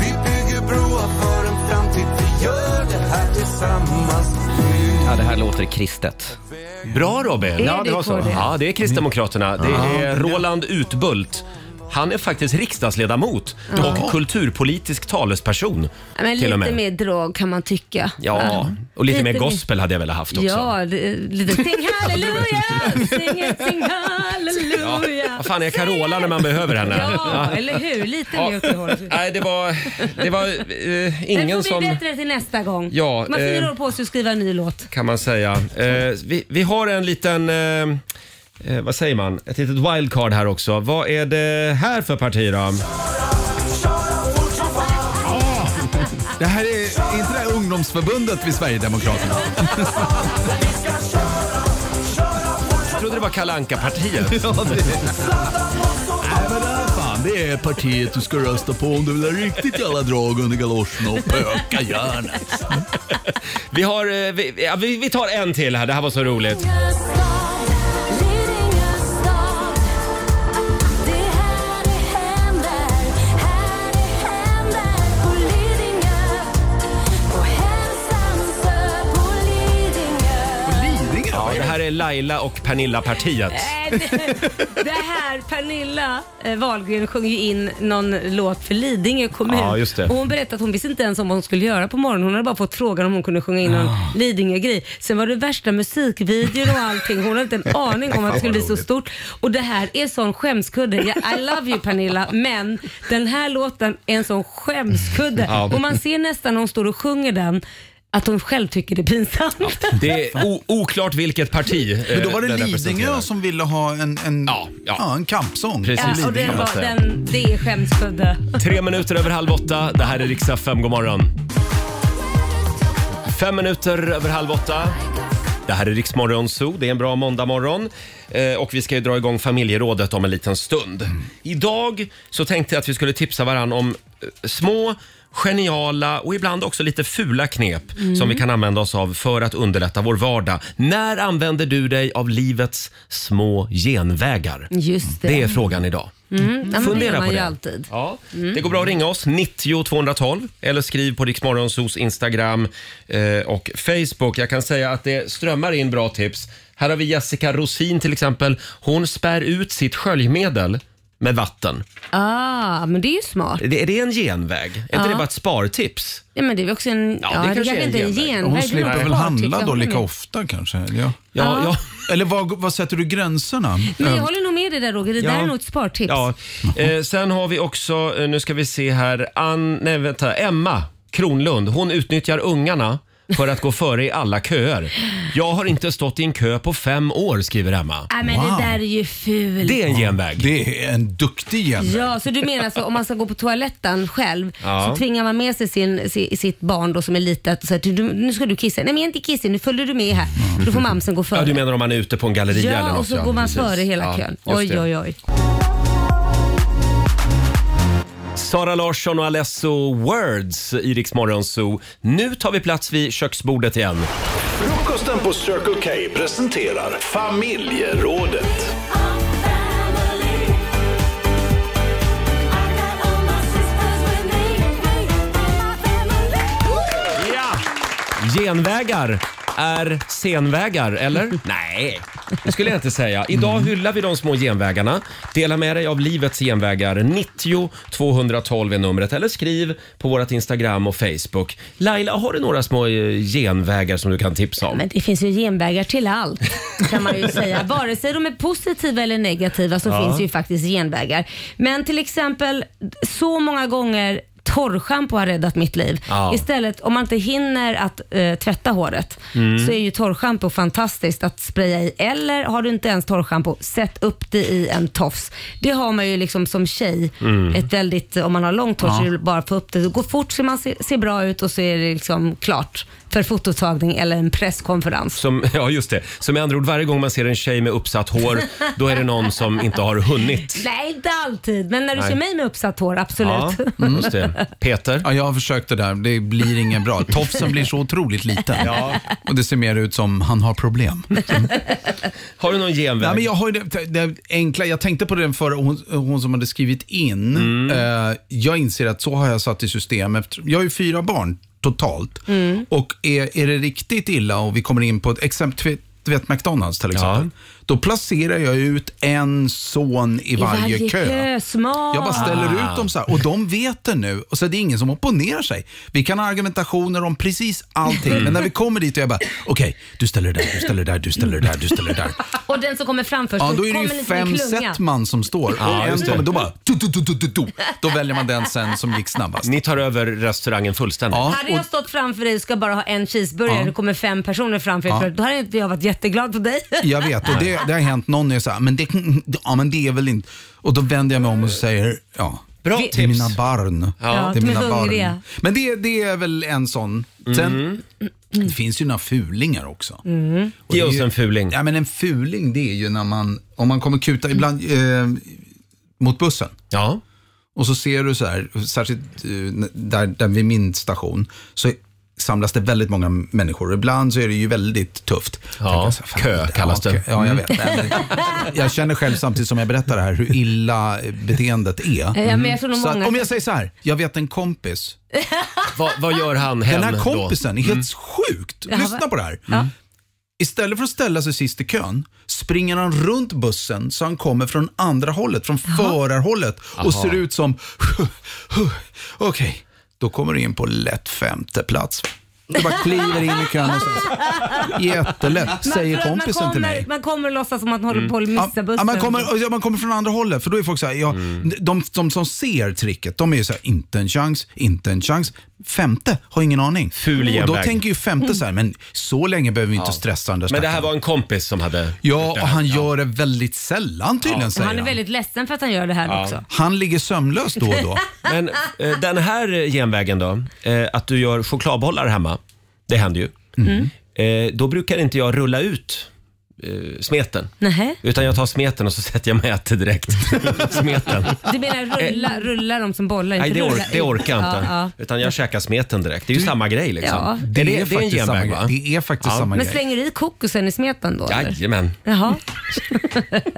Speaker 4: Vi bygger broar för en framtid Vi gör det här tillsammans
Speaker 8: Ja, det här låter kristet.
Speaker 1: Bra Robin!
Speaker 8: Är
Speaker 1: Ja, det
Speaker 8: det
Speaker 1: var så.
Speaker 8: KD?
Speaker 1: Ja, det är Kristdemokraterna.
Speaker 8: Ja.
Speaker 1: Det är Roland Utbult. Han är faktiskt riksdagsledamot
Speaker 2: Ja.
Speaker 1: och kulturpolitisk talesperson.
Speaker 2: Men
Speaker 1: till
Speaker 2: lite
Speaker 1: och med.
Speaker 2: mer drag kan man tycka.
Speaker 1: Ja, och lite, mer gospel hade jag velat haft också.
Speaker 2: Ja, det- lite sing halleluja, sing, it, sing halleluja.
Speaker 1: Vad fan är Carola när man behöver henne?
Speaker 2: Ja, eller hur? Lite mer åt det hållet.
Speaker 1: Nej, det var, det var eh,
Speaker 2: Den
Speaker 1: ingen
Speaker 2: får bli
Speaker 1: som...
Speaker 2: bättre till nästa gång.
Speaker 1: Ja,
Speaker 2: Man har
Speaker 1: eh,
Speaker 2: fyra år på sig att skriva en ny låt.
Speaker 1: kan man säga. Eh, vi, vi har en liten, eh, eh, vad säger man, ett litet wildcard här också. Vad är det här för parti då?
Speaker 5: Det här är är inte det här ungdomsförbundet vid Sverigedemokraterna.
Speaker 1: Jag trodde det var Kalle Anka-partiet.
Speaker 5: ja, det Fan, det är partiet du ska rösta på om du vill ha riktigt jävla drag under galoscherna och pöka järnet.
Speaker 1: Vi har, eh, vi, ja, vi, vi tar en till här, det här var så roligt. Ja, det här är Laila och Pernilla-partiet.
Speaker 2: Äh, det- Det här, Pernilla eh, Wahlgren sjöng ju in någon låt för Lidingö kommun.
Speaker 1: Ja, just det.
Speaker 2: Och hon berättade att hon visste inte ens om vad hon skulle göra på morgonen. Hon hade bara fått frågan om hon kunde sjunga in någon
Speaker 1: Ah.
Speaker 2: Lidingö-grej. Sen var det värsta musikvideor och allting. Hon hade inte en aning om att det skulle bli så stort. Och det här är sån skämskudde. Jag- I love you Pernilla, men den här låten är en sån skämskudde.
Speaker 1: Ja.
Speaker 2: Och man ser nästan när hon står och sjunger den att hon själv tycker det är pinsamt.
Speaker 1: Det är o- oklart vilket parti. eh,
Speaker 5: Men då var det
Speaker 1: den representerar.
Speaker 5: Lidingö som ville ha en, en, ja, en kampsång.
Speaker 1: Precis.
Speaker 2: Ja, och
Speaker 1: kan
Speaker 2: den
Speaker 1: man
Speaker 2: var,
Speaker 1: säga.
Speaker 2: den, det är skämskudde.
Speaker 1: Tre minuter över halv åtta. Det här är Riksa 5. God morgon. Fem minuter över halv åtta. Det här är Riksmorgon Zoo. Det är en bra måndagmorgon. Eh, och vi ska ju dra igång familjerådet om en liten stund. Idag så tänkte jag att vi skulle tipsa varann om små geniala och ibland också lite fula knep
Speaker 13: Mm.
Speaker 1: som vi kan använda oss av för att underlätta vår vardag. När använder du dig av livets små genvägar?
Speaker 2: Just det.
Speaker 1: Det är frågan idag.
Speaker 2: Mm, ja, men det
Speaker 1: Fundera
Speaker 2: gör man
Speaker 1: på
Speaker 2: ju
Speaker 1: det.
Speaker 2: alltid.
Speaker 1: Ja.
Speaker 2: Mm.
Speaker 1: Det går bra att ringa oss, 90 212 eller skriv på Riksmorgonsos Instagram eh, och Facebook. Jag kan säga att det strömmar in bra tips. Här har vi Jessica Rosin till exempel. Hon spär ut sitt sköljmedel med vatten.
Speaker 2: Ah, men det är ju smart.
Speaker 1: Det- Är det en genväg? Är
Speaker 2: Ja.
Speaker 1: inte det bara ett spartips?
Speaker 2: Nej, men det är väl också en... Ja, det, kanske är inte är en
Speaker 5: Hon
Speaker 2: genväg. det är nog
Speaker 5: slipper
Speaker 2: ett
Speaker 5: väl
Speaker 2: par
Speaker 5: handla
Speaker 2: tips,
Speaker 5: då
Speaker 2: jag Mm.
Speaker 5: lika
Speaker 2: håller med.
Speaker 5: ofta kanske? eller? Ja.
Speaker 2: Ja, ja.
Speaker 5: Eller var, var sätter du gränserna? Eh,
Speaker 2: Men jag håller nog med dig där Roger, det
Speaker 1: Ja.
Speaker 2: där är nog ett spartips.
Speaker 1: Ja. Eh, sen har vi också, eh, nu ska vi se här, Ann, nej, vänta, Emma Kronlund. Hon utnyttjar ungarna för att gå före i alla köer. Jag har inte stått i en kö på fem år, skriver Emma.
Speaker 2: Nej, Äh, men det där är ju fult.
Speaker 1: Det är en genväg.
Speaker 5: Det är en duktig genväg.
Speaker 2: Ja, så du menar så om man ska gå på toaletten själv
Speaker 5: Ja.
Speaker 2: så tvingar man med sig sin, si- sitt barn då som är litet och säger "Du, du- nu ska du kissa. Nej men jag är inte kissig, nu följer du med här. För då får mamsen gå före.
Speaker 1: Ja, du menar om man är ute på en galleria
Speaker 2: Ja,
Speaker 1: eller något?
Speaker 2: och så går man
Speaker 1: precis.
Speaker 2: före hela
Speaker 1: Ja,
Speaker 2: kön.
Speaker 1: just
Speaker 2: Oj,
Speaker 1: det.
Speaker 2: oj, oj.
Speaker 1: Sara Larsson och Alesso Words i Rix Morgon Zoo. Nu tar vi plats vid köksbordet igen.
Speaker 14: Frukosten på Circle K presenterar Familjerådet.
Speaker 1: Genvägar är senvägar, eller? Nej, det skulle jag inte säga. Idag hyllar vi de små genvägarna. Dela med dig av livets genvägar. 90 212 är numret. Eller skriv på vårt Instagram och Facebook. Laila, har du några små eh, genvägar som du kan tipsa om?
Speaker 2: Men det finns ju genvägar till allt kan man ju säga. Vare sig de är positiva eller negativa så
Speaker 15: Ja.
Speaker 2: finns det ju faktiskt genvägar. Men till exempel så många gånger Torrschampo har räddat mitt liv.
Speaker 15: Ja.
Speaker 2: Istället om man inte hinner att eh, tvätta håret
Speaker 15: Mm.
Speaker 2: så är ju torrschampo fantastiskt att spraya i. Eller har du inte ens torrschampo, sätt upp det i en tofs. Det har man ju liksom som tjej,
Speaker 15: Mm.
Speaker 2: ett väldigt, om man har långt hår så
Speaker 15: Ja.
Speaker 2: är det bara att få upp det. Det går fort så man ser, ser bra ut och så är det liksom klart för fototagen eller en presskonferens.
Speaker 1: Som, ja, just det. Så med andra ord, varje gång man ser en tjej med uppsatt hår, då är det någon som inte har hunnit.
Speaker 2: Nej, inte alltid, men när du
Speaker 1: Nej.
Speaker 2: ser mig med uppsatt hår, absolut.
Speaker 1: just det. Peter?
Speaker 5: Ja, jag har försökt det där. Det blir inget bra. Tofsen blir så otroligt liten.
Speaker 1: Ja.
Speaker 5: Och det ser mer ut som han har problem.
Speaker 1: Har du någon genväg?
Speaker 5: Nej, men jag, har ju det, det enkla, jag tänkte på den förra, hon, hon som hade skrivit in. Eh, jag inser att så har jag satt i system. Efter, jag har ju fyra barn totalt. Och är, är det riktigt illa och vi kommer in på ett exempel, du vet McDonalds till exempel. Då placerar jag ut en son i, varje, kö.
Speaker 2: Smart.
Speaker 5: Jag bara ställer ut dem så här och de vet det nu. Och så det är ingen som opponerar sig. Vi kan ha argumentationer om precis allting, men när vi kommer dit och jag bara, okej, du ställer det där, du ställer det där, du ställer det där, du ställer det där.
Speaker 2: Och den som kommer fram först,
Speaker 5: Ja, då är det
Speaker 2: kommer
Speaker 5: ju
Speaker 2: en liten
Speaker 5: fem
Speaker 2: klunga.
Speaker 5: set man som står.
Speaker 1: Ja,
Speaker 5: och en
Speaker 1: just det.
Speaker 5: kommer, då bara... Du, du, du, du, du, du. Då väljer man den sen som gick snabbast.
Speaker 1: Ni tar över restaurangen fullständigt.
Speaker 2: Hade jag stått framför dig och ska bara ha en cheeseburgare
Speaker 5: Ja.
Speaker 2: och det kommer fem personer framför dig,
Speaker 5: Ja.
Speaker 2: då hade inte jag varit jätteglad på dig.
Speaker 5: Jag vet, och det, det har hänt någon är så här, men det, ja, men det är väl inte... Och då vänder jag mig om och säger, ja.
Speaker 1: Bra
Speaker 5: det är
Speaker 1: tips.
Speaker 5: mina barn.
Speaker 1: Ja,
Speaker 5: det är
Speaker 1: de är
Speaker 5: mina
Speaker 1: så
Speaker 5: barn.
Speaker 1: hungriga.
Speaker 5: Men det, det är väl en sån.
Speaker 1: Mm.
Speaker 5: Sen, Det finns ju några fulingar också.
Speaker 2: Mm.
Speaker 5: Och det
Speaker 1: Ge
Speaker 5: är
Speaker 1: oss
Speaker 5: ju-
Speaker 1: en fuling.
Speaker 5: Ja, men en fuling det är ju när man, om man kommer kuta ibland eh, mot bussen.
Speaker 1: Ja.
Speaker 5: Och så ser du så här, särskilt eh, där, där vid min station, så samlas det väldigt många människor. Ibland så är det ju väldigt tufft. Ja, kö kallas det. Ja, jag vet. Nej, men jag känner själv samtidigt som jag berättar det här hur illa beteendet är.
Speaker 2: Ja, men jag tror nog
Speaker 5: så
Speaker 2: många-
Speaker 5: att, om jag säger så här, jag vet en kompis.
Speaker 1: vad gör han
Speaker 5: Den
Speaker 1: hem
Speaker 5: här
Speaker 1: då?
Speaker 5: kompisen är helt
Speaker 1: Mm.
Speaker 5: sjukt.
Speaker 1: Ja,
Speaker 5: Lyssna
Speaker 1: vad-
Speaker 5: på det här.
Speaker 1: Ja.
Speaker 5: Istället för att ställa sig sist i kön springer han runt bussen så han kommer från andra hållet, från förarhållet och
Speaker 1: Jaha.
Speaker 5: ser ut som... Okej, då kommer du in på lätt femte plats. Du bara kliver in i kön och så. Jättelätt,
Speaker 2: Man-
Speaker 5: säger
Speaker 2: förlåt,
Speaker 5: kompisen
Speaker 2: man
Speaker 5: till
Speaker 2: kommer,
Speaker 5: mig. Mm.
Speaker 2: Man kommer låtsas som att man håller på att missa bussen.
Speaker 5: Ja, man, kommer, ja, man kommer från andra hållet, för då är folk så här, ja,
Speaker 1: Mm.
Speaker 5: de, de, som ser tricket, de är ju så här, inte en chans, inte en chans. Femte har ingen aning.
Speaker 1: Ful
Speaker 5: Och då
Speaker 1: genväg.
Speaker 5: tänker ju femte så här, men så länge behöver vi inte
Speaker 1: Ja.
Speaker 5: stressa den där
Speaker 1: Men det
Speaker 5: stackaren.
Speaker 1: här var en kompis som hade...
Speaker 5: Ja, och han gör det väldigt sällan tydligen, säger
Speaker 2: Han är väldigt ledsen för att han gör det här också.
Speaker 5: Han ligger sömnlös då och då.
Speaker 1: Men eh, den här eh, genvägen då, eh, att du gör
Speaker 2: Mm.
Speaker 1: chokladbollar hemma, det händer ju. Eh, då brukar inte jag rulla ut eh, smeten.
Speaker 2: Nähä?
Speaker 1: Utan jag tar smeten och så sätter jag mig och äter direkt. smeten.
Speaker 2: Du menar
Speaker 5: Eh.
Speaker 2: rulla, rulla de som bollar?
Speaker 1: Nej,
Speaker 2: inte
Speaker 1: det, or-
Speaker 2: rulla
Speaker 1: det
Speaker 2: in.
Speaker 1: orkar jag inte.
Speaker 2: Ja, ja.
Speaker 1: Utan jag käkar smeten direkt. Det är ju samma grej liksom.
Speaker 2: Ja.
Speaker 1: Är
Speaker 2: Det är
Speaker 1: det, det är en
Speaker 2: faktiskt
Speaker 1: genväg
Speaker 2: samma
Speaker 1: va?
Speaker 5: Det är faktiskt
Speaker 2: Men slänger du i kokosen i smeten då? eller?
Speaker 1: Jajamän.
Speaker 2: Jaha.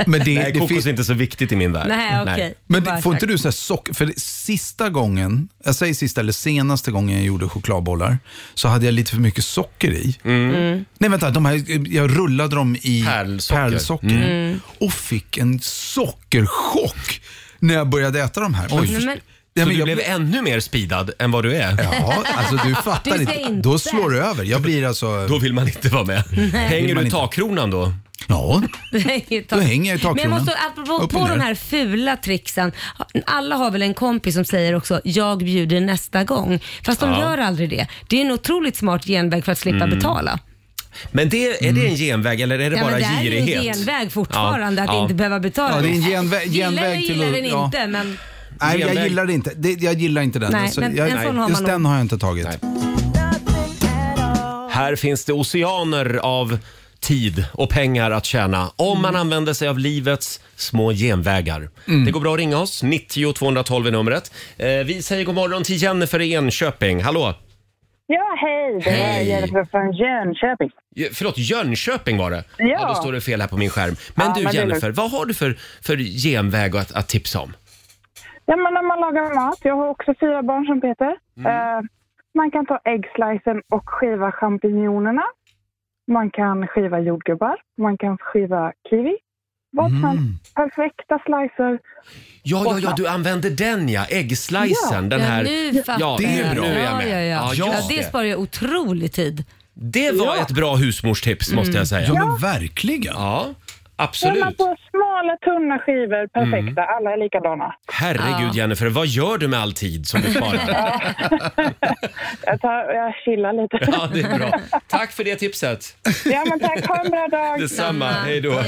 Speaker 5: Men det,
Speaker 1: Nej, kokos är inte så viktigt i min värld.
Speaker 2: Nej, okej.
Speaker 5: Men
Speaker 2: Bara
Speaker 5: det, får inte
Speaker 2: sagt.
Speaker 5: du så här socker... För det, sista gången, jag säger sista eller senaste gången jag gjorde chokladbollar, så hade jag lite för mycket socker i.
Speaker 12: Mm.
Speaker 5: Nej vänta, de här, jag rullade dem i pärlsocker,
Speaker 12: Mm.
Speaker 5: och fick en sockerchock när jag började äta de här.
Speaker 1: Oj.
Speaker 5: Men-
Speaker 1: Nej,
Speaker 5: Nej,
Speaker 1: Så
Speaker 5: men
Speaker 1: du
Speaker 5: jag-
Speaker 1: blev ännu mer speedad än vad du är?
Speaker 5: Ja, alltså du fattar
Speaker 2: Du ska
Speaker 5: inte.
Speaker 2: inte.
Speaker 5: Då slår du över. Jag blir alltså...
Speaker 1: Då vill man inte vara med. Hänger du i takkronan då?
Speaker 5: Ja.
Speaker 2: Det hänger i tak-
Speaker 5: Då hänger jag i
Speaker 2: Men jag
Speaker 5: takkronan.
Speaker 2: måste, apropå
Speaker 5: Upp och
Speaker 2: på
Speaker 5: ner.
Speaker 2: de här fula trixen. Alla har väl en kompis som säger också, jag bjuder nästa gång. Fast de
Speaker 1: Ja.
Speaker 2: gör aldrig det. Det är en otroligt smart genväg för att slippa
Speaker 1: Mm.
Speaker 2: betala.
Speaker 1: Men det, är det en genväg eller är det
Speaker 2: Mm. Ja,
Speaker 1: bara
Speaker 2: men det är ju en
Speaker 1: girighet?
Speaker 2: genväg fortfarande
Speaker 1: Ja,
Speaker 2: att
Speaker 1: ja.
Speaker 2: inte behöva betala.
Speaker 5: Ja, det är en genvä-
Speaker 2: Gillar jag
Speaker 5: genväg till
Speaker 2: gillar
Speaker 5: att-
Speaker 2: den
Speaker 5: ja.
Speaker 2: inte, men
Speaker 5: Nej, jag
Speaker 2: Genväg.
Speaker 5: gillar det inte. Det, jag gillar inte den.
Speaker 2: Nej,
Speaker 5: Alltså,
Speaker 2: men
Speaker 5: jag,
Speaker 2: en sån har
Speaker 5: just
Speaker 2: man
Speaker 5: den
Speaker 2: nog.
Speaker 5: har jag inte tagit.
Speaker 1: Här finns det oceaner av tid och pengar att tjäna om
Speaker 2: Mm.
Speaker 1: man använder sig av livets små genvägar. Det går bra att ringa oss. 90 212 är numret. Eh, vi säger god morgon till Jennifer i Enköping. Hallå!
Speaker 13: Ja, hej! Det är
Speaker 1: Hej.
Speaker 13: Jennifer från Jönköping.
Speaker 1: Ja, Förlåt, Jönköping var det.
Speaker 13: Ja.
Speaker 1: då står det fel här på min skärm. Men
Speaker 13: Ja,
Speaker 1: du
Speaker 13: men det är
Speaker 1: Jennifer,
Speaker 13: lugnt.
Speaker 1: vad har du för, för genväg att, att tipsa om?
Speaker 13: Ja, men när man lagar mat, jag har också fyra barn som Peter.
Speaker 1: Mm.
Speaker 13: Eh, man kan ta äggslicen och skiva champinjonerna. Man kan skiva jordgubbar. Man kan skiva kiwi. Vad som
Speaker 1: Mm.
Speaker 13: helst. perfekta slicer.
Speaker 1: Ja, ja, ja, du använder den ja. Äggslicern.
Speaker 2: Ja.
Speaker 1: Den här.
Speaker 2: Ja, nu fattar
Speaker 1: ja,
Speaker 2: jag.
Speaker 1: Nu är jag
Speaker 2: Ja,
Speaker 1: med.
Speaker 2: ja, ja.
Speaker 1: just
Speaker 2: Ja, det sparar ju otrolig tid.
Speaker 1: Det var ett bra husmorstips måste jag säga.
Speaker 13: Mm. Ja, men Ja.
Speaker 1: verkligen. Ja,
Speaker 13: Gör man
Speaker 1: absolut. Mm.
Speaker 13: på smala, tunna skivor. Perfekta. Alla är likadana.
Speaker 1: Herregud Jennifer, vad gör du med all tid som du sparar?
Speaker 13: Jag, tar, jag chillar lite.
Speaker 1: Ja, det är bra. Tack för det tipset.
Speaker 13: Ja, men tack. Ha en bra dag.
Speaker 1: Detsamma. Hej då.
Speaker 13: Tack.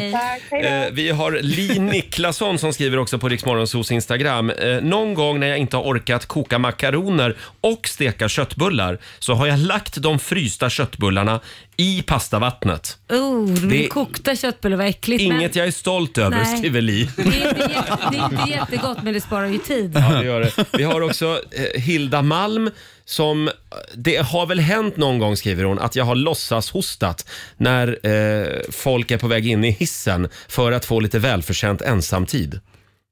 Speaker 13: Hej då.
Speaker 1: Eh, vi har Li Niklasson som skriver också på Riksmorgonsos Instagram. Eh, någon gång när jag inte har orkat koka makaroner och steka köttbullar så har jag lagt de frysta köttbullarna i pastavattnet.
Speaker 2: Oh, det
Speaker 1: Det-
Speaker 2: blir kokta köttbullar var äckligt. men-
Speaker 1: Inget jag är stolt över,
Speaker 2: Nej.
Speaker 1: skriver Li.
Speaker 2: Det är inte jättegott men det sparar ju tid.
Speaker 1: Ja, det gör det. Vi har också eh, Hilda Malm som, det har väl hänt någon gång skriver hon, att jag har låtsas hostat när eh, folk är på väg in i hissen för att få lite välförtjänt ensamtid.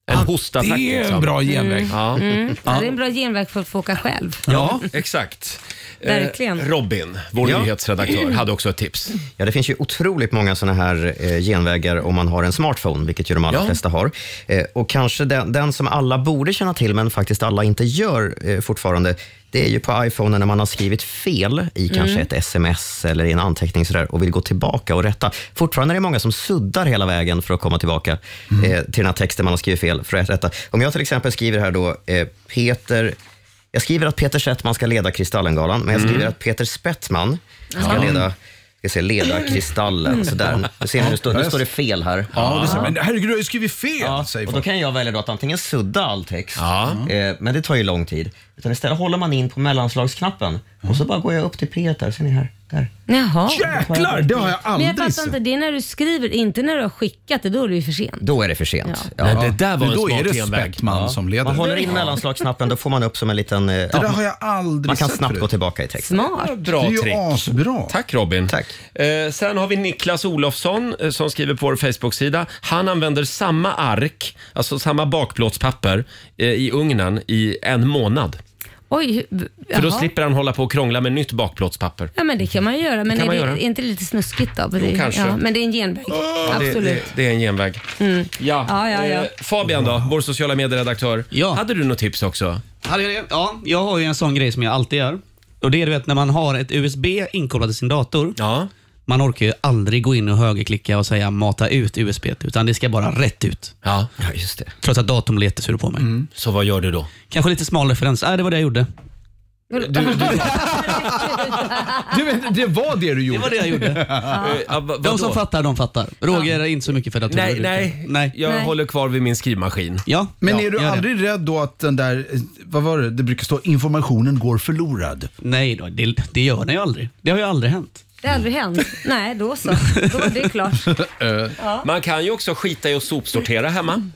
Speaker 1: En hostattack.
Speaker 5: det är en
Speaker 1: liksom.
Speaker 5: bra genväg.
Speaker 1: Ja.
Speaker 2: Mm. Ja, det är
Speaker 1: Ja.
Speaker 2: en bra genväg för att få åka själv.
Speaker 1: Ja, exakt.
Speaker 2: Eh, Verkligen.
Speaker 1: Robin, vår nyhetsredaktör, hade också ett tips.
Speaker 8: Ja, det finns ju otroligt många såna här eh, genvägar om man har en smartphone, vilket ju de allra
Speaker 1: Ja.
Speaker 8: flesta har. Eh, och kanske den, den som alla borde känna till, men faktiskt alla inte gör eh, fortfarande, det är ju på iPhone när man har skrivit fel i
Speaker 15: Mm.
Speaker 8: kanske ett sms eller i en anteckning sådär, och vill gå tillbaka och rätta. Fortfarande är det många som suddar hela vägen för att komma tillbaka
Speaker 15: Mm.
Speaker 8: eh, till den här texten man har skrivit fel för att rätta. Om jag till exempel skriver här då, eh, Peter jag skriver att Peter Settman ska leda Kristallengalan, men jag skriver
Speaker 15: Mm.
Speaker 8: att Peter Spettman ska
Speaker 15: Ja.
Speaker 8: leda jag ska leda Kristallen. Sådär. Nu, ser ni, nu, står, nu står det fel här.
Speaker 5: Ja, det ser, men herregud, jag har ju skrivit fel. säger
Speaker 8: och då kan jag välja då att antingen sudda all text, eh, men det tar ju lång tid. Utan istället håller man in på mellanslagsknappen och så bara går jag upp till Peter. Ser ni här? Där.
Speaker 2: Jaha.
Speaker 8: Jäklar, det har jag aldrig
Speaker 2: Men jag fattar
Speaker 8: sett.
Speaker 2: inte, det är när du skriver, inte när du har skickat det, då är det ju för sent.
Speaker 8: Då är det för sent.
Speaker 2: Ja.
Speaker 8: Ja.
Speaker 5: Men det där var Men en då är smart det genväg. Spettman som leder.
Speaker 8: Man håller in
Speaker 5: Ja.
Speaker 8: mellanslagsknappen, då får man upp som en liten... Det
Speaker 5: där har jag aldrig
Speaker 8: Man kan
Speaker 5: sett
Speaker 8: snabbt
Speaker 5: förut.
Speaker 8: gå tillbaka i texten.
Speaker 2: Smart.
Speaker 1: Bra
Speaker 5: Det är ju
Speaker 1: trick.
Speaker 5: asbra.
Speaker 1: Tack Robin. Tack. Eh, sen har vi Niklas Olofsson eh, som skriver på vår Facebook-sida. Han använder samma ark, alltså samma bakplåtspapper eh, i ugnen i en månad.
Speaker 2: Oj, hur-
Speaker 1: För då
Speaker 2: jaha.
Speaker 1: slipper han hålla på och krångla med nytt bakplåtspapper.
Speaker 2: Ja men det kan man ju göra, men
Speaker 1: kan
Speaker 2: är,
Speaker 1: man
Speaker 2: det,
Speaker 1: göra.
Speaker 2: är inte det lite snuskigt då?
Speaker 1: Jo,
Speaker 2: det,
Speaker 1: kanske.
Speaker 2: Ja, men det är en genväg.
Speaker 1: Ja, det,
Speaker 2: Absolut.
Speaker 1: det, det är en genväg.
Speaker 2: Mm.
Speaker 1: Ja.
Speaker 2: Ja, ja, ja.
Speaker 1: Eh, Fabian då, vår sociala medieredaktör. Hade du något tips också?
Speaker 10: Hade jag det? Ja, jag har ju en sån grej som jag alltid gör. Och Det är du vet när man har ett USB inkopplat i sin dator. Man orkar ju aldrig gå in och högerklicka och säga mata ut USB, utan det ska bara rätt ut.
Speaker 1: Ja, Eh,
Speaker 8: just det.
Speaker 10: Trots att datorn blir jättesur på mig.
Speaker 1: Så vad gör du då?
Speaker 10: Kanske lite smal referens. Nej, det var det jag gjorde.
Speaker 5: Du vet, det var det du gjorde.
Speaker 10: Det var det jag gjorde. de som fattar, de fattar. Roger är inte så mycket för datorer.
Speaker 1: Nej,
Speaker 10: utan-
Speaker 1: nej, Jag
Speaker 10: Nej.
Speaker 1: håller kvar vid min skrivmaskin.
Speaker 10: Ja,
Speaker 5: Men
Speaker 10: Ja,
Speaker 5: är du
Speaker 10: gör det.
Speaker 5: aldrig rädd då att den där, eh, vad var det, det brukar stå informationen går förlorad?
Speaker 10: Nej då, det, det gör den ju aldrig. Det har ju aldrig hänt.
Speaker 2: Det har aldrig hänt. Nej, då så. Då var det klart. Ja.
Speaker 1: Man kan ju också skita i att sopsortera hemma.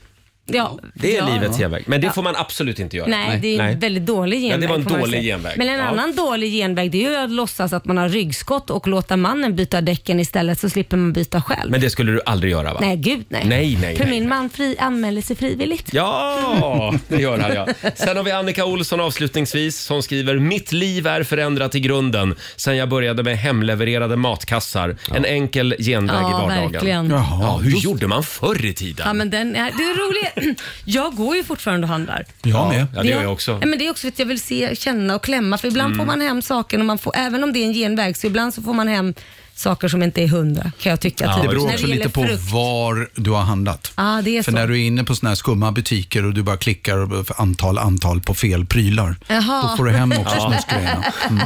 Speaker 2: Ja,
Speaker 1: Det är
Speaker 2: ja.
Speaker 1: livets genväg. Men det
Speaker 2: Ja.
Speaker 1: får man absolut inte göra.
Speaker 2: Nej, det är en väldigt dålig
Speaker 1: Ja,
Speaker 2: genväg.
Speaker 1: det var en
Speaker 2: får man
Speaker 1: dålig
Speaker 2: säga.
Speaker 1: genväg.
Speaker 2: Men en
Speaker 1: Ja.
Speaker 2: annan dålig genväg det är ju att låtsas att man har ryggskott och låta mannen byta däcken istället så slipper man byta själv.
Speaker 1: Men det skulle du aldrig göra va?
Speaker 2: Nej, gud nej.
Speaker 1: Nej, nej,
Speaker 2: För
Speaker 1: nej.
Speaker 2: min man fri, anmäler sig frivilligt.
Speaker 1: Ja, det gör han ja. Sen har vi Annika Olsson avslutningsvis som skriver “Mitt liv är förändrat i grunden sen jag började med hemlevererade matkassar. En enkel genväg
Speaker 2: Ja,
Speaker 1: i vardagen.”
Speaker 2: verkligen.
Speaker 1: Jaha, hur gjorde man förr i tiden?
Speaker 2: Ja, men den är, det är roligt. Jag går ju fortfarande och handlar.
Speaker 1: Jag med. Ja, det gör jag
Speaker 2: Ja,
Speaker 1: också.
Speaker 2: Men det är också för att jag vill se, känna och klämma. För ibland
Speaker 1: Mm.
Speaker 2: får man hem saker, och man får, även om det är en genväg, så ibland så får man hem saker som inte är hundra, kan jag tycka.
Speaker 5: Ja,
Speaker 2: typ.
Speaker 5: det beror
Speaker 2: När
Speaker 5: också
Speaker 2: gäller
Speaker 5: lite på
Speaker 2: frukt.
Speaker 5: var du har handlat.
Speaker 2: Ja, det är
Speaker 5: För
Speaker 2: så.
Speaker 5: när du är inne på såna här skumma butiker och du bara klickar och- för antal, antal på fel prylar.
Speaker 2: Jaha.
Speaker 5: Då får du hem också
Speaker 1: Ja.
Speaker 5: snuskgrejerna. Mm.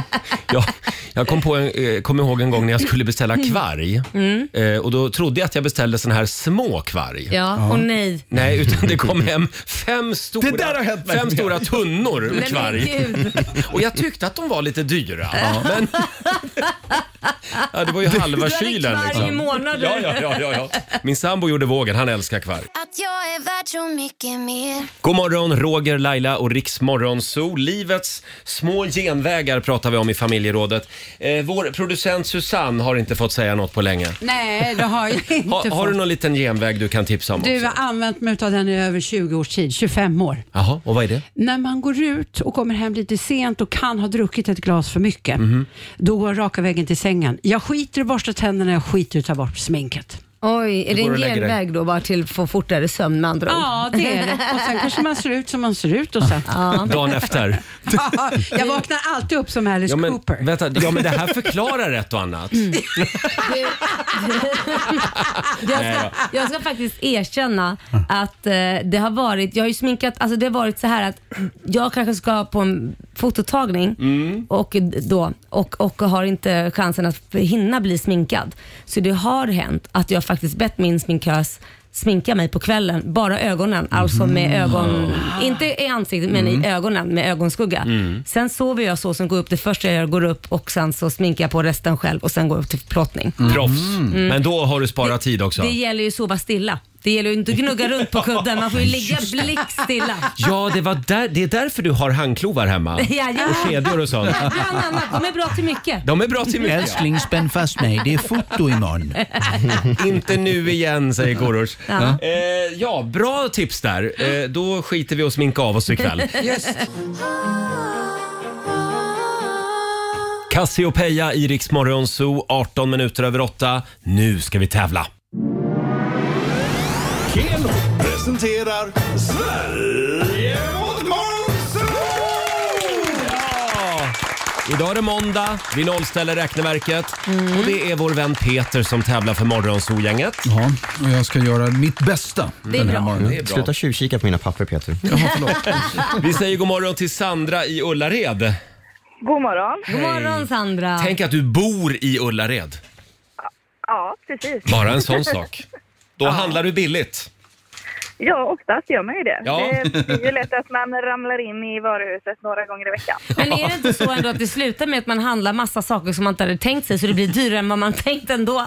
Speaker 1: Ja, jag kom, på en, eh, kom ihåg en gång när jag skulle beställa kvarg.
Speaker 2: Mm.
Speaker 1: Eh, och då trodde jag att jag beställde sån här små kvarg.
Speaker 2: Ja, och nej.
Speaker 1: Nej, utan det kom hem fem stora, fem stora tunnor
Speaker 2: Nej,
Speaker 1: med
Speaker 2: men
Speaker 1: kvarg.
Speaker 2: gud.
Speaker 1: Och jag tyckte att de var lite dyra. Men, ja, det var ju halva
Speaker 2: Du hade
Speaker 1: kylen.
Speaker 2: kvarg i
Speaker 1: liksom.
Speaker 2: månader.
Speaker 1: Ja, ja, ja, ja, ja. Min sambo gjorde vågen, han älskar kvarg.
Speaker 6: Att jag är värd så mycket mer
Speaker 1: God morgon, Roger, Laila och Riksmorgon Zoo. Livets små genvägar pratar vi om i familjerådet. Eh, vår producent Susanne har inte fått säga något på länge.
Speaker 9: Nej, det har jag inte
Speaker 1: Ha,
Speaker 9: fått.
Speaker 1: har du någon liten genväg du kan tipsa om?
Speaker 9: Du har använt mig av den i över 20 års tid, 25 år.
Speaker 1: Jaha, och vad är det?
Speaker 9: När man går ut och kommer hem lite sent och kan ha druckit ett glas för mycket,
Speaker 10: Mhm.
Speaker 9: då går jag raka vägen till sängen. Jag skiter i att borsta tänderna, jag skiter i att ta bort sminket.
Speaker 2: Oj, är
Speaker 9: Du
Speaker 2: det
Speaker 9: går
Speaker 2: en
Speaker 9: och lägger dig.
Speaker 2: genväg då bara till att få fortare sömn med andra ord?
Speaker 9: Ja, det är det. Och sen kanske man ser ut som man ser ut och sen.
Speaker 1: Dagen efter.
Speaker 9: Ja, jag vaknar alltid upp som Alice
Speaker 1: Ja men,
Speaker 9: Cooper.
Speaker 1: vänta, ja, men det här förklarar ett och annat.
Speaker 2: Mm. jag,
Speaker 1: Nej
Speaker 2: ska,
Speaker 1: då.
Speaker 2: jag ska faktiskt erkänna att eh, det har varit, jag har ju sminkat, alltså det har varit så här att jag kanske ska på en fototagning
Speaker 6: Mm.
Speaker 2: och, då, och, och har inte chansen att hinna bli sminkad. Så det har hänt att jag faktiskt bett min sminkös sminka mig på kvällen, bara ögonen, alltså med ögon, inte i ansiktet men
Speaker 6: Ah. Mm.
Speaker 2: i ögonen med ögonskugga.
Speaker 6: Mm.
Speaker 2: Sen sover jag så, sen går jag upp, det första jag gör går upp och sen så sminkar jag på resten själv och sen går jag upp till plåtning.
Speaker 1: Proffs.
Speaker 2: Mm.
Speaker 1: Men då har du sparat tid också.
Speaker 2: Det gäller ju att sova stilla. Det gäller ju inte att gnugga runt på kudden. Man får ju ligga blickstilla.
Speaker 1: Ja, det, var där, det är därför du har handklovar hemma.
Speaker 2: Jajamän.
Speaker 1: Och kedjor och sånt.
Speaker 2: Bland annat, de är bra till mycket.
Speaker 1: De är bra till mycket.
Speaker 2: Älskling,
Speaker 1: spänn fast mig. Det är foto imorgon. Inte nu igen, säger Korosh.
Speaker 2: Ja.
Speaker 1: Ja. Eh, ja, bra tips där. Eh, då skiter vi och sminka av oss ikväll.
Speaker 6: Just. Oh,
Speaker 1: Cassiopeia i Rix Morgon Zoo, 18 minuter över 8. Nu ska vi tävla.
Speaker 14: Keno presenterar Sverige mot Måns!
Speaker 1: Idag är det måndag, vi nollställer räkneverket och det är vår vän Peter som tävlar för Morgonzoo-gänget.
Speaker 5: Ja, och jag ska göra mitt bästa
Speaker 1: Det är
Speaker 5: den här
Speaker 1: bra. Mm.
Speaker 5: morgonen.
Speaker 1: Det är bra.
Speaker 8: Sluta tjuvkika på mina papper Peter.
Speaker 1: Vi säger god morgon till Sandra i Ullared.
Speaker 7: God morgon.
Speaker 2: God morgon Sandra.
Speaker 1: Tänk att du bor i Ullared.
Speaker 7: Ja, precis.
Speaker 1: Bara en sån sak. Då handlar du billigt.
Speaker 7: Ja, oftast gör man ju det.
Speaker 1: Ja.
Speaker 7: Det blir ju lätt att man ramlar in i varuhuset några gånger i veckan.
Speaker 2: Men är det inte så ändå att det slutar med att man handlar massa saker som man inte hade tänkt sig så det blir dyrare än vad man tänkt ändå?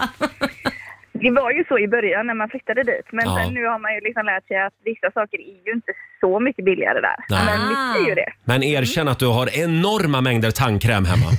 Speaker 7: Det var ju så i början när man flyttade dit, men
Speaker 1: Ja.
Speaker 7: sen nu har man ju liksom lärt sig att vissa saker är ju inte så mycket billigare där.
Speaker 1: Nej.
Speaker 7: Men visst är ju det.
Speaker 1: Men erkänn att du har enorma mängder tandkräm hemma.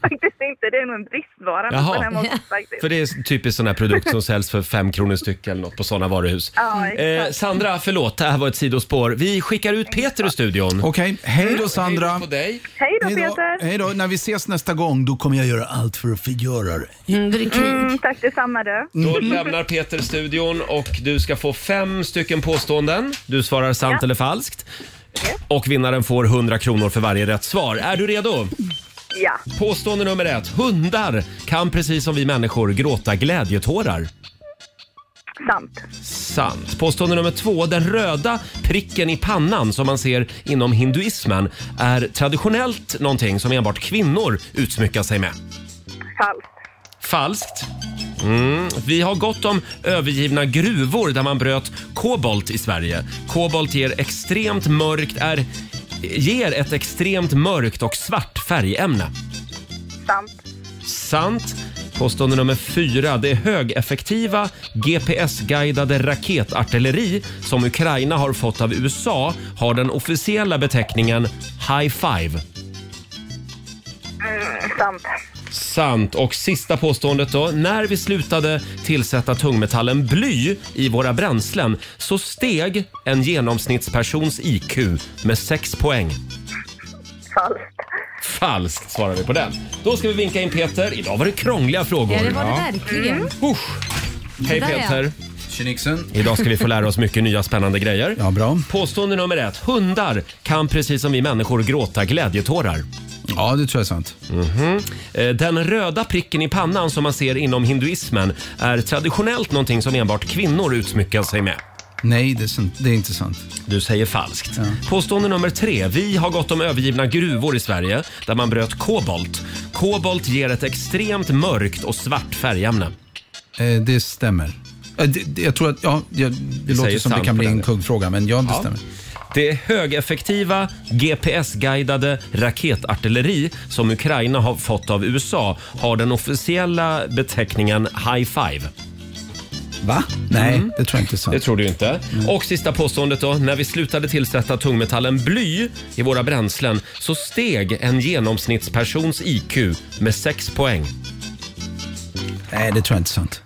Speaker 7: Faktiskt inte, det är nog en bristvara
Speaker 1: Jaha.
Speaker 7: nästan hemma hos oss faktiskt.
Speaker 1: För det är typiskt sån här produkt som säljs för fem kronor styck eller något på såna varuhus.
Speaker 7: Ja,
Speaker 1: Eh, Sandra, förlåt, det här var ett sidospår. Vi skickar ut Peter ur studion.
Speaker 5: Okej, hej då Sandra.
Speaker 1: Mm. Hej då på dig.
Speaker 7: Hej då
Speaker 5: Hej då.
Speaker 7: Peter!
Speaker 5: Hej då. När vi ses nästa gång då kommer jag göra allt för att förgöra dig.
Speaker 7: Mm, tack detsamma du.
Speaker 1: Då lämnar Peter studion och du ska få fem stycken påståenden. Du svarar sant eller falskt. Och vinnaren får 100 kronor för varje rätt svar. Är du redo?
Speaker 7: Ja.
Speaker 1: Påstående nummer ett. Hundar kan precis som vi människor gråta glädjetårar.
Speaker 7: Sant.
Speaker 1: Sant. Påstående nummer två. Den röda pricken i pannan som man ser inom hinduismen är traditionellt någonting som enbart kvinnor utsmyckar sig med.
Speaker 7: Falskt.
Speaker 1: Falskt. Mm. Vi har gott om övergivna gruvor där man bröt kobolt i Sverige. Kobolt ger, extremt mörkt, är, ger ett extremt mörkt och svart färgämne.
Speaker 7: Sant.
Speaker 1: sant. Påstående nummer fyra. Det högeffektiva GPS-guidade raketartilleri som Ukraina har fått av USA har den officiella beteckningen High Five.
Speaker 7: Mm, sant.
Speaker 1: Sant. Och sista påståendet då. När vi slutade tillsätta tungmetallen bly i våra bränslen så steg en genomsnittspersons IQ med 6 poäng.
Speaker 7: Falskt.
Speaker 1: Falskt svarar vi på den. Då ska vi vinka in Peter. Idag var det krångliga frågor.
Speaker 2: Ja, det var det verkligen.
Speaker 1: Hej
Speaker 2: Där, ja.
Speaker 1: Peter. Tjenixen. Idag ska vi få lära oss mycket nya spännande grejer. Ja, bra. Påstående nummer ett. Hundar kan precis som vi människor gråta glädjetårar. Ja, det tror jag är sant. Eh, Den röda pricken i pannan som man ser inom hinduismen är traditionellt någonting som enbart kvinnor utsmyckar sig med.
Speaker 5: Nej, det är, sant. det är inte sant.
Speaker 1: Du säger falskt. Påstående nummer tre. Vi har gått om övergivna gruvor i Sverige där man bröt kobolt. Kobolt ger ett extremt mörkt och svart färgämne.
Speaker 5: Eh, det stämmer. Eh, det, det, jag tror att, ja, det, det
Speaker 1: Vi
Speaker 5: låter
Speaker 1: säger
Speaker 5: som det
Speaker 1: sant
Speaker 5: kan
Speaker 1: på
Speaker 5: bli
Speaker 1: den
Speaker 5: en
Speaker 1: då.
Speaker 5: kuggfråga, men ja, det
Speaker 1: Ja.
Speaker 5: stämmer.
Speaker 1: Det är högeffektiva GPS-guidade raketartilleri som Ukraina har fått av USA har den officiella beteckningen High Five.
Speaker 5: Va? Nej, det tror jag inte är sant.
Speaker 1: Mm. Det tror du inte. Och sista påståendet då. När vi slutade tillsätta tungmetallen bly i våra bränslen så steg en genomsnittspersons IQ med 6 poäng.
Speaker 5: Nej, det tror jag inte är sant.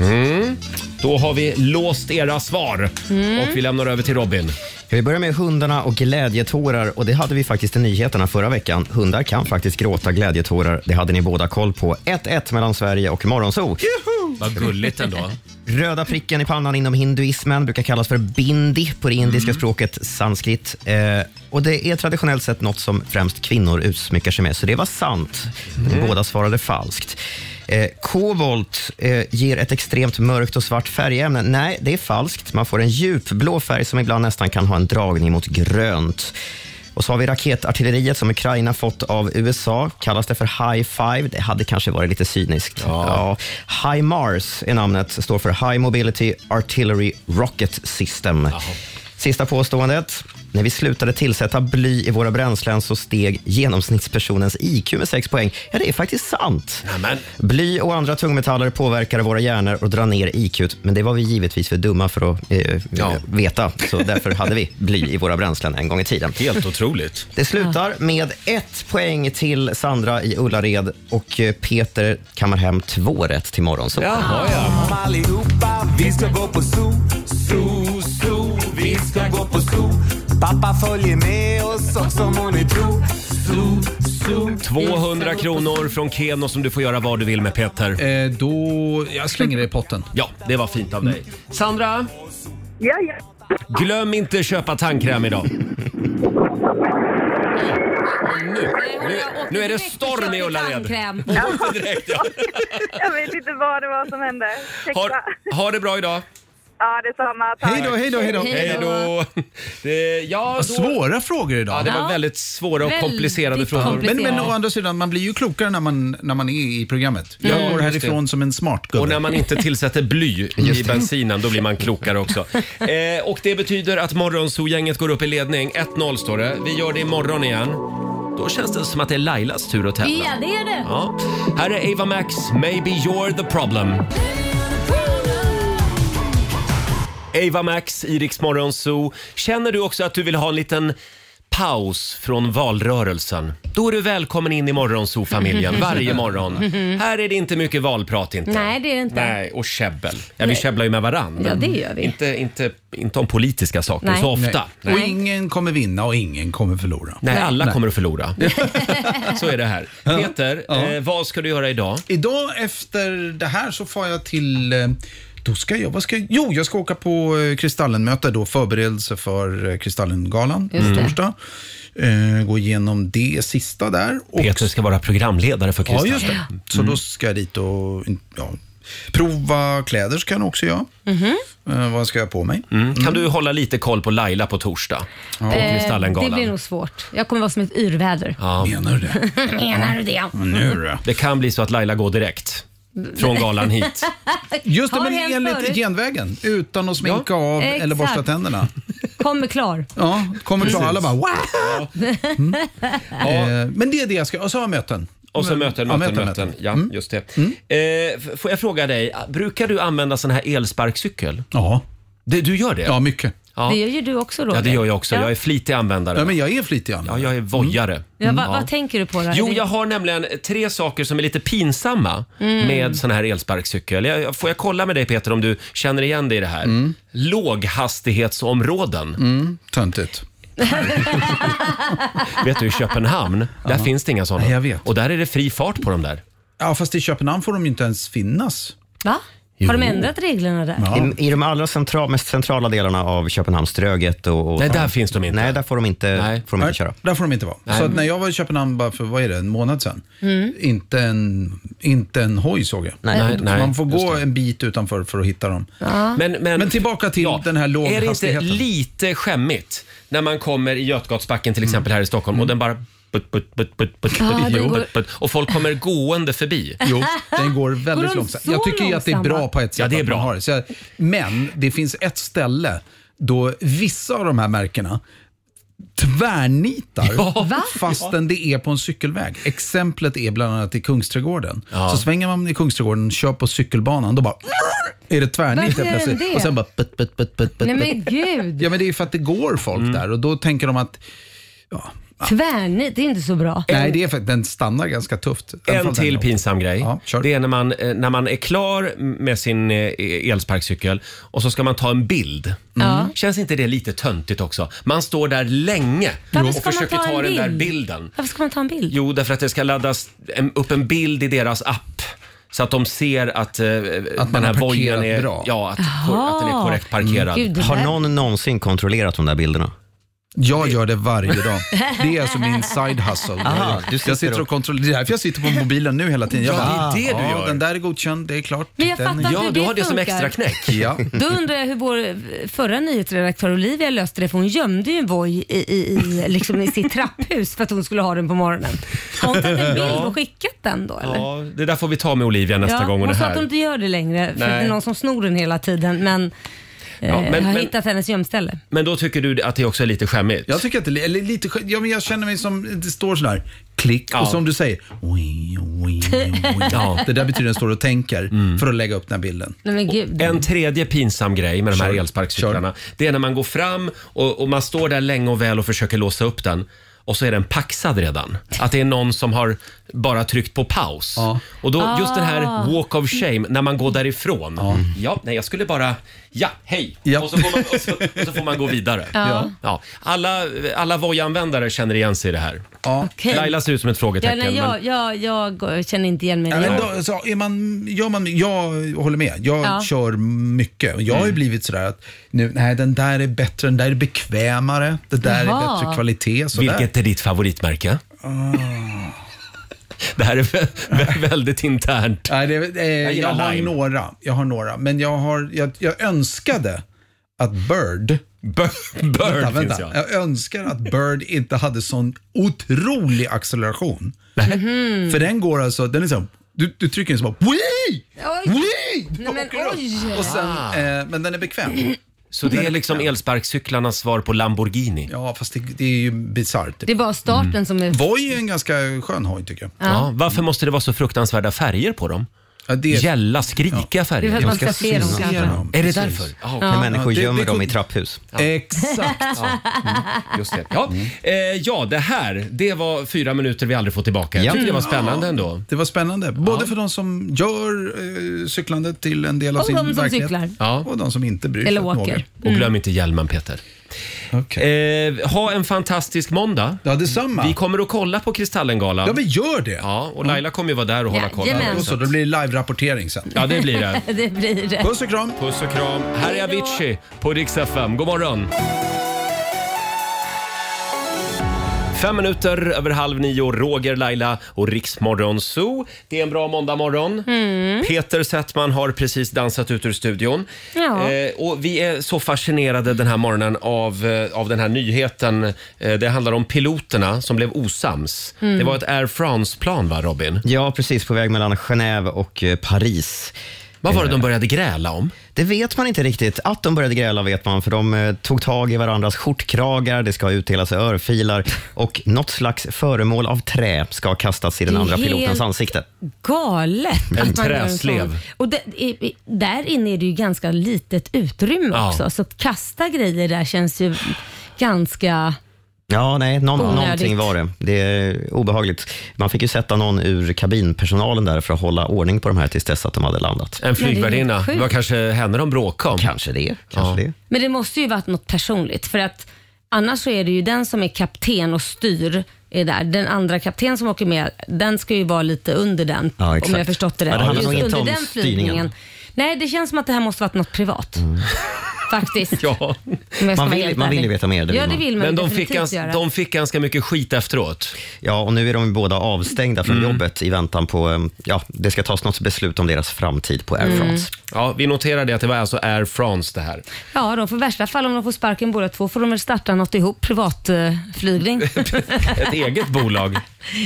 Speaker 1: Mm. Då har vi låst era svar
Speaker 8: Mm.
Speaker 1: och vi lämnar över till Robin.
Speaker 8: Ska vi börja med hundarna och glädjetårar? Och det hade vi faktiskt i nyheterna förra veckan. Hundar kan faktiskt gråta glädjetårar. Det hade ni båda koll på. 1-1 mellan Sverige och Morgonzoo.
Speaker 1: Vad gulligt ändå.
Speaker 8: Röda pricken i pannan inom hinduismen brukar kallas för bindi på det indiska språket sanskrit. Eh, och Det är traditionellt sett något som främst kvinnor utsmyckar sig med, så det var sant. Ni
Speaker 1: Mm.
Speaker 8: båda svarade falskt. Eh, kobolt eh, ger ett extremt mörkt och svart färgämne. Nej, det är falskt. Man får en djupblå färg som ibland nästan kan ha en dragning mot grönt. Och så har vi raketartilleriet som Ukraina fått av USA. Kallas det för High Five? Det hade kanske varit lite cyniskt. Ja. High Mars är namnet. Står för High Mobility Artillery Rocket System. Sista påståendet. När vi slutade tillsätta bly i våra bränslen så steg genomsnittspersonens IQ med 6 poäng. Ja, det är faktiskt sant. Bly och andra tungmetaller påverkar våra hjärnor och drar ner IQ, men det var vi givetvis för dumma för att eh, veta, så därför hade vi bly i våra bränslen en gång i tiden.
Speaker 1: Helt otroligt.
Speaker 8: Det slutar med ett poäng till Sandra i Ullared och eh, Peter kammar hem två rätt till morgonsolen.
Speaker 4: Kom allihopa, vi ska gå på zoo, zoo, zoo. Vi ska gå på zoo. Pappa följer med oss också må ni tro. Zoo, zoo.
Speaker 1: 200 kronor från Keno som du får göra vad du vill med Peter.
Speaker 5: Eh, då, jag slänger det i potten.
Speaker 1: Ja, det var fint av dig. Sandra,
Speaker 7: Ja, ja.
Speaker 1: glöm inte att köpa tandkräm idag. Nu är det storm i Ullared.
Speaker 2: Tandkräm.
Speaker 1: Direkt, ja.
Speaker 7: Jag vet inte vad det var som hände. Ursäkta.
Speaker 1: Ha, ha det bra idag.
Speaker 7: Ja, detsamma. Tack.
Speaker 1: Hej då. Det- Ja, då...
Speaker 5: Svåra frågor idag.
Speaker 1: Ja, det var väldigt svåra och komplicerade frågor.
Speaker 5: Men, men å andra sidan, man blir ju klokare när man, när man är i programmet. Jag
Speaker 1: Mm. Ja,
Speaker 5: går
Speaker 1: just
Speaker 5: härifrån
Speaker 1: det.
Speaker 5: som en smart gubbe.
Speaker 1: Och när man inte tillsätter bly
Speaker 5: Just
Speaker 1: i
Speaker 5: det.
Speaker 1: bensinen, då blir man klokare också. Eh, och det betyder att Morgonzoo-gänget går upp i ledning. 1-0 står det. Vi gör det imorgon igen. Då känns det som att det är Lailas tur att tävla.
Speaker 2: Ja, det är det.
Speaker 1: Ja. Här är Ava Max, Maybe You're the Problem. Ava Max i Rix Morgon Zoo. Känner du också att du vill ha en liten paus från valrörelsen? Då är du välkommen in i Morgonzoo-familjen varje morgon. Här är det inte mycket valprat inte.
Speaker 2: Nej, det är det inte.
Speaker 1: Nej, och käbbel. Ja, vi
Speaker 2: Nej.
Speaker 1: käbblar ju med varandra.
Speaker 2: Ja, det gör vi.
Speaker 1: Inte, inte, inte om politiska saker
Speaker 2: Nej.
Speaker 1: så ofta.
Speaker 5: Och ingen kommer vinna och ingen kommer förlora.
Speaker 1: Nej, alla kommer att förlora. Så är det här. Peter, eh, vad ska du göra idag?
Speaker 5: Idag efter det här så får jag till... eh, Då ska jag, vad ska jag, jo, jag ska åka på eh, Kristallenmöte då, förberedelse för eh, Kristallengalan på
Speaker 2: Just det.
Speaker 5: torsdag. Eh, gå igenom det sista där.
Speaker 1: Peter ska vara programledare för
Speaker 5: Ja,
Speaker 1: Kristallen.
Speaker 5: just det. Så
Speaker 1: Mm.
Speaker 5: då ska jag dit och ja, prova kläder ska jag också göra.
Speaker 1: Mhm.
Speaker 5: Eh, vad ska jag ha på mig?
Speaker 1: Mm. Kan du hålla lite koll på Laila på torsdag? På
Speaker 2: det
Speaker 1: Kristallengalan.
Speaker 2: blir nog svårt. Jag kommer vara som ett yrväder.
Speaker 1: Ja. Menar du det?
Speaker 2: Menar du det?
Speaker 1: Det kan bli så att Laila går direkt från galan hit.
Speaker 5: Just det,
Speaker 2: Har
Speaker 5: men
Speaker 2: hänt
Speaker 5: enligt
Speaker 2: förut.
Speaker 5: genvägen. Utan att sminka
Speaker 2: Ja.
Speaker 5: av eller
Speaker 2: Exakt.
Speaker 5: borsta tänderna.
Speaker 2: Kommer klar.
Speaker 5: Ja, kommer klara alla bara wow. Mm.
Speaker 2: Ja.
Speaker 5: Eh, men det är det jag ska, och så har jag möten.
Speaker 1: Och så
Speaker 5: Men-
Speaker 1: möten,
Speaker 5: ja, Mm.
Speaker 1: möten,
Speaker 5: möten,
Speaker 1: möten.
Speaker 5: möten.
Speaker 1: Ja, just det. Eh, f- får jag fråga dig, brukar du använda sån här elsparkcykel?
Speaker 5: Ja.
Speaker 1: Det, du gör det? Ja,
Speaker 5: mycket.
Speaker 1: Ja.
Speaker 2: Det gör ju du också Roger.
Speaker 1: Ja, det gör jag också.
Speaker 2: Ja.
Speaker 1: Jag är flitig användare.
Speaker 5: Ja, Mm. men jag är flitig användare.
Speaker 1: Ja, jag är vojare.
Speaker 2: Ja, vad,
Speaker 1: Ja.
Speaker 2: vad tänker du på då?
Speaker 1: Mm. Jo,
Speaker 2: Är det-
Speaker 1: jag har nämligen tre saker som är lite pinsamma
Speaker 2: Mm.
Speaker 1: med sån här elsparkcykel. Jag, jag- får jag kolla med dig Peter om du känner igen dig i det här? Låghastighetsområden.
Speaker 5: Mm, töntigt.
Speaker 1: Vet du, i Köpenhamn, där
Speaker 5: Ja.
Speaker 1: finns det inga sådana.
Speaker 5: Nej, jag vet.
Speaker 1: Och där är det fri fart på de där.
Speaker 5: Ja, fast i Köpenhamn får de ju inte ens finnas.
Speaker 2: Va?
Speaker 8: Jo.
Speaker 2: Har de ändrat reglerna där?
Speaker 8: I, I de allra central, mest centrala delarna av Köpenhamnströget och, och
Speaker 5: Nej, där
Speaker 1: finns de inte.
Speaker 8: Nej, där får de inte, Får de inte köra.
Speaker 5: Där får de inte vara.
Speaker 8: Nej.
Speaker 5: Så att när jag var i Köpenhamn bara för, vad är det, en månad sedan? Inte, en, inte en hoj såg jag.
Speaker 1: Nej, nej, nej,
Speaker 5: Man får
Speaker 1: just
Speaker 5: gå en bit utanför för att hitta dem.
Speaker 1: Ja. Men, men,
Speaker 5: tillbaka till den här
Speaker 1: Är det inte
Speaker 5: låghastigheten.
Speaker 1: lite skämmigt när man kommer i Götgatsbacken till exempel här i Stockholm
Speaker 5: Mm.
Speaker 1: och den bara But, but, but, but, but,
Speaker 5: Ja,
Speaker 1: but,
Speaker 5: den
Speaker 1: but,
Speaker 5: går-
Speaker 1: but, but, och folk kommer gående förbi.
Speaker 5: Jo, den går väldigt
Speaker 1: de
Speaker 5: långsamt.
Speaker 1: så
Speaker 5: Jag tycker ju att det är
Speaker 1: långsamma?
Speaker 5: bra på ett sätt
Speaker 1: Ja, det är
Speaker 5: att
Speaker 1: bra.
Speaker 5: man har det. Så jag, men det finns ett ställe då vissa av de här märkena tvärnitar fastän det är på en cykelväg. Exemplet är bland annat i Kungsträdgården. Så svänger man i Kungsträdgården och kör på cykelbanan, då bara är det tvärnit
Speaker 2: Varför
Speaker 5: helt
Speaker 2: gör de
Speaker 5: plötsligt.
Speaker 2: det?
Speaker 5: Och sen bara putt, putt, putt, putt, putt,
Speaker 2: Nej
Speaker 5: putt.
Speaker 2: men gud.
Speaker 5: Ja men det är ju för att det går folk
Speaker 1: Mm.
Speaker 5: där och då tänker de att
Speaker 2: Tvärnit, det är inte så bra.
Speaker 5: nej, det är för att den stannar ganska tufft.
Speaker 1: En till pinsam grej. det är när man, eh, när man är klar med sin eh, elsparkcykel och så ska man ta en bild.
Speaker 2: Ja.
Speaker 1: Känns inte det lite töntigt också? Man står där länge
Speaker 2: Varför
Speaker 1: och
Speaker 2: ska man
Speaker 1: försöker
Speaker 2: ta
Speaker 1: ta,
Speaker 2: en
Speaker 1: den där
Speaker 2: bild?
Speaker 1: bilden.
Speaker 2: Varför ska man ta en bild?
Speaker 1: Jo, därför att det ska laddas en, upp en bild i deras app. Så att de ser att, eh,
Speaker 8: man
Speaker 1: den här
Speaker 8: har parkerat
Speaker 1: vojen är,
Speaker 8: bra.
Speaker 1: ja, att, att den är korrekt parkerad.
Speaker 2: Mm. Gud, det
Speaker 8: Har
Speaker 2: där-
Speaker 8: någon någonsin kontrollerat de där bilderna?
Speaker 5: Jag gör det varje dag. Det är alltså min side hustle.
Speaker 8: Aha, du sitter
Speaker 5: jag sitter
Speaker 8: och-
Speaker 5: och kontrollerar. Det är därför jag sitter på mobilen nu hela tiden. Jag
Speaker 1: Ja,
Speaker 5: bara,
Speaker 1: det är det du
Speaker 5: ja,
Speaker 1: gör."
Speaker 5: Den där är godkänd, det är klart.
Speaker 2: Men jag
Speaker 5: Den
Speaker 2: fattar
Speaker 5: är-
Speaker 2: inte hur det funkar.
Speaker 5: Ja.
Speaker 2: Då undrar jag hur vår eh, förra nyhetsredaktör Olivia löste det, för hon gömde ju en voj i, i, i, liksom i sitt trapphus för att hon skulle ha den på morgonen. Har hon tagit en bild
Speaker 1: Ja.
Speaker 2: och skickat den då eller?
Speaker 1: Ja, det där får vi ta med Olivia nästa
Speaker 2: Ja,
Speaker 1: gång hon är
Speaker 2: hon sa att
Speaker 1: här.
Speaker 2: hon inte gör det längre, för
Speaker 1: Nej.
Speaker 2: det är någon som snor den hela tiden, men,
Speaker 1: Ja,
Speaker 2: eh,
Speaker 1: men-
Speaker 2: har
Speaker 1: men-
Speaker 2: hittat hennes gömställe.
Speaker 1: Men då tycker du att det också är lite skämmigt?
Speaker 5: Jag tycker att det eller lite skönt. Ja, men jag känner mig som, det står sådär, klick
Speaker 1: Ja.
Speaker 5: och som du säger,
Speaker 1: Ja.
Speaker 5: det där betyder att den står och tänker för att lägga upp den här bilden.
Speaker 2: Nej men gud.
Speaker 1: En tredje pinsam grej med de här elsparkcyklarna, det är när man går fram och, och man står där länge och väl och försöker låsa upp den och så är den paxad redan. Att det är någon som har bara tryckt på paus. Och då just den här
Speaker 2: Ah.
Speaker 1: walk of shame, när man går därifrån. Ja, nej jag skulle bara, ja, hej! Och, så får man, och, så, och så får man gå vidare.
Speaker 2: Ja. Ja.
Speaker 1: Alla, alla vojanvändare känner igen sig i det här.
Speaker 2: Okej.
Speaker 1: Laila ser ut som ett
Speaker 2: Ja,
Speaker 1: frågetecken.
Speaker 2: nej,
Speaker 1: men-
Speaker 2: jag, jag, jag känner inte igen mig i
Speaker 5: Ja,
Speaker 2: det.
Speaker 5: men då, så är man, gör man, jag håller med. Jag
Speaker 2: Ja. Mm.
Speaker 5: kör mycket. Och Jag har ju blivit sådär att nu, nej, den där är bättre, den där är bekvämare, det där
Speaker 2: Jaha.
Speaker 5: är bättre kvalitet. Sådär.
Speaker 1: Vilket är ditt favoritmärke?
Speaker 5: Ah.
Speaker 1: Det här är vä- vä- väldigt internt.
Speaker 5: Nej, det, är- eh, jag,
Speaker 1: gillar
Speaker 5: har
Speaker 1: lime.
Speaker 5: några, jag har några, men jag, har, jag, jag önskade att Bird
Speaker 1: Bird,
Speaker 5: vänta,
Speaker 1: finns
Speaker 5: vänta.
Speaker 1: jag.
Speaker 5: jag. önskar att Bird inte hade sån otrolig acceleration.
Speaker 2: Mhm.
Speaker 5: För den går alltså, den är så, du, du trycker den så bara, Wii! Wii!
Speaker 2: Nej, men oj!
Speaker 5: Och sen,
Speaker 1: Ah.
Speaker 5: eh, men den är bekväm.
Speaker 1: Så det är liksom elsparkcyklarnas svar på Lamborghini?
Speaker 5: Ja, fast det, det är ju bisarrt.
Speaker 2: Det var starten
Speaker 1: Mm.
Speaker 2: som är...
Speaker 5: Voi är en ganska skön hoj tycker jag.
Speaker 1: Ja. varför måste det vara så fruktansvärda färger på dem? Gälla, skrikiga färger.
Speaker 2: Det är för att man ska se dem kanske.
Speaker 1: Är det
Speaker 2: Precis.
Speaker 1: därför? Ah, okej.
Speaker 2: Ja.
Speaker 8: När människor
Speaker 1: Ja, det-
Speaker 8: gömmer
Speaker 1: det
Speaker 8: dem
Speaker 1: kunde-
Speaker 8: i trapphus.
Speaker 5: Exakt.
Speaker 1: Mm, Just det. Ja. Eh, ja, det här det var fyra minuter vi aldrig får tillbaka. Jag tyckte det var spännande
Speaker 5: Ja,
Speaker 1: ändå.
Speaker 5: Det var spännande. Både för de som gör eh, cyklandet till en del av
Speaker 1: Och
Speaker 5: sin
Speaker 1: de som
Speaker 5: verklighet.
Speaker 1: cyklar. Ja.
Speaker 5: Och de som inte bryr sig.
Speaker 2: Eller
Speaker 5: ett
Speaker 2: åker.
Speaker 5: något.
Speaker 1: Och glöm inte hjälmen Peter. Eh, ha en fantastisk måndag.
Speaker 5: Ja, detsamma.
Speaker 1: Vi kommer att kolla på Kristallengalan.
Speaker 5: Ja, men gör det.
Speaker 1: Ja, och Laila kommer ju vara där och hålla koll.
Speaker 2: Jajamän.
Speaker 5: Och så, då blir det live-rapportering sen.
Speaker 1: Ja, det blir det.
Speaker 2: det blir det.
Speaker 5: Puss och kram.
Speaker 1: Puss och kram. Här är Avicii på Rix FM. God morgon! Fem minuter över halv nio, Roger, Laila och Riksmorgon Zoo. Det är en bra måndagmorgon.
Speaker 2: Mm.
Speaker 1: Peter Settman har precis dansat ut ur studion.
Speaker 2: Ja.
Speaker 1: Eh, och vi är så fascinerade den här morgonen av, eh, av den här nyheten. Eh, det handlar om piloterna som blev osams.
Speaker 8: Mm.
Speaker 1: Det var ett Air France-plan va, Robin?
Speaker 8: Ja, precis. På väg mellan Genève och eh, Paris.
Speaker 1: Vad var det de började gräla om?
Speaker 8: Det vet man inte riktigt. Att de började gräla vet man, för de eh, tog tag i varandras skjortkragar, det ska utdelas örfilar och något slags föremål av trä ska kastas i den
Speaker 2: Det är
Speaker 8: andra
Speaker 2: helt-
Speaker 8: pilotens ansikte.
Speaker 2: Galet!
Speaker 8: En
Speaker 2: att man gör en
Speaker 8: träslev.
Speaker 2: sån. Och det, i, i, där inne är det ju ganska litet utrymme
Speaker 8: Ja.
Speaker 2: också, så att kasta grejer där känns ju ganska...
Speaker 8: Ja, nej, någon,
Speaker 2: Onödigt.
Speaker 8: någonting var det. Det är obehagligt. Man fick ju sätta någon ur kabinpersonalen där för att hålla ordning på de här tills dess att de hade landat.
Speaker 1: En flygvärdinna.
Speaker 2: sjukt.
Speaker 1: Det var kanske henne de bråkade om.
Speaker 8: Kanske det. Kanske det.
Speaker 2: Men det måste ju varit något personligt för att annars så är det ju den som är kapten och styr är där. Den andra kapten som åker med, den ska ju vara lite under den
Speaker 8: Ja,
Speaker 2: om
Speaker 8: exakt.
Speaker 2: jag har förstått det
Speaker 8: Ja, det
Speaker 2: rätt.
Speaker 8: handlar nog inte
Speaker 2: under
Speaker 8: om
Speaker 2: den
Speaker 8: styrningen. Mm.
Speaker 2: flygningen. Nej, det känns som att det här måste varit något privat. Faktiskt.
Speaker 1: ja.
Speaker 2: Om jag ska vara helt ärlig. ja, det vill man
Speaker 1: Men
Speaker 2: ju
Speaker 1: de fick,
Speaker 2: definitivt
Speaker 1: gans,
Speaker 2: göra.
Speaker 1: de fick ganska mycket skit efteråt.
Speaker 8: Ja, och nu är de ju båda avstängda från jobbet i väntan på, eh, ja, det ska tas något beslut om deras framtid på Air
Speaker 2: Mm.
Speaker 8: France.
Speaker 1: Ja, vi noterade att det var alltså Air France det här.
Speaker 2: Ja, de får i värsta fall om de får sparken båda två får de väl starta något ihop, privatflygning.
Speaker 1: Ett eget bolag.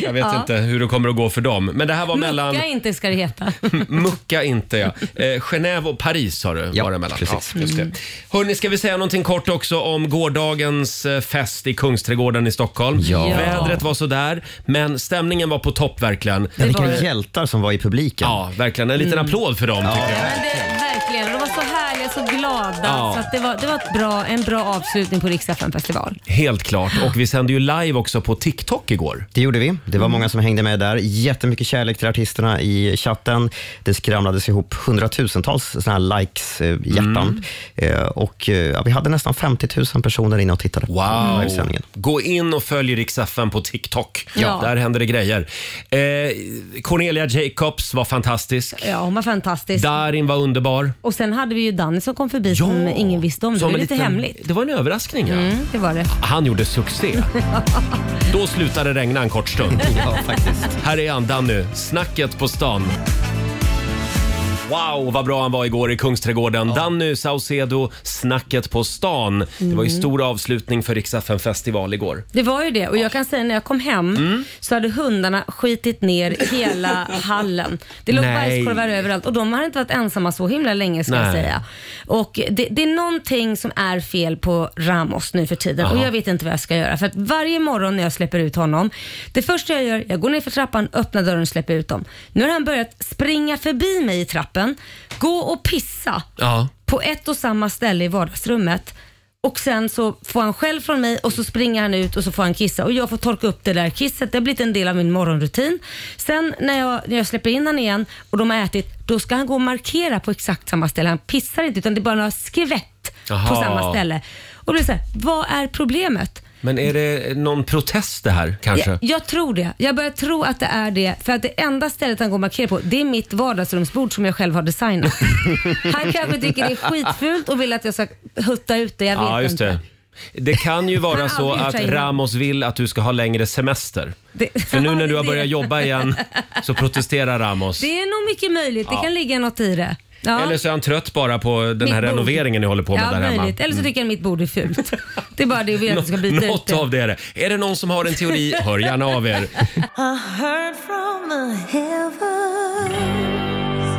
Speaker 1: Jag vet
Speaker 2: Ja.
Speaker 1: inte hur det kommer att gå för dem. Men det här var mellan...
Speaker 2: Mucka inte ska det heta.
Speaker 1: Mucka inte, ja. Eh, Genève och Paris har du var det mellan.
Speaker 8: precis.
Speaker 1: Ja, just det.
Speaker 2: Mm.
Speaker 1: Hörrni, ska vi säga någonting kort också om gårdagens eh, fest i Kungsträdgården i Stockholm?
Speaker 8: Ja.
Speaker 1: Vädret var sådär, men stämningen var på topp verkligen.
Speaker 8: Ja, vilka hjältar som var i publiken.
Speaker 1: Ja, verkligen. En
Speaker 2: Mm.
Speaker 1: liten applåd för dem tycker jag.
Speaker 2: Verkligen, och de var så härliga, så glada.
Speaker 1: Ja.
Speaker 2: Så att det var, det var ett bra, en bra avslutning på Rix FM festival.
Speaker 1: Helt klart. Och vi sände ju live också på TikTok igår.
Speaker 8: Det gjorde vi. Det var
Speaker 10: Mm.
Speaker 8: många som hängde med där. Jättemycket kärlek till artisterna i chatten. Det skramlades ihop hundratusentals såna här likes, eh, hjärtan.
Speaker 10: Mm.
Speaker 8: Eh, och eh, ja, vi hade nästan 50 000 personer inne och tittade på
Speaker 1: Wow!
Speaker 8: livesändningen.
Speaker 1: Gå in och följ Rix FM på TikTok.
Speaker 2: Ja.
Speaker 1: Där händer det grejer. Eh, Cornelia Jacobs var fantastisk.
Speaker 2: Ja, hon var fantastisk.
Speaker 1: Darin var underbar.
Speaker 2: Och sen hade vi ju Danny som kom förbi som ingen visste om. Det
Speaker 1: Som
Speaker 2: var ju
Speaker 1: en
Speaker 2: lite
Speaker 1: liten-
Speaker 2: hemligt.
Speaker 1: Det var en överraskning ja.
Speaker 2: Mm, det var det.
Speaker 1: Han gjorde succé. Då slutade det regna en kort stund.
Speaker 8: Ja, faktiskt.
Speaker 1: Här är han, Danny. Snacket på stan. Wow, vad bra han var igår i Kungsträdgården. Danny Saucedo, Snacket på stan. Det var ju
Speaker 2: Mm.
Speaker 1: stor avslutning för Rix FM festival igår.
Speaker 2: Det var ju det och jag kan säga när jag kom hem
Speaker 1: Mm.
Speaker 2: så hade hundarna skitit ner hela hallen. Det låg
Speaker 1: Nej.
Speaker 2: bajskorvar överallt och de har inte varit ensamma så himla länge ska jag
Speaker 1: Nej.
Speaker 2: säga. Och det, det är någonting som är fel på Ramos nu för tiden och
Speaker 16: Jaha.
Speaker 2: jag vet inte vad jag ska göra för att varje morgon när jag släpper ut honom, det första jag gör, jag går ner för trappan, öppnar dörren och släpper ut dem. Nu har han börjat springa förbi mig i trappen, gå och pissa
Speaker 1: Ja.
Speaker 2: på ett och samma ställe i vardagsrummet. Och sen så får han själv från mig och så springer han ut och så får han kissa och jag får torka upp det där kisset. Det har blivit en del av min morgonrutin. Sen när jag, när jag släpper in han igen och de har ätit, då ska han gå och markera på exakt samma ställe. Han pissar inte utan det är bara några skvätt på
Speaker 1: Jaha.
Speaker 2: samma ställe. Och det är så här, vad är problemet?
Speaker 1: Men är det någon protest det här kanske?
Speaker 2: Jag, jag tror det. Jag börjar tro att det är det. För att det enda stället han går och markerar på, det är mitt vardagsrumsbord som jag själv har designat. Han kanske tycker det är skitfult och vill att jag ska hutta ut det. Jag vet
Speaker 1: ja, just
Speaker 2: inte.
Speaker 1: det. Det kan ju vara
Speaker 2: Han
Speaker 1: så
Speaker 2: avgör
Speaker 1: att
Speaker 2: sig innan.
Speaker 1: Ramos vill att du ska ha längre semester.
Speaker 2: Det-
Speaker 1: För nu när du har
Speaker 2: det-
Speaker 1: börjat jobba igen så protesterar Ramos.
Speaker 2: Det är nog mycket möjligt.
Speaker 1: Ja.
Speaker 2: Det kan ligga något i det. Ja.
Speaker 1: Eller så är han trött bara på den här
Speaker 2: Mitt bord.
Speaker 1: renoveringen ni håller på med
Speaker 2: ja,
Speaker 1: där
Speaker 2: möjligt.
Speaker 1: hemma. Mm.
Speaker 2: Eller så tycker han mitt bord är fult. Det är bara det jag vill att jag ska byta ut
Speaker 1: Något
Speaker 2: det.
Speaker 1: av det är det. Är det någon som har en teori, hör gärna av er.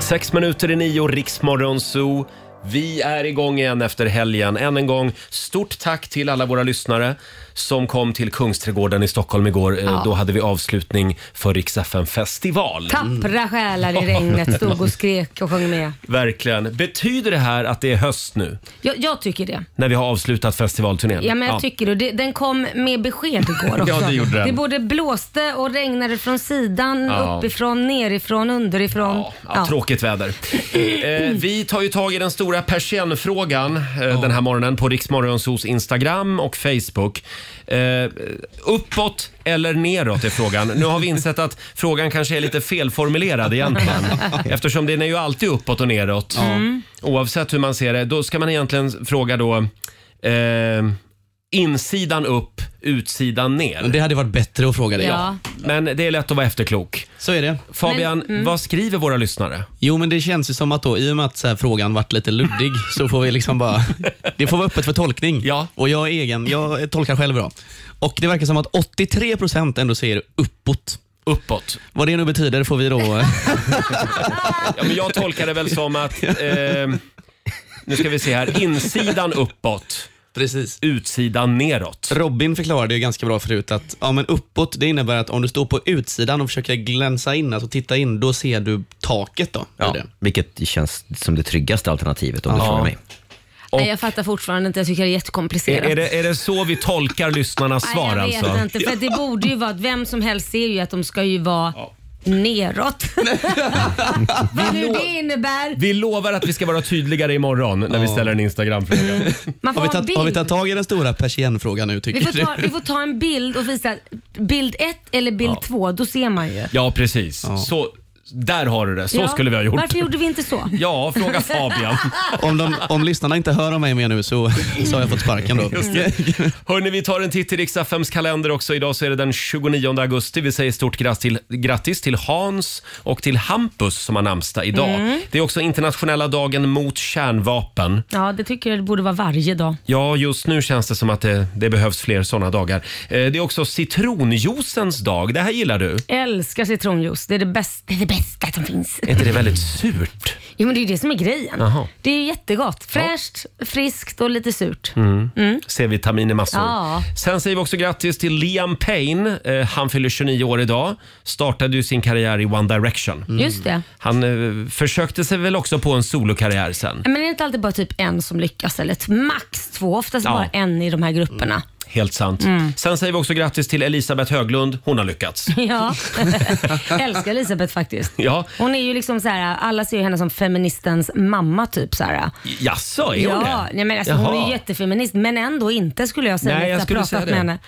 Speaker 1: Sex minuter i nio, Riksmorgon Zoo. Vi är igång igen efter helgen. Än en gång, stort tack till alla våra lyssnare som kom till Kungsträdgården i Stockholm igår. Eh,
Speaker 2: Ja.
Speaker 1: Då hade vi avslutning för Rix FM festival.
Speaker 2: Tappra själar i regnet stod och skrek och sjöng med.
Speaker 1: Verkligen. Betyder det här att det är höst nu?
Speaker 2: Jag, jag tycker det.
Speaker 1: När vi har avslutat festivalturnén?
Speaker 2: Ja, men jag tycker det. det. Den kom med besked igår också.
Speaker 1: Ja, det gjorde den.
Speaker 2: Det både blåste och regnade från sidan,
Speaker 1: Ja.
Speaker 2: uppifrån, nerifrån, underifrån. Ja,
Speaker 1: Ja, Tråkigt väder. Eh, vi tar ju tag i den stora persiennfrågan eh, den här morgonen på Riksmorgonsos Instagram och Facebook. Eh, uppåt eller neråt är frågan. Nu har vi insett att frågan kanske är lite felformulerad egentligen. Eftersom den är ju alltid uppåt och neråt.
Speaker 2: Mm.
Speaker 1: Oavsett hur man ser det. Då ska man egentligen fråga då eh, insidan upp, utsidan ner. Det hade varit bättre att fråga
Speaker 10: det.
Speaker 1: Men det är lätt att vara efterklok.
Speaker 10: Så är det.
Speaker 1: Fabian, Men- mm. vad skriver våra lyssnare?
Speaker 10: Jo, men det känns ju som att då, i och med att så här, frågan vart lite luddig, så får vi liksom bara... Det får vara öppet för tolkning. Ja. Och jag är egen, jag tolkar själv bra. Och det verkar som att 83 procent ändå säger uppåt.
Speaker 1: Uppåt.
Speaker 10: Vad det nu betyder får vi då...
Speaker 1: Ja, men jag tolkar det väl som att, eh, nu ska vi se här, insidan uppåt.
Speaker 10: Precis.
Speaker 1: Utsidan neråt.
Speaker 10: Robin förklarade ju ganska bra förut att ja, men uppåt det innebär att om du står på utsidan och försöker glänsa in, alltså titta in, då ser du taket. Då, ja. det.
Speaker 8: Vilket känns som det tryggaste alternativet om du
Speaker 10: Ja.
Speaker 8: frågar mig.
Speaker 2: Nej, jag fattar fortfarande inte. Jag tycker det är jättekomplicerat.
Speaker 1: Är, är, det, är det så vi tolkar lyssnarnas svar
Speaker 2: Nej, jag
Speaker 1: alltså?
Speaker 2: vet inte. För det borde ju vara att vem som helst ser ju att de ska ju vara neråt. Vad nu det innebär.
Speaker 1: Vi lovar att vi ska vara tydligare imorgon när vi ställer en Instagram-fråga.
Speaker 2: Man får ha
Speaker 10: har, vi
Speaker 2: en
Speaker 10: tagit, har vi
Speaker 2: bild.
Speaker 10: tagit tag i den stora persiennfrågan nu tycker
Speaker 2: Vi får,
Speaker 10: du?
Speaker 2: ta, vi får ta en bild och visa bild ett eller bild två. Då ser man ju.
Speaker 1: Ja, precis. Så, där har du det. Så
Speaker 2: Ja.
Speaker 1: skulle vi ha gjort.
Speaker 2: Varför gjorde vi inte så?
Speaker 1: Ja, fråga Fabian.
Speaker 10: om, de, om lyssnarna inte hör om mig mer nu så, så har jag fått sparken då.
Speaker 1: Just
Speaker 2: Mm.
Speaker 1: det. Hörni, vi tar en titt i riks kalender också. Idag så är det den 29 augusti. Vi säger stort grattis till, grattis till Hans och till Hampus som har namnsdag idag.
Speaker 2: Mm.
Speaker 1: Det är också internationella dagen mot kärnvapen.
Speaker 2: Ja, det tycker jag det borde vara varje dag.
Speaker 1: Ja, just nu känns det som att det, det behövs fler sådana dagar. Eh, Det är också citronjuicens dag. Det här gillar du.
Speaker 2: Älskar citronjuice. Det är det bästa, det är det bästa som finns.
Speaker 1: Är inte det väldigt surt?
Speaker 2: Jo, men det är ju det som är grejen.
Speaker 1: Jaha.
Speaker 2: Det är ju jättegott. Fräscht, friskt och lite surt.
Speaker 1: Mm.
Speaker 2: Mm.
Speaker 1: C-vitamin i massor.
Speaker 2: Ja.
Speaker 1: Sen säger vi också grattis till Liam Payne. Eh, han fyller 29 år idag. Startade ju sin karriär i One Direction.
Speaker 2: Just det.
Speaker 1: Han eh, försökte sig väl också på en solokarriär sen.
Speaker 2: Men det är inte alltid bara typ en som lyckas, eller ett max två. Oftast
Speaker 1: Ja.
Speaker 2: bara en i de här grupperna.
Speaker 1: Helt sant.
Speaker 2: Mm.
Speaker 1: Sen säger vi också grattis till Elisabeth Höglund. Hon har lyckats.
Speaker 2: Ja. Älskar Elisabeth faktiskt.
Speaker 1: Mm. Ja,
Speaker 2: Hon är ju liksom så här, alla ser ju henne som feministens mamma typ så här.
Speaker 1: jaså, är hon
Speaker 2: ja,
Speaker 1: det?
Speaker 2: nej men alltså, hon är
Speaker 1: Jaha.
Speaker 2: ju jättefeminist men ändå inte skulle jag säga
Speaker 1: Nej, jag
Speaker 2: efter att ha
Speaker 1: skulle säga
Speaker 2: pratat
Speaker 1: det.
Speaker 2: med henne.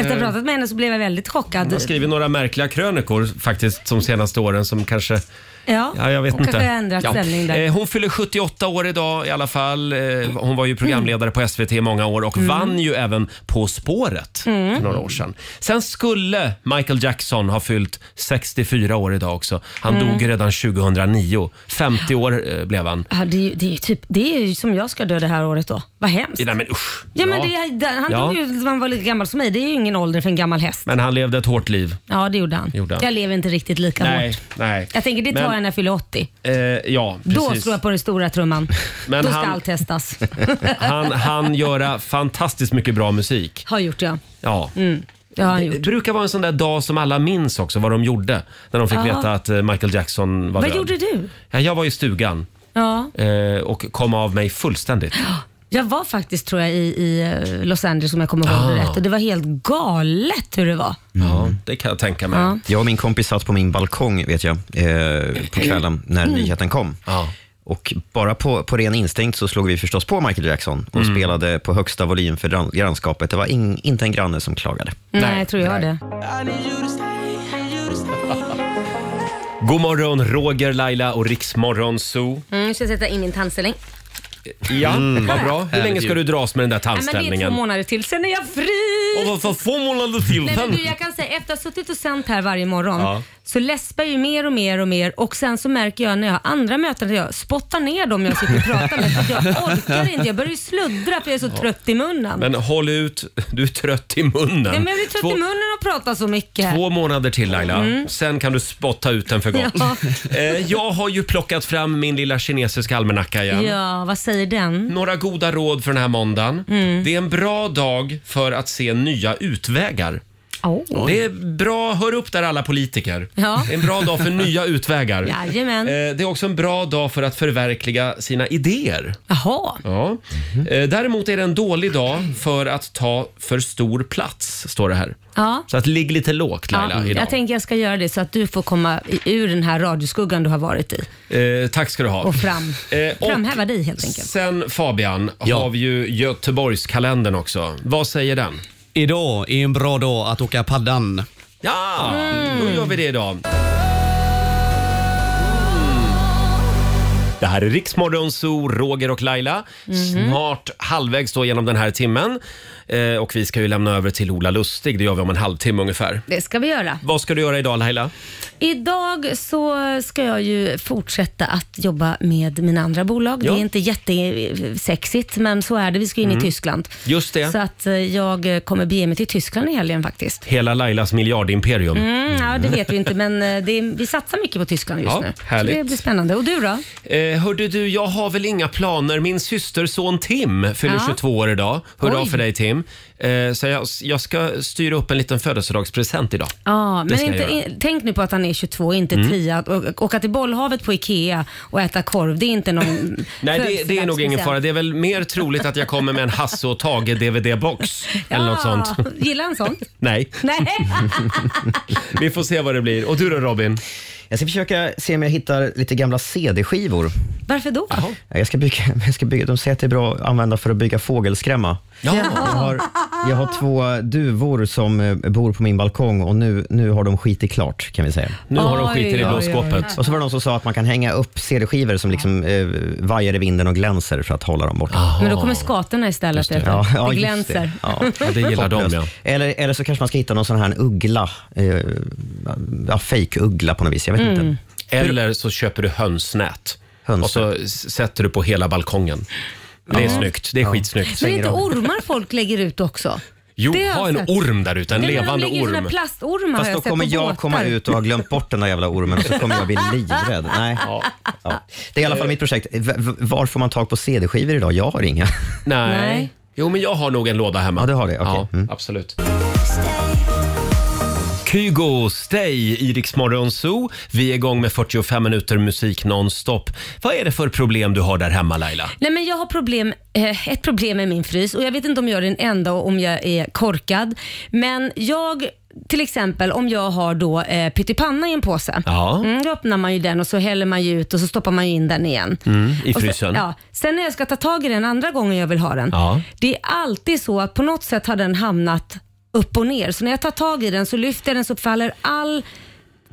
Speaker 2: Efter att
Speaker 1: Eh.
Speaker 2: ha pratat med henne så blev jag väldigt chockad.
Speaker 1: Hon har skrivit några märkliga krönikor faktiskt de senaste åren som kanske
Speaker 2: Ja,
Speaker 1: Ja, jag vet
Speaker 2: hon
Speaker 1: inte.
Speaker 2: kanske har ändrat
Speaker 1: ja.
Speaker 2: ställning där.
Speaker 1: Eh, Hon fyller 78 år idag i alla fall. Eh, Hon var ju programledare på SVT i många år och
Speaker 2: Mm.
Speaker 1: vann ju även På spåret
Speaker 2: Mm.
Speaker 1: för några år sedan. Sen skulle Michael Jackson ha fyllt 64 år idag också. Han
Speaker 2: Mm.
Speaker 1: dog redan 2009. 50 år eh, blev han.
Speaker 2: Ja, det, är ju, det, är ju typ, det är ju som jag ska dö det här året då. Vad hemskt.
Speaker 1: Nej, men usch.
Speaker 2: Ja, men det, är- det- han
Speaker 1: Ja.
Speaker 2: dog ju när han var lika gammal som mig. Det är ju ingen ålder för en gammal häst.
Speaker 1: Men han levde ett hårt liv.
Speaker 2: Ja, det gjorde han.
Speaker 1: Gjorde han.
Speaker 2: Jag lever inte riktigt lika
Speaker 1: Nej,
Speaker 2: hårt.
Speaker 1: nej.
Speaker 2: Jag tänker det tar
Speaker 1: Men-
Speaker 2: jag när jag fyller 80.
Speaker 1: Eh, ja,
Speaker 2: Då
Speaker 1: precis.
Speaker 2: slår jag på den stora trumman.
Speaker 1: Men
Speaker 2: Då ska
Speaker 1: han-
Speaker 2: allt testas.
Speaker 1: Han han göra fantastiskt mycket bra musik.
Speaker 2: Har gjort ja.
Speaker 1: Ja.
Speaker 2: Mm. Det har han
Speaker 1: Det
Speaker 2: gjort.
Speaker 1: brukar vara en sån där dag som alla minns också vad de gjorde när de fick
Speaker 2: Ja.
Speaker 1: veta att eh, Michael Jackson var
Speaker 2: Vad
Speaker 1: död.
Speaker 2: gjorde du?
Speaker 1: Ja, jag var i stugan
Speaker 2: Ja.
Speaker 1: eh, och kom av mig fullständigt.
Speaker 2: Jag var faktiskt tror jag i, i eh, Los Angeles om jag kommer ihåg det
Speaker 1: Ah.
Speaker 2: rätt och det var helt galet hur det var.
Speaker 1: Ja, det kan jag tänka mig.
Speaker 2: Ja.
Speaker 8: Jag och min kompis satt på min balkong vet jag, eh, på kvällen när
Speaker 2: Mm.
Speaker 8: nyheten kom. Och bara på, på ren instinkt så slog vi förstås på Michael Jackson och spelade på högsta volym för gran- grannskapet. Det var in, inte en granne som klagade.
Speaker 2: Nej, jag tror jag det.
Speaker 1: God morgon, Roger, Laila och Riksmorgon Zoo.
Speaker 2: Mm, ska jag sätta in min tandställning?
Speaker 1: Ja,
Speaker 2: Mm.
Speaker 1: vad bra. Hur länge ska du dras med den där
Speaker 2: Nej, men det är
Speaker 1: tandställningen?
Speaker 2: två månader till, sen är jag fri!
Speaker 1: Och varför får månader till
Speaker 2: Nej, men
Speaker 1: sen?
Speaker 2: du, jag kan säga, efter att ha suttit och sänt här varje morgon
Speaker 1: Ja.
Speaker 2: så läspar jag ju mer och mer och mer och sen så märker jag när jag har andra möten att jag spottar ner dem jag sitter och pratar med. för att Jag orkar inte, jag börjar ju sluddra för jag är så trött i munnen.
Speaker 1: Men håll ut, du är trött i munnen.
Speaker 2: Nej, men jag blir trött
Speaker 1: Två-
Speaker 2: i munnen och pratar så mycket.
Speaker 1: Två månader till Laila,
Speaker 2: Mm.
Speaker 1: sen kan du spotta ut den för gott.
Speaker 2: Ja.
Speaker 1: Eh, jag har ju plockat fram min lilla kinesiska almanacka igen.
Speaker 2: Ja, vad säger den?
Speaker 1: Några goda råd för den här måndagen.
Speaker 2: Mm.
Speaker 1: Det är en bra dag för att se nya utvägar.
Speaker 2: Oh.
Speaker 1: Det är bra, hör upp där alla politiker.
Speaker 2: Ja.
Speaker 1: Det är en bra dag för nya utvägar.
Speaker 2: Jajamän.
Speaker 1: Eh, Det är också en bra dag för att förverkliga sina idéer.
Speaker 2: Jaha.
Speaker 1: Ja.
Speaker 2: Mhm.
Speaker 1: Eh, Däremot är det en dålig dag för att ta för stor plats, står det här.
Speaker 2: Ja.
Speaker 1: Så att ligg lite lågt Laila
Speaker 2: ja,
Speaker 1: idag.
Speaker 2: jag tänker jag ska göra det så att du får komma i- ur den här radioskuggan du har varit i
Speaker 1: Eh, tack ska du ha.
Speaker 2: och fram,
Speaker 1: Eh, och
Speaker 2: framhäva dig helt enkelt.
Speaker 1: Sen Fabian har vi ju Göteborgskalendern också. Vad säger den?
Speaker 10: Idag är en bra dag att åka paddan.
Speaker 1: Ja,
Speaker 2: Mm.
Speaker 1: då gör vi det idag. Det här är Riksmorgon Zoo, Roger och Laila.
Speaker 2: Mhm.
Speaker 1: Snart halvvägs då genom den här timmen. Eh, och vi ska ju lämna över till Ola Lustig. Det gör vi om en halvtimme ungefär.
Speaker 2: Det ska vi göra.
Speaker 1: Vad ska du göra idag Laila?
Speaker 2: Idag så ska jag ju fortsätta att jobba med mina andra bolag.
Speaker 1: Ja.
Speaker 2: Det är inte jättesexigt, men så är det. Vi ska in
Speaker 1: Mm.
Speaker 2: i Tyskland.
Speaker 1: Just det.
Speaker 2: Så att eh, jag kommer bege mig till Tyskland i helgen faktiskt.
Speaker 1: Hela Lailas miljardimperium.
Speaker 2: Mm, ja, det vet vi inte, men eh, det är, vi satsar mycket på Tyskland just
Speaker 1: Ja,
Speaker 2: nu.
Speaker 1: härligt.
Speaker 2: Så det blir spännande. Och du då?
Speaker 1: Eh, hörde du, jag har väl inga planer. Min systerson Tim fyller
Speaker 2: Ja.
Speaker 1: 22 år idag. Hurra
Speaker 2: Oj.
Speaker 1: för dig Tim. Eh, så jag, jag ska styra upp en liten födelsedagspresent idag.
Speaker 2: Ja,
Speaker 1: Det
Speaker 2: men
Speaker 1: ska jag
Speaker 2: inte,
Speaker 1: göra.
Speaker 2: in, tänk nu på att han är 22, inte
Speaker 1: Mm.
Speaker 2: 10. Att å- Åka till bollhavet på IKEA och äta korv, det är inte någon
Speaker 1: Nej, det, det är nog ingen
Speaker 2: födelsedagspresent.
Speaker 1: fara. Det är väl mer troligt att jag kommer med en Hasse och Tage DVD-box eller något sånt.
Speaker 2: Ja, Gillar han sånt?
Speaker 1: Nej,
Speaker 2: Nej.
Speaker 1: vi får se vad det blir. Och du då Robin?
Speaker 8: Jag ska försöka se om jag hittar lite gamla CD-skivor.
Speaker 2: Varför då?
Speaker 8: Ja, Jag ska bygga, jag ska bygga, de säger att det är bra att använda för att bygga fågelskrämma.
Speaker 1: Ja.
Speaker 8: Jag, har, jag har två duvor som eh, bor på min balkong och nu, nu har de skitit klart kan vi säga.
Speaker 1: Nu har de Oj, skitit i oj, blåskåpet. oj.
Speaker 8: Och så var det någon som sa att man kan hänga upp CD-skivor som liksom eh, vajar i vinden och glänser för att hålla dem borta.
Speaker 2: Men då kommer skatorna istället. Det.
Speaker 8: Ja, ja,
Speaker 2: det
Speaker 8: just
Speaker 2: Ah, glänser.
Speaker 8: Det. Ja.
Speaker 1: det gillar de,
Speaker 8: Hopplöst. Eller, eller så kanske man ska hitta någon sån här uggla, eh, ja, fake-uggla på något vis. Jag vet
Speaker 1: Mm.
Speaker 8: inte.
Speaker 1: Eller så köper du hönsnät. Och så s- sätter du på hela balkongen. Det är
Speaker 2: Ja.
Speaker 1: snyggt. Det är skitsnyggt.
Speaker 2: Men det är inte ormar folk lägger ut också?
Speaker 1: Jo,
Speaker 2: Det har
Speaker 1: ha
Speaker 2: jag
Speaker 1: en
Speaker 2: sett.
Speaker 1: orm där ute. En
Speaker 2: Nej, men
Speaker 1: levande
Speaker 2: de lägger ju såna
Speaker 1: orm.
Speaker 2: plastormar har
Speaker 8: Fast
Speaker 2: jag
Speaker 8: då
Speaker 2: sett
Speaker 8: kommer
Speaker 2: på
Speaker 8: jag
Speaker 2: båtar.
Speaker 8: komma ut och ha glömt bort den där jävla ormen och så kommer jag bli livrädd. Nej.
Speaker 1: Ja.
Speaker 8: Det är i alla fall mitt projekt. V- v- Var får man tag på CD-skivor idag? Jag har inga.
Speaker 1: Nej.
Speaker 8: Nej.
Speaker 1: Jo, men jag har nog en låda hemma. Ja, du har det. Mm. Ja, absolut. Kygo, Stay i Rix Morgon Zoo. Vi är igång med 45 minuter musik nonstop. Vad är det för problem du har där hemma Laila?
Speaker 2: Nej, men jag har problem, eh, ett problem med min frys och jag vet inte om jag är den enda och om jag är korkad. Men jag, till exempel om jag har då eh, pyttipanna i en påse.
Speaker 1: Ja.
Speaker 2: Mm, då öppnar man ju den och så häller man ju ut och så stoppar man ju in den igen.
Speaker 1: Mm, i
Speaker 2: Och
Speaker 1: frysen.
Speaker 2: Sen, ja. sen när jag ska ta tag i den andra gången jag vill ha den.
Speaker 1: Ja.
Speaker 2: Det är alltid så att på något sätt har den hamnat upp och ner. Så när jag tar tag i den så lyfter jag den så faller all,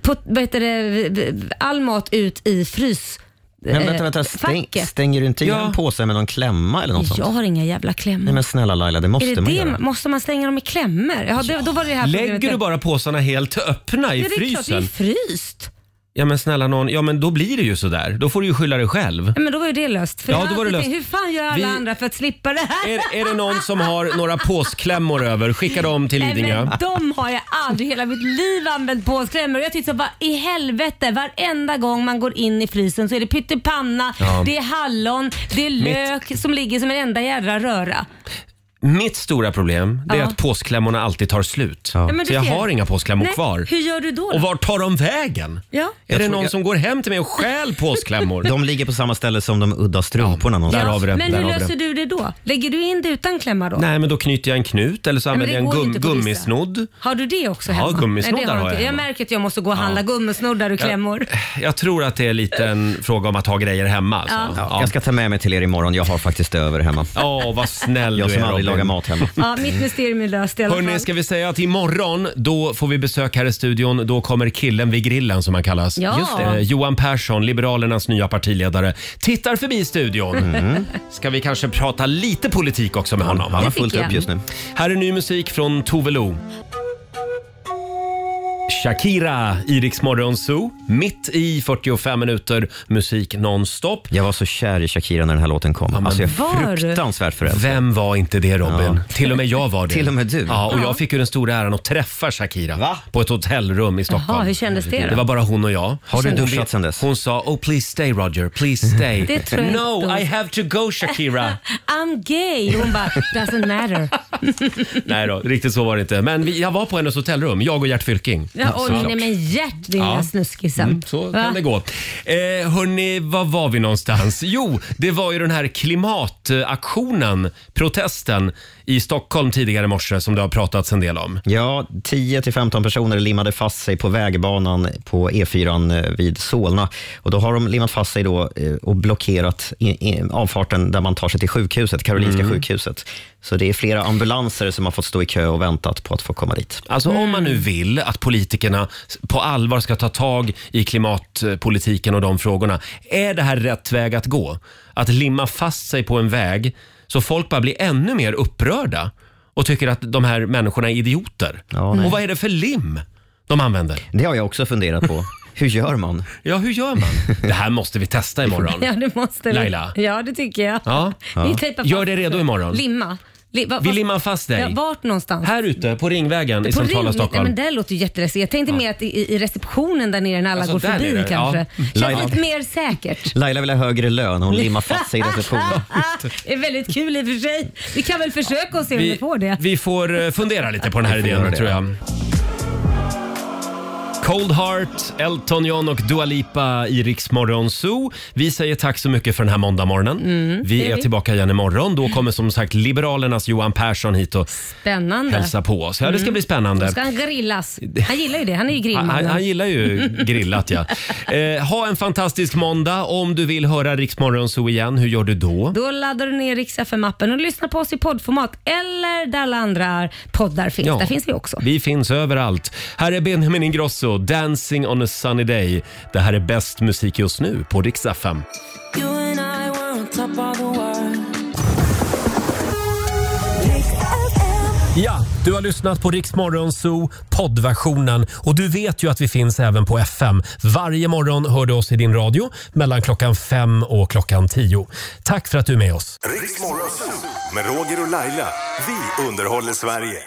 Speaker 2: put, vad heter det, all mat ut i frys.
Speaker 8: Men
Speaker 2: eh,
Speaker 8: vänta, vänta. Stäng,
Speaker 2: facket.
Speaker 8: stänger du inte igen
Speaker 2: Ja.
Speaker 8: påsen med någon klämma eller något sånt?
Speaker 2: Jag har inga jävla klämmor.
Speaker 8: Nej men snälla Laila, det måste
Speaker 2: är det
Speaker 8: man
Speaker 2: det?
Speaker 8: göra.
Speaker 2: Måste man stänga dem i klämmor? Ja, det, då var det det här
Speaker 1: Lägger du bara påsarna helt öppna i
Speaker 2: ja, det är klart, det är
Speaker 1: frysen?
Speaker 2: fryst.
Speaker 1: Ja men snälla någon, ja men då blir det ju sådär. Då får du ju skylla dig själv.
Speaker 2: Ja, men då var ju det löst. För
Speaker 1: Ja,
Speaker 2: jag
Speaker 1: då var det
Speaker 2: alltid
Speaker 1: löst.
Speaker 2: tänkt, Hur fan gör alla
Speaker 1: Vi-
Speaker 2: andra för att slippa det här?
Speaker 1: Är, är det någon som har några påsklämmor över, skicka dem till
Speaker 2: Nej,
Speaker 1: Lidingö.
Speaker 2: men de har jag aldrig hela mitt liv använt påsklämmor. Jag tyckte så bara i helvete, varenda gång man går in i frysen så är det pyttipanna,
Speaker 1: Ja.
Speaker 2: det är hallon, det är lök som ligger som en enda jädra röra.
Speaker 1: Mitt stora problem det är
Speaker 2: Ja.
Speaker 1: att påskklämmorna alltid tar slut.
Speaker 2: Ja, men
Speaker 1: Så
Speaker 2: du
Speaker 1: jag
Speaker 2: ser.
Speaker 1: har inga påsklämmor
Speaker 2: Nej,
Speaker 1: kvar.
Speaker 2: Hur gör du då? då?
Speaker 1: Och var tar de vägen?
Speaker 2: Ja.
Speaker 1: Är det någon som går hem till mig och stjäl påsklämmor?
Speaker 8: De ligger på samma ställe som de udda strumporna någonstans.
Speaker 1: där har vi det.
Speaker 2: Men
Speaker 1: där
Speaker 2: hur
Speaker 1: har vi
Speaker 2: löser
Speaker 1: det.
Speaker 2: du det då? Lägger du in det utan klämma då?
Speaker 1: Nej, men då knyter jag en knut eller så
Speaker 2: Nej, men
Speaker 1: använder
Speaker 2: det
Speaker 1: jag en
Speaker 2: går ju
Speaker 1: gum-
Speaker 2: inte på vissa.
Speaker 1: gummisnodd.
Speaker 2: Har du det också
Speaker 1: Ja,
Speaker 2: hemma?
Speaker 1: gummisnoddar
Speaker 2: Nej, det
Speaker 1: har jag
Speaker 2: inte. Jag
Speaker 1: hemma.
Speaker 2: märker att jag måste gå och handla gummisnoddar och
Speaker 1: Ja.
Speaker 2: klämmor.
Speaker 1: Jag tror att det är lite en fråga om att ha grejer hemma. Alltså.
Speaker 2: Ja.
Speaker 8: Ja, Jag ska ta med mig till er imorgon. Jag har faktiskt det över hemma.
Speaker 1: Åh, vad snäll
Speaker 8: Jag
Speaker 1: du är,
Speaker 8: som aldrig
Speaker 1: Robin.
Speaker 8: lagar mat hemma.
Speaker 2: Ja, mitt mysterium är löst i alla fall.
Speaker 1: Hörni, ska vi säga att imorgon då får vi besök här i studion. Då kommer killen vid grillen som han kallas.
Speaker 2: Ja. Just det.
Speaker 1: Eh, Johan Persson, Liberalernas nya partiledare, tittar förbi studion.
Speaker 2: Mm.
Speaker 1: Ska vi kanske prata lite politik också med honom? va?
Speaker 2: Det tycker jag.
Speaker 1: Här är ny musik från Tove Lo. Shakira, Iriks Zoo, mitt i 45 minuter musik nonstop.
Speaker 8: Jag var så kär i Shakira när den här låten kom. alltså jag
Speaker 1: Var
Speaker 8: är
Speaker 1: du?
Speaker 8: fruktansvärt förälskad.
Speaker 1: Vem var inte det Robin? Till och med jag var det.
Speaker 8: Till och med du.
Speaker 1: Ja, och
Speaker 8: Ja.
Speaker 1: jag fick ju den stora äran att träffa Shakira på ett hotellrum i Stockholm.
Speaker 2: Jaha, hur kändes det då?
Speaker 1: Det var bara hon och jag.
Speaker 8: Har du
Speaker 1: Hon-
Speaker 8: duschat sen dess?
Speaker 1: Hon sa “Oh please stay Roger, please stay”.
Speaker 2: Det tror jag
Speaker 1: no,
Speaker 2: inte hon-
Speaker 1: I have to go Shakira.
Speaker 2: I'm gay. Hon bara, doesn't matter.
Speaker 1: nej då, riktigt så var det inte. Men vi, jag var på hennes hotellrum, jag och Gert Fylking.
Speaker 2: Ja,
Speaker 1: Såklart.
Speaker 2: oj, nej men Gert din
Speaker 1: Ja.
Speaker 2: lilla snuskisen.
Speaker 1: Mm, så
Speaker 2: Va?
Speaker 1: kan det gå. Eh, hörni, var var vi någonstans? Jo, det var ju den här klimataktionen, protesten i Stockholm tidigare i morse som det har pratats en del om.
Speaker 8: Ja, 10-15 personer limmade fast sig på vägbanan på E4 vid Solna. Och då har de limmat fast sig då eh, och blockerat i- i- avfarten där man tar sig till sjukhuset, Karolinska
Speaker 1: Mm.
Speaker 8: sjukhuset. Så det är flera ambulanser som har fått stå i kö och väntat på att få komma dit.
Speaker 1: Alltså om man nu vill att politikerna på allvar ska ta tag i klimatpolitiken och de frågorna. Är det här rätt väg att gå? Att limma fast sig på en väg så folk bara blir ännu mer upprörda och tycker att de här människorna är idioter.
Speaker 8: nej.
Speaker 1: och vad är det för lim de använder?
Speaker 8: Det har jag också funderat på. Hur gör man?
Speaker 1: Ja, hur gör man? Det här måste vi testa imorgon.
Speaker 2: Ja, det måste vi.
Speaker 1: Laila?
Speaker 2: Ja, det tycker jag.
Speaker 1: Ja.
Speaker 2: Vi tejpar fast-
Speaker 1: Gör dig redo imorgon.
Speaker 2: Limma. Li- va-
Speaker 1: Vi
Speaker 2: va-
Speaker 1: limmar fast dig.
Speaker 2: Ja, vart någonstans?
Speaker 1: Här ute på Ringvägen i
Speaker 2: På
Speaker 1: centrala
Speaker 2: ring-
Speaker 1: Stockholm.
Speaker 2: Nej, men det låter ju jätteläskigt. Jag tänkte mer att i, i receptionen där nere när alla
Speaker 8: Alltså,
Speaker 2: går
Speaker 8: där är
Speaker 2: förbi
Speaker 8: det.
Speaker 2: kanske.
Speaker 8: Ja.
Speaker 2: Känns
Speaker 8: Laila-
Speaker 2: lite mer säkert.
Speaker 8: Laila vill ha högre lön och hon limmar fast sig i receptionen.
Speaker 2: det är väldigt kul i och för sig. Vi kan väl försöka och se om vi
Speaker 1: Vi,
Speaker 2: får det.
Speaker 1: vi får eh, fundera lite på den här
Speaker 8: Vi får göra
Speaker 1: idén
Speaker 8: det.
Speaker 1: tror jag. Cold Heart, Elton John och Dua Lipa i Rix Morgon Zoo. Vi säger tack så mycket för den här måndagmorgonen.
Speaker 2: Mm, det
Speaker 1: vi
Speaker 2: gör
Speaker 1: är
Speaker 2: vi.
Speaker 1: tillbaka igen imorgon. Då kommer som sagt Liberalernas Johan Persson hit och
Speaker 2: Spännande.
Speaker 1: hälsa på oss. Ja, det ska
Speaker 2: Mm.
Speaker 1: bli spännande.
Speaker 2: Då ska han grillas. Han gillar ju det. Han är ju
Speaker 1: Han,
Speaker 2: grillmannen.
Speaker 1: han, han gillar ju grillat ja. Eh, ha en fantastisk måndag. Om du vill höra Rix Morgon Zoo igen, hur gör du då?
Speaker 2: Då laddar du ner Rix FM-appen och lyssnar på oss i poddformat eller där alla andra poddar finns.
Speaker 1: Ja.
Speaker 2: Där finns vi också.
Speaker 1: Vi finns överallt. Här är Benjamin Ingrosso, Dancing on a sunny day. Det här är bäst musik just nu på Rix FM.
Speaker 6: You and I were on top of the world.
Speaker 1: Ja, du har lyssnat på Rix Morgon Zoo poddversionen och du vet ju att vi finns även på FM. Varje morgon hör du oss i din radio mellan klockan fem och klockan tio. Tack för att du är med oss.
Speaker 15: Riks Morgonzoo med Roger och Laila. Vi underhåller Sverige.